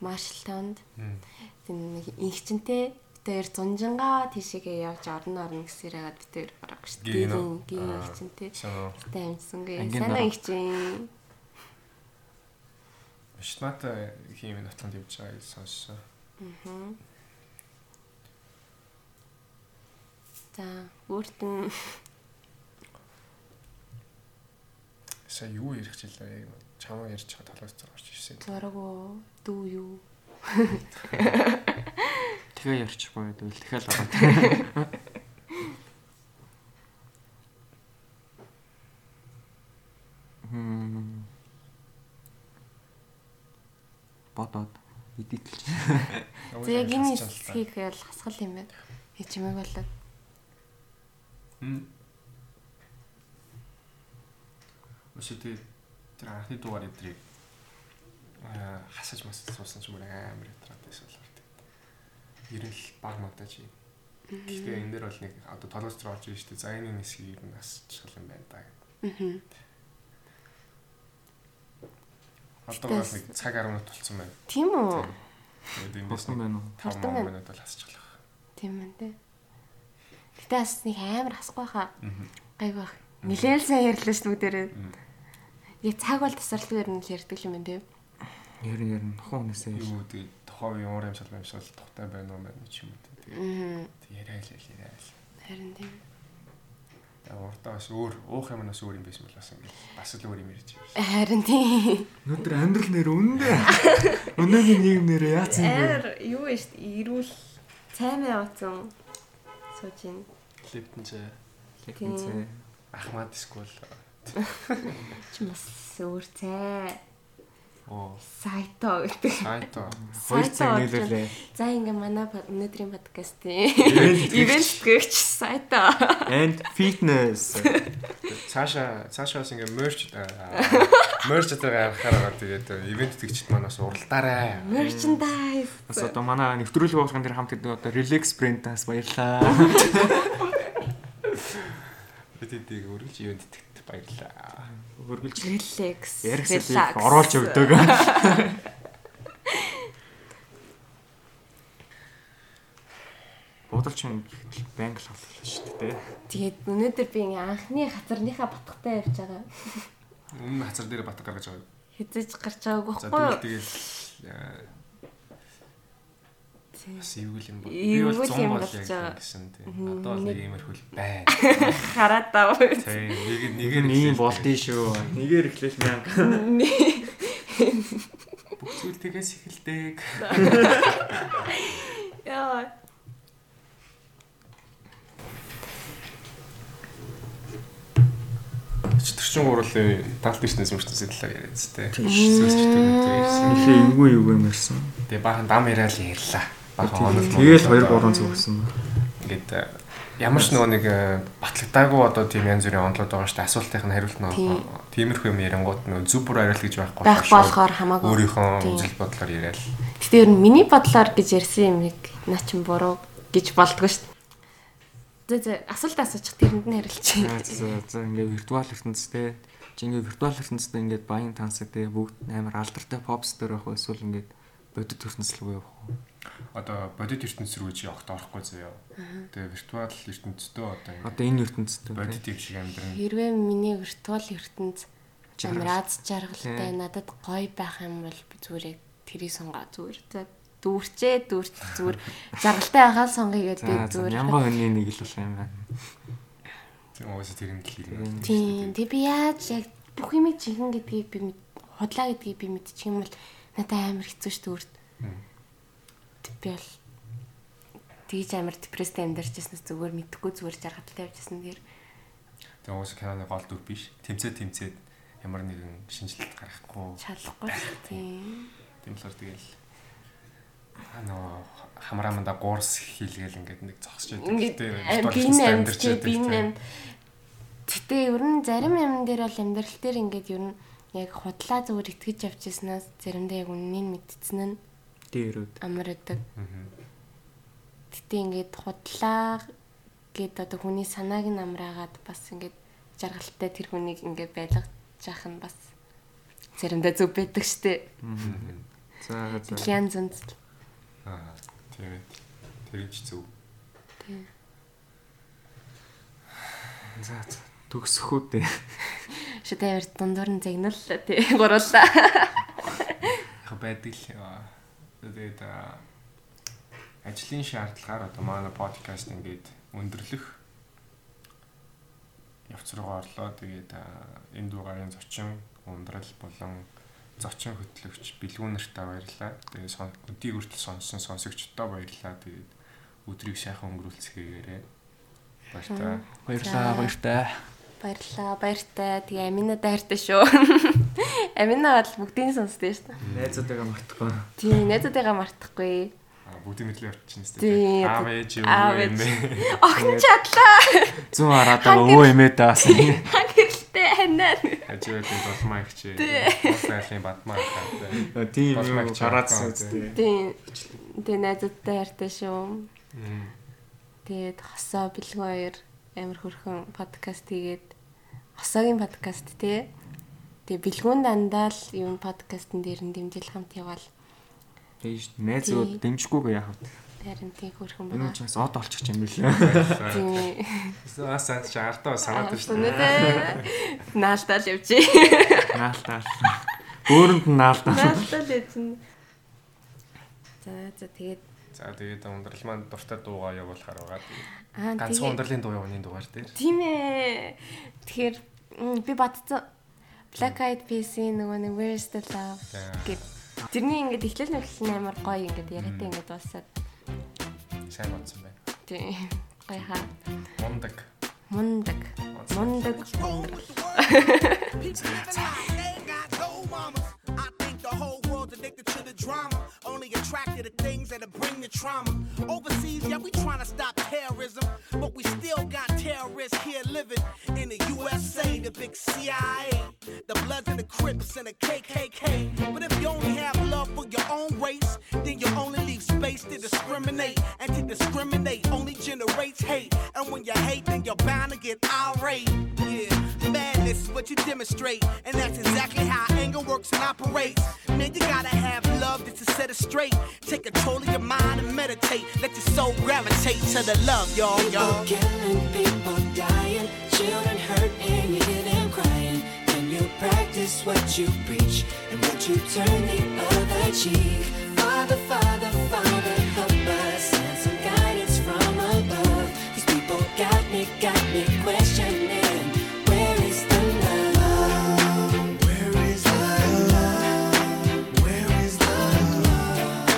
Speaker 2: Marshalltown-д
Speaker 1: Мм.
Speaker 2: тэн нэг инхчэнтэй битээр зунжингаа тийшээгээ явж орно орно гэсээр хагаад битээр гарах шүү. дээ.
Speaker 1: Гин үү?
Speaker 2: Гин
Speaker 1: Аа.
Speaker 2: инхчэнтэй.
Speaker 1: Шоо.
Speaker 2: Тэ амжсангүй.
Speaker 3: Ангийн
Speaker 2: Санаа
Speaker 3: дараа.
Speaker 2: инхчин.
Speaker 1: Шнаатай хиймийн нотлонд явж байгаа гэж сонссон.
Speaker 2: За өөрт нь
Speaker 1: Сая юу ярих жилээ чамаа ярьж хаа талаас зар орж ирсэн.
Speaker 2: зураг уу дүү юу?
Speaker 3: Тэгээ ярьчихгүй байвал дахиад ороод. Хм. Бодоод эдитэлч.
Speaker 2: За яг энэ хэсгийг бол хасгал юм байна. Хичмэг болоод.
Speaker 1: Өшөдөө тэр анхны дугаар эдрийг аа хасаж мас суусан ч юм уу амар ятратайс болоод. Ер нь л баг мата чи. Гэхдээ энэ дээр бол нэг одоо толгойч руу орж ирж штэ. За энэ хэсгийг ер нь асчихл юм байна да. Аа. Одоо бас нэг цаг 10 минут болсон байна.
Speaker 2: Тийм үү?
Speaker 1: Тэгээд эндээс
Speaker 3: Болсон байна уу?
Speaker 1: 5
Speaker 2: Болсон байна.
Speaker 1: минут бол хасчихлаа.
Speaker 2: Тийм байна те. Гэтэ бас нэг амар хасгүй хаа.
Speaker 1: Аа.
Speaker 2: Гайг бах. Нилээл сайн ярьлаа шүү дээрээ.
Speaker 1: Мгм.
Speaker 2: Яг цаг бол тасралтгүй юм л ярьдаг юм байна те.
Speaker 3: Ер нь ер нь хон хүнээсээ ер.
Speaker 1: Юу тэгээд тухайн ямар юм шал юмшал тухтай байна уу байна ч юм уу тэгээд
Speaker 2: Аа.
Speaker 1: яриа л яриа л.
Speaker 2: Харин тийм.
Speaker 1: Яг уртаа бас өөр уух юмнаас өөр юм байсан бол бас ингээд бас л өөр юм ярьж байна.
Speaker 2: Харин тийм.
Speaker 3: Өнөөдөр амьдрал нэр үндэ. Өнөөний нийгэм нэр яасан бэ?
Speaker 2: юу вэ шүү дээ? Ирүүл цаймаа утсан сууж ийн.
Speaker 1: Клиптэн цай
Speaker 2: Тийм.
Speaker 3: Тэнцээ.
Speaker 1: Ахмад эсвэл
Speaker 2: Чи бас өөр цай.
Speaker 1: оо
Speaker 2: Сайто гэдэг.
Speaker 1: сайто
Speaker 3: Хоёр
Speaker 2: Сайто
Speaker 3: цаг нийлүүлээ.
Speaker 2: За ингээ манай под- өнөөдрийн подкастын
Speaker 3: Ивент
Speaker 2: ивент төгөөч сайто.
Speaker 3: And fitness.
Speaker 1: цаашаа цаашаа бас ингээд мерч мерч дээр гаргахаар байгаа тэгээд ивент төгчд манаас уралдаарай.
Speaker 2: Merchandise.
Speaker 3: Бас одоо манай нэвтрүүлэг болгон дээр хамт ирдэг одоо Relax Brand-аас баярлаа.
Speaker 1: Бид эдийг өргөж ивент төгтөд баярлаа.
Speaker 3: Хөргөлж
Speaker 2: Relax.
Speaker 3: ярихсэлийг оруулж өгдөг. Бодолч юм гэтэл банк л болчихлоо шүү дээ.
Speaker 2: Тэгээд өнөөдөр би ингээ анхны хатарныхаа батгатай явж байгаа.
Speaker 1: Өмнө хацар дээр батг гаргаж байгаа. юу?
Speaker 2: Хэзээч гарч байгаагүй
Speaker 1: За
Speaker 2: байхгүй юу?
Speaker 1: тэгвэл тэгэл аа,
Speaker 2: Тийм.
Speaker 1: бас эвгүй л юм бол.
Speaker 2: Эвгүй л юм болж
Speaker 1: яг
Speaker 2: байгаа.
Speaker 1: гэсэн тийм. Одоо бол нэг иймэрхүү л байна.
Speaker 2: Хараад байгаа. үү?
Speaker 1: Тийм нэг нэгээр
Speaker 3: Нэгээр ийм болдгийн шүү. Нэгээр эхлэх мянга.
Speaker 1: бүх зүйл тэгээс эхэлдэг.
Speaker 2: Яа.
Speaker 1: Чи 43-ын талт дэснээс мөрчнээс талаар яриад зүтэй.
Speaker 3: Нилээ эвгүй эвгүй мэрсэн.
Speaker 1: Тэгээ баахан дам яриад л ярьлаа. Баахан онол мөн.
Speaker 3: Тэгэл 2 3 зүгсэн ба.
Speaker 1: Ингээд э, ямар ч нөгөө нэг э, батлагдаагүй одоо тийм янз бүрийн онолоод байгаа шүү дээ. Асуултынх нь хариулт нь
Speaker 2: Тийм.
Speaker 1: тиймэрхүү юм ярингууд нөгөө зөв бүр хариулт гэж байхгүй
Speaker 2: Байх
Speaker 1: болохоор
Speaker 2: болохоор хамаагүй.
Speaker 1: өөрийнхөө
Speaker 2: Тийм.
Speaker 1: үзэл бодлоор яриад
Speaker 2: Гэтэ ер нь миний бодлоор гэж ярьсан юм яг наа чин буруу гэж болдгоо шүү дээ. Зэ зэ асуулт асуучих тэрэнд нь
Speaker 3: За,
Speaker 2: харилцгаа.
Speaker 3: За за ингээ виртуал ертөнцтэй чи ингээ виртуал ертөнцтэй ингээ баян тансаг тэгээ бүгд амар алдартай попстер байх уу эсвэл ингээ бодит ертөнцлөг байх уу?
Speaker 1: одоо бодит ертөнц рүү чи огт орохгүй заяа. Тэгээ виртуал ертөнцтэй одоо ингээд
Speaker 3: Одоо энэ ертөнцтэй тэ.
Speaker 1: бодит юм шиг амьдран
Speaker 2: Хэрвээ миний виртуал ертөнд
Speaker 3: Жаргал.
Speaker 2: амираад жаргалтай
Speaker 3: Тийм.
Speaker 2: надад гоё байх юм бол би зүгээр яг тэрийг сонгаа зүгээр. За дүүрчээ дүүрч зүгээр жаргалтай байгаал сонгоё
Speaker 3: За
Speaker 2: гэдэг
Speaker 3: за,
Speaker 2: зүгээр.
Speaker 3: мянган хүний нэг л бол юм байна.
Speaker 1: Тийм уусаа тэр юм дэлхийг нь.
Speaker 3: Тийм.
Speaker 2: Тийм. Тэг би яаж яг бүх юм чихэн гэдгийг би мэд худлаа гэдгийг би мэдчих юм бол надад амар хэцүү шүү дүрт. Би бол тэгж амар депресд амьдарчсэнээс зүгээр мэдхгүй зүгээр жаргалтай явжсэн дэр
Speaker 1: Тэгээ уусаа киноны гол дүр биш. Тэмцээ тэмцээд ямар нэгэн шинжилэлт гаргахгүй.
Speaker 2: шалахгүй шүү. Тийм.
Speaker 1: Тийм болохоор тэгэл аа нөө хамрааманда гуурс хийлгээл ингээд нэг зогсож байдаг.
Speaker 2: Ингээд
Speaker 1: Гэтэ
Speaker 2: аим
Speaker 1: нэг
Speaker 2: би
Speaker 1: дурлалцтай
Speaker 2: нэм
Speaker 1: амьдарч
Speaker 2: чи
Speaker 1: байдаг,
Speaker 2: би
Speaker 1: тийм.
Speaker 2: нэм. Гэтэ ер нь зарим юм дээр бол амьдрал дээр ингээд ер нь яг худлаа зүгээр итгэж явжсэнээс заримдаа яг үннийг мэдтсэн нь
Speaker 3: Дээрүүд.
Speaker 2: амар байдаг. Гэтэ ингээд худлаа гэд одоо хүний санааг нь амраагаад бас ингээд жаргалтай тэр хүнийг ингээд байлгажчих нь бас заримдаа зүв байдаг штэ.
Speaker 3: За за.
Speaker 2: Тэгэл янз янз л.
Speaker 1: Аа тийм ээ. Тэр их зүв.
Speaker 2: Тийм.
Speaker 3: За за. Төгсөхүү дээ.
Speaker 2: Шүт амар дундуур нь загнал тий гуруулаа.
Speaker 1: яг байдаг л аа, тэгээд аа, ажлын шаардлагаар одоо манай подкаст ингээд өндөрлөх явц руугаа орлоо. Тэгээд аа, энэ дугаарыг зочин ундрал болон зочин хөтлөгч Билгүүнартаа баярлалаа. Тэгээд сон- өдийг хүртэл сонссон сонсогчдоо баярлалаа. Тэгээд өдрийг сайхан өнгөрүүлцгээгээрэй. Баярлалаа.
Speaker 2: Баярлалаа,
Speaker 3: баяртай.
Speaker 2: Баярлаа, баяртай. Тэгээ Амина дайртай шүү. Амина бол бүгдийг сонсдээ шүү.
Speaker 3: Найзуудаа мартахгүй.
Speaker 2: Тийм, найзуудыгаа мартахгүй.
Speaker 1: Аа, Бүгдийн мэдлэг явчихна тест.
Speaker 2: Тий,
Speaker 1: Аав ээж
Speaker 2: аав,
Speaker 1: өвөө
Speaker 2: ээж.
Speaker 1: эмээ.
Speaker 2: Огт чадлаа.
Speaker 3: Зүүн хараад байгаа өвөө эмээ даасан.
Speaker 2: Гэрэлтэй ханаа.
Speaker 1: Ажиотын толмаа ихчээ.
Speaker 2: Тий.
Speaker 1: Уусайлын бадмаа хаатай.
Speaker 3: Э, Тийм
Speaker 1: Болмаг
Speaker 3: юм чараадсан үстэй.
Speaker 2: Тийм. Тэгээ найзуудтай хайртай шүү. Тэгээд хосоо бэлгүй хоёр амар хөрхөн подкаст хийгээд хосоогийн подкаст тий. Тэгээ бэлгүүн дандаа л юм подкастн дээр нь дэмжил хамт яваал.
Speaker 3: Тэгж найзууд дэмжгүйгээ яах вэ?
Speaker 2: Харин тий хөрхөн
Speaker 3: Энэ
Speaker 2: байна.
Speaker 3: нь ч бас од олчих юм билээ.
Speaker 2: Тийм.
Speaker 1: Асаа чагартаа санаад байна шүү дээ.
Speaker 2: Үнэтэй. Наалтаал явчих.
Speaker 3: Наалтаа. Өөрөнд нь наалтаа.
Speaker 2: Наалтаал явчих. За за тэгээд
Speaker 1: За тэгээд ундрал маань дуртай дуугаа явуулахаар байгаа. Тэгээд
Speaker 2: аа
Speaker 1: Ганцхан ундралын дуу явууны дугаар дээр.
Speaker 2: Тийм ээ. Тэгэхээр м, би батцсан Black Eyed Peas-ийн нөгөө нэг Where's the Love
Speaker 1: За.
Speaker 2: гэдэг. Тэрний ингээд эхлэл нь эхлэн амар гоё ингээд яриатай ингээд дуусаад.
Speaker 1: Сайн бодсон байна.
Speaker 2: Тийм. Гоё хаа.
Speaker 1: Мундаг.
Speaker 2: Мундаг. Мундаг.
Speaker 7: I think the whole world's addicted to the drama. Only attracted to things that'll bring the trauma. Overseas, yeah, we tryna stop terrorism. But we still got terrorists here living in the USA, the big CIA, the Bloods and the Crips and the KKK. But if you only have love for your own race, then you only leave space to discriminate. And to discriminate only generates hate. And when you hate, then you're bound to get irate. Yeah, madness is what you demonstrate. And that's exactly how anger works and operates. Man, you gotta have love just to set it straight. Take control of your mind and meditate. Let your soul gravitate to the love, y'all, y'all.
Speaker 8: People killing, people dying, children hurt and you hear them crying. When you practice what you preach and what you turn the other cheek. Father, Father, Father, help us send some guidance from above. These people got me, got me questioning. Where is the love? Where is the love? Where is the love?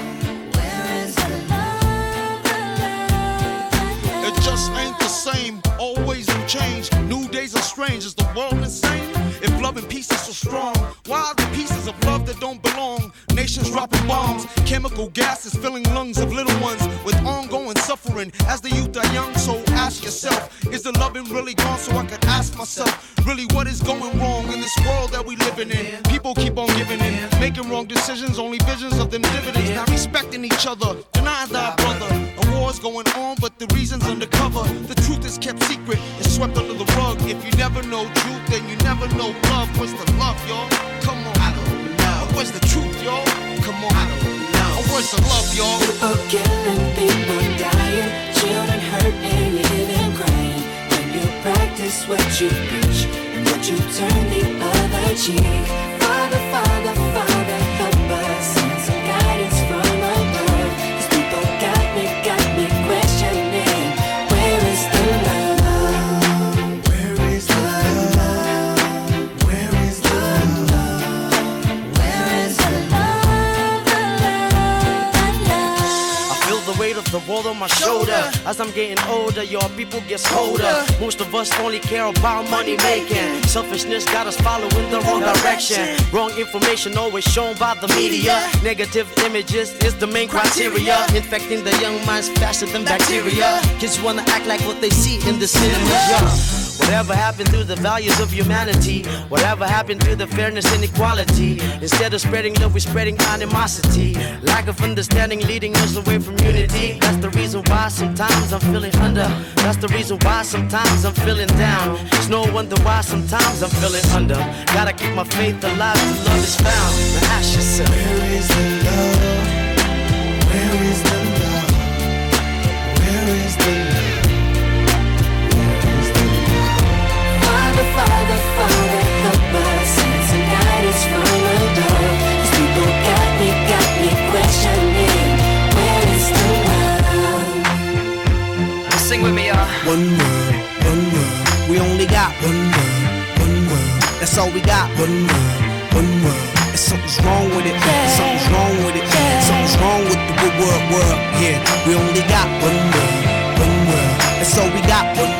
Speaker 8: Where is the love? The love.
Speaker 9: It just ain't the same. Always new change. New days are strange. Is the world insane? If love and peace is so strong, why are the pieces of love that don't belong? Nations dropping bombs, chemical gases filling lungs of little ones with ongoing suffering. As the youth are young, so ask yourself, is the loving really gone? So I could ask myself, really, what is going wrong in this world that we living in? People keep on giving in, making wrong decisions, only visions of them dividends. Not respecting each other, denying thy brother. A war's going on, but the reason's undercover. The truth is kept secret, it's swept under the rug. If you never know truth, then you never know love. What's the love, y'all? Come on, I don't know. What's the truth, y'all? Come on, I don't know. What's the love, y'all?
Speaker 8: People killing, people dying, children hurt and you hear them crying. When you practice what you preach and what you turn the other cheek. Father, Father, Father, help us and some
Speaker 10: weight of the world on my shoulder. As I'm getting older, your people get colder. Most of us only care about money making. Selfishness got us following the wrong direction. Wrong information always shown by the media. Negative images is the main criteria. Infecting the young minds faster than bacteria. Kids wanna act like what they see in the cinema. Yeah. Whatever happened to the values of humanity? Whatever happened to the fairness and equality? Instead of spreading love, we're spreading animosity. Lack of understanding leading us away from unity. That's the reason why sometimes I'm feeling under. That's the reason why sometimes I'm feeling down. It's no wonder why sometimes I'm feeling under. Gotta keep my faith alive till love is found. Now ask yourself.
Speaker 8: Where is the love? Where is the love? Where is the love? Where is the love? Father, Father, Father, help us. It's a guidance from above. These people got me, got me questioning. Where is the love?
Speaker 10: Sing with me, y'all.
Speaker 7: One world, one world. We only got one world, one world. That's all we got. One world, one world. And something's wrong with it. Something's wrong with it. Something's wrong with the wo- world, world. Yeah, we only got one world, one world. That's all we got. One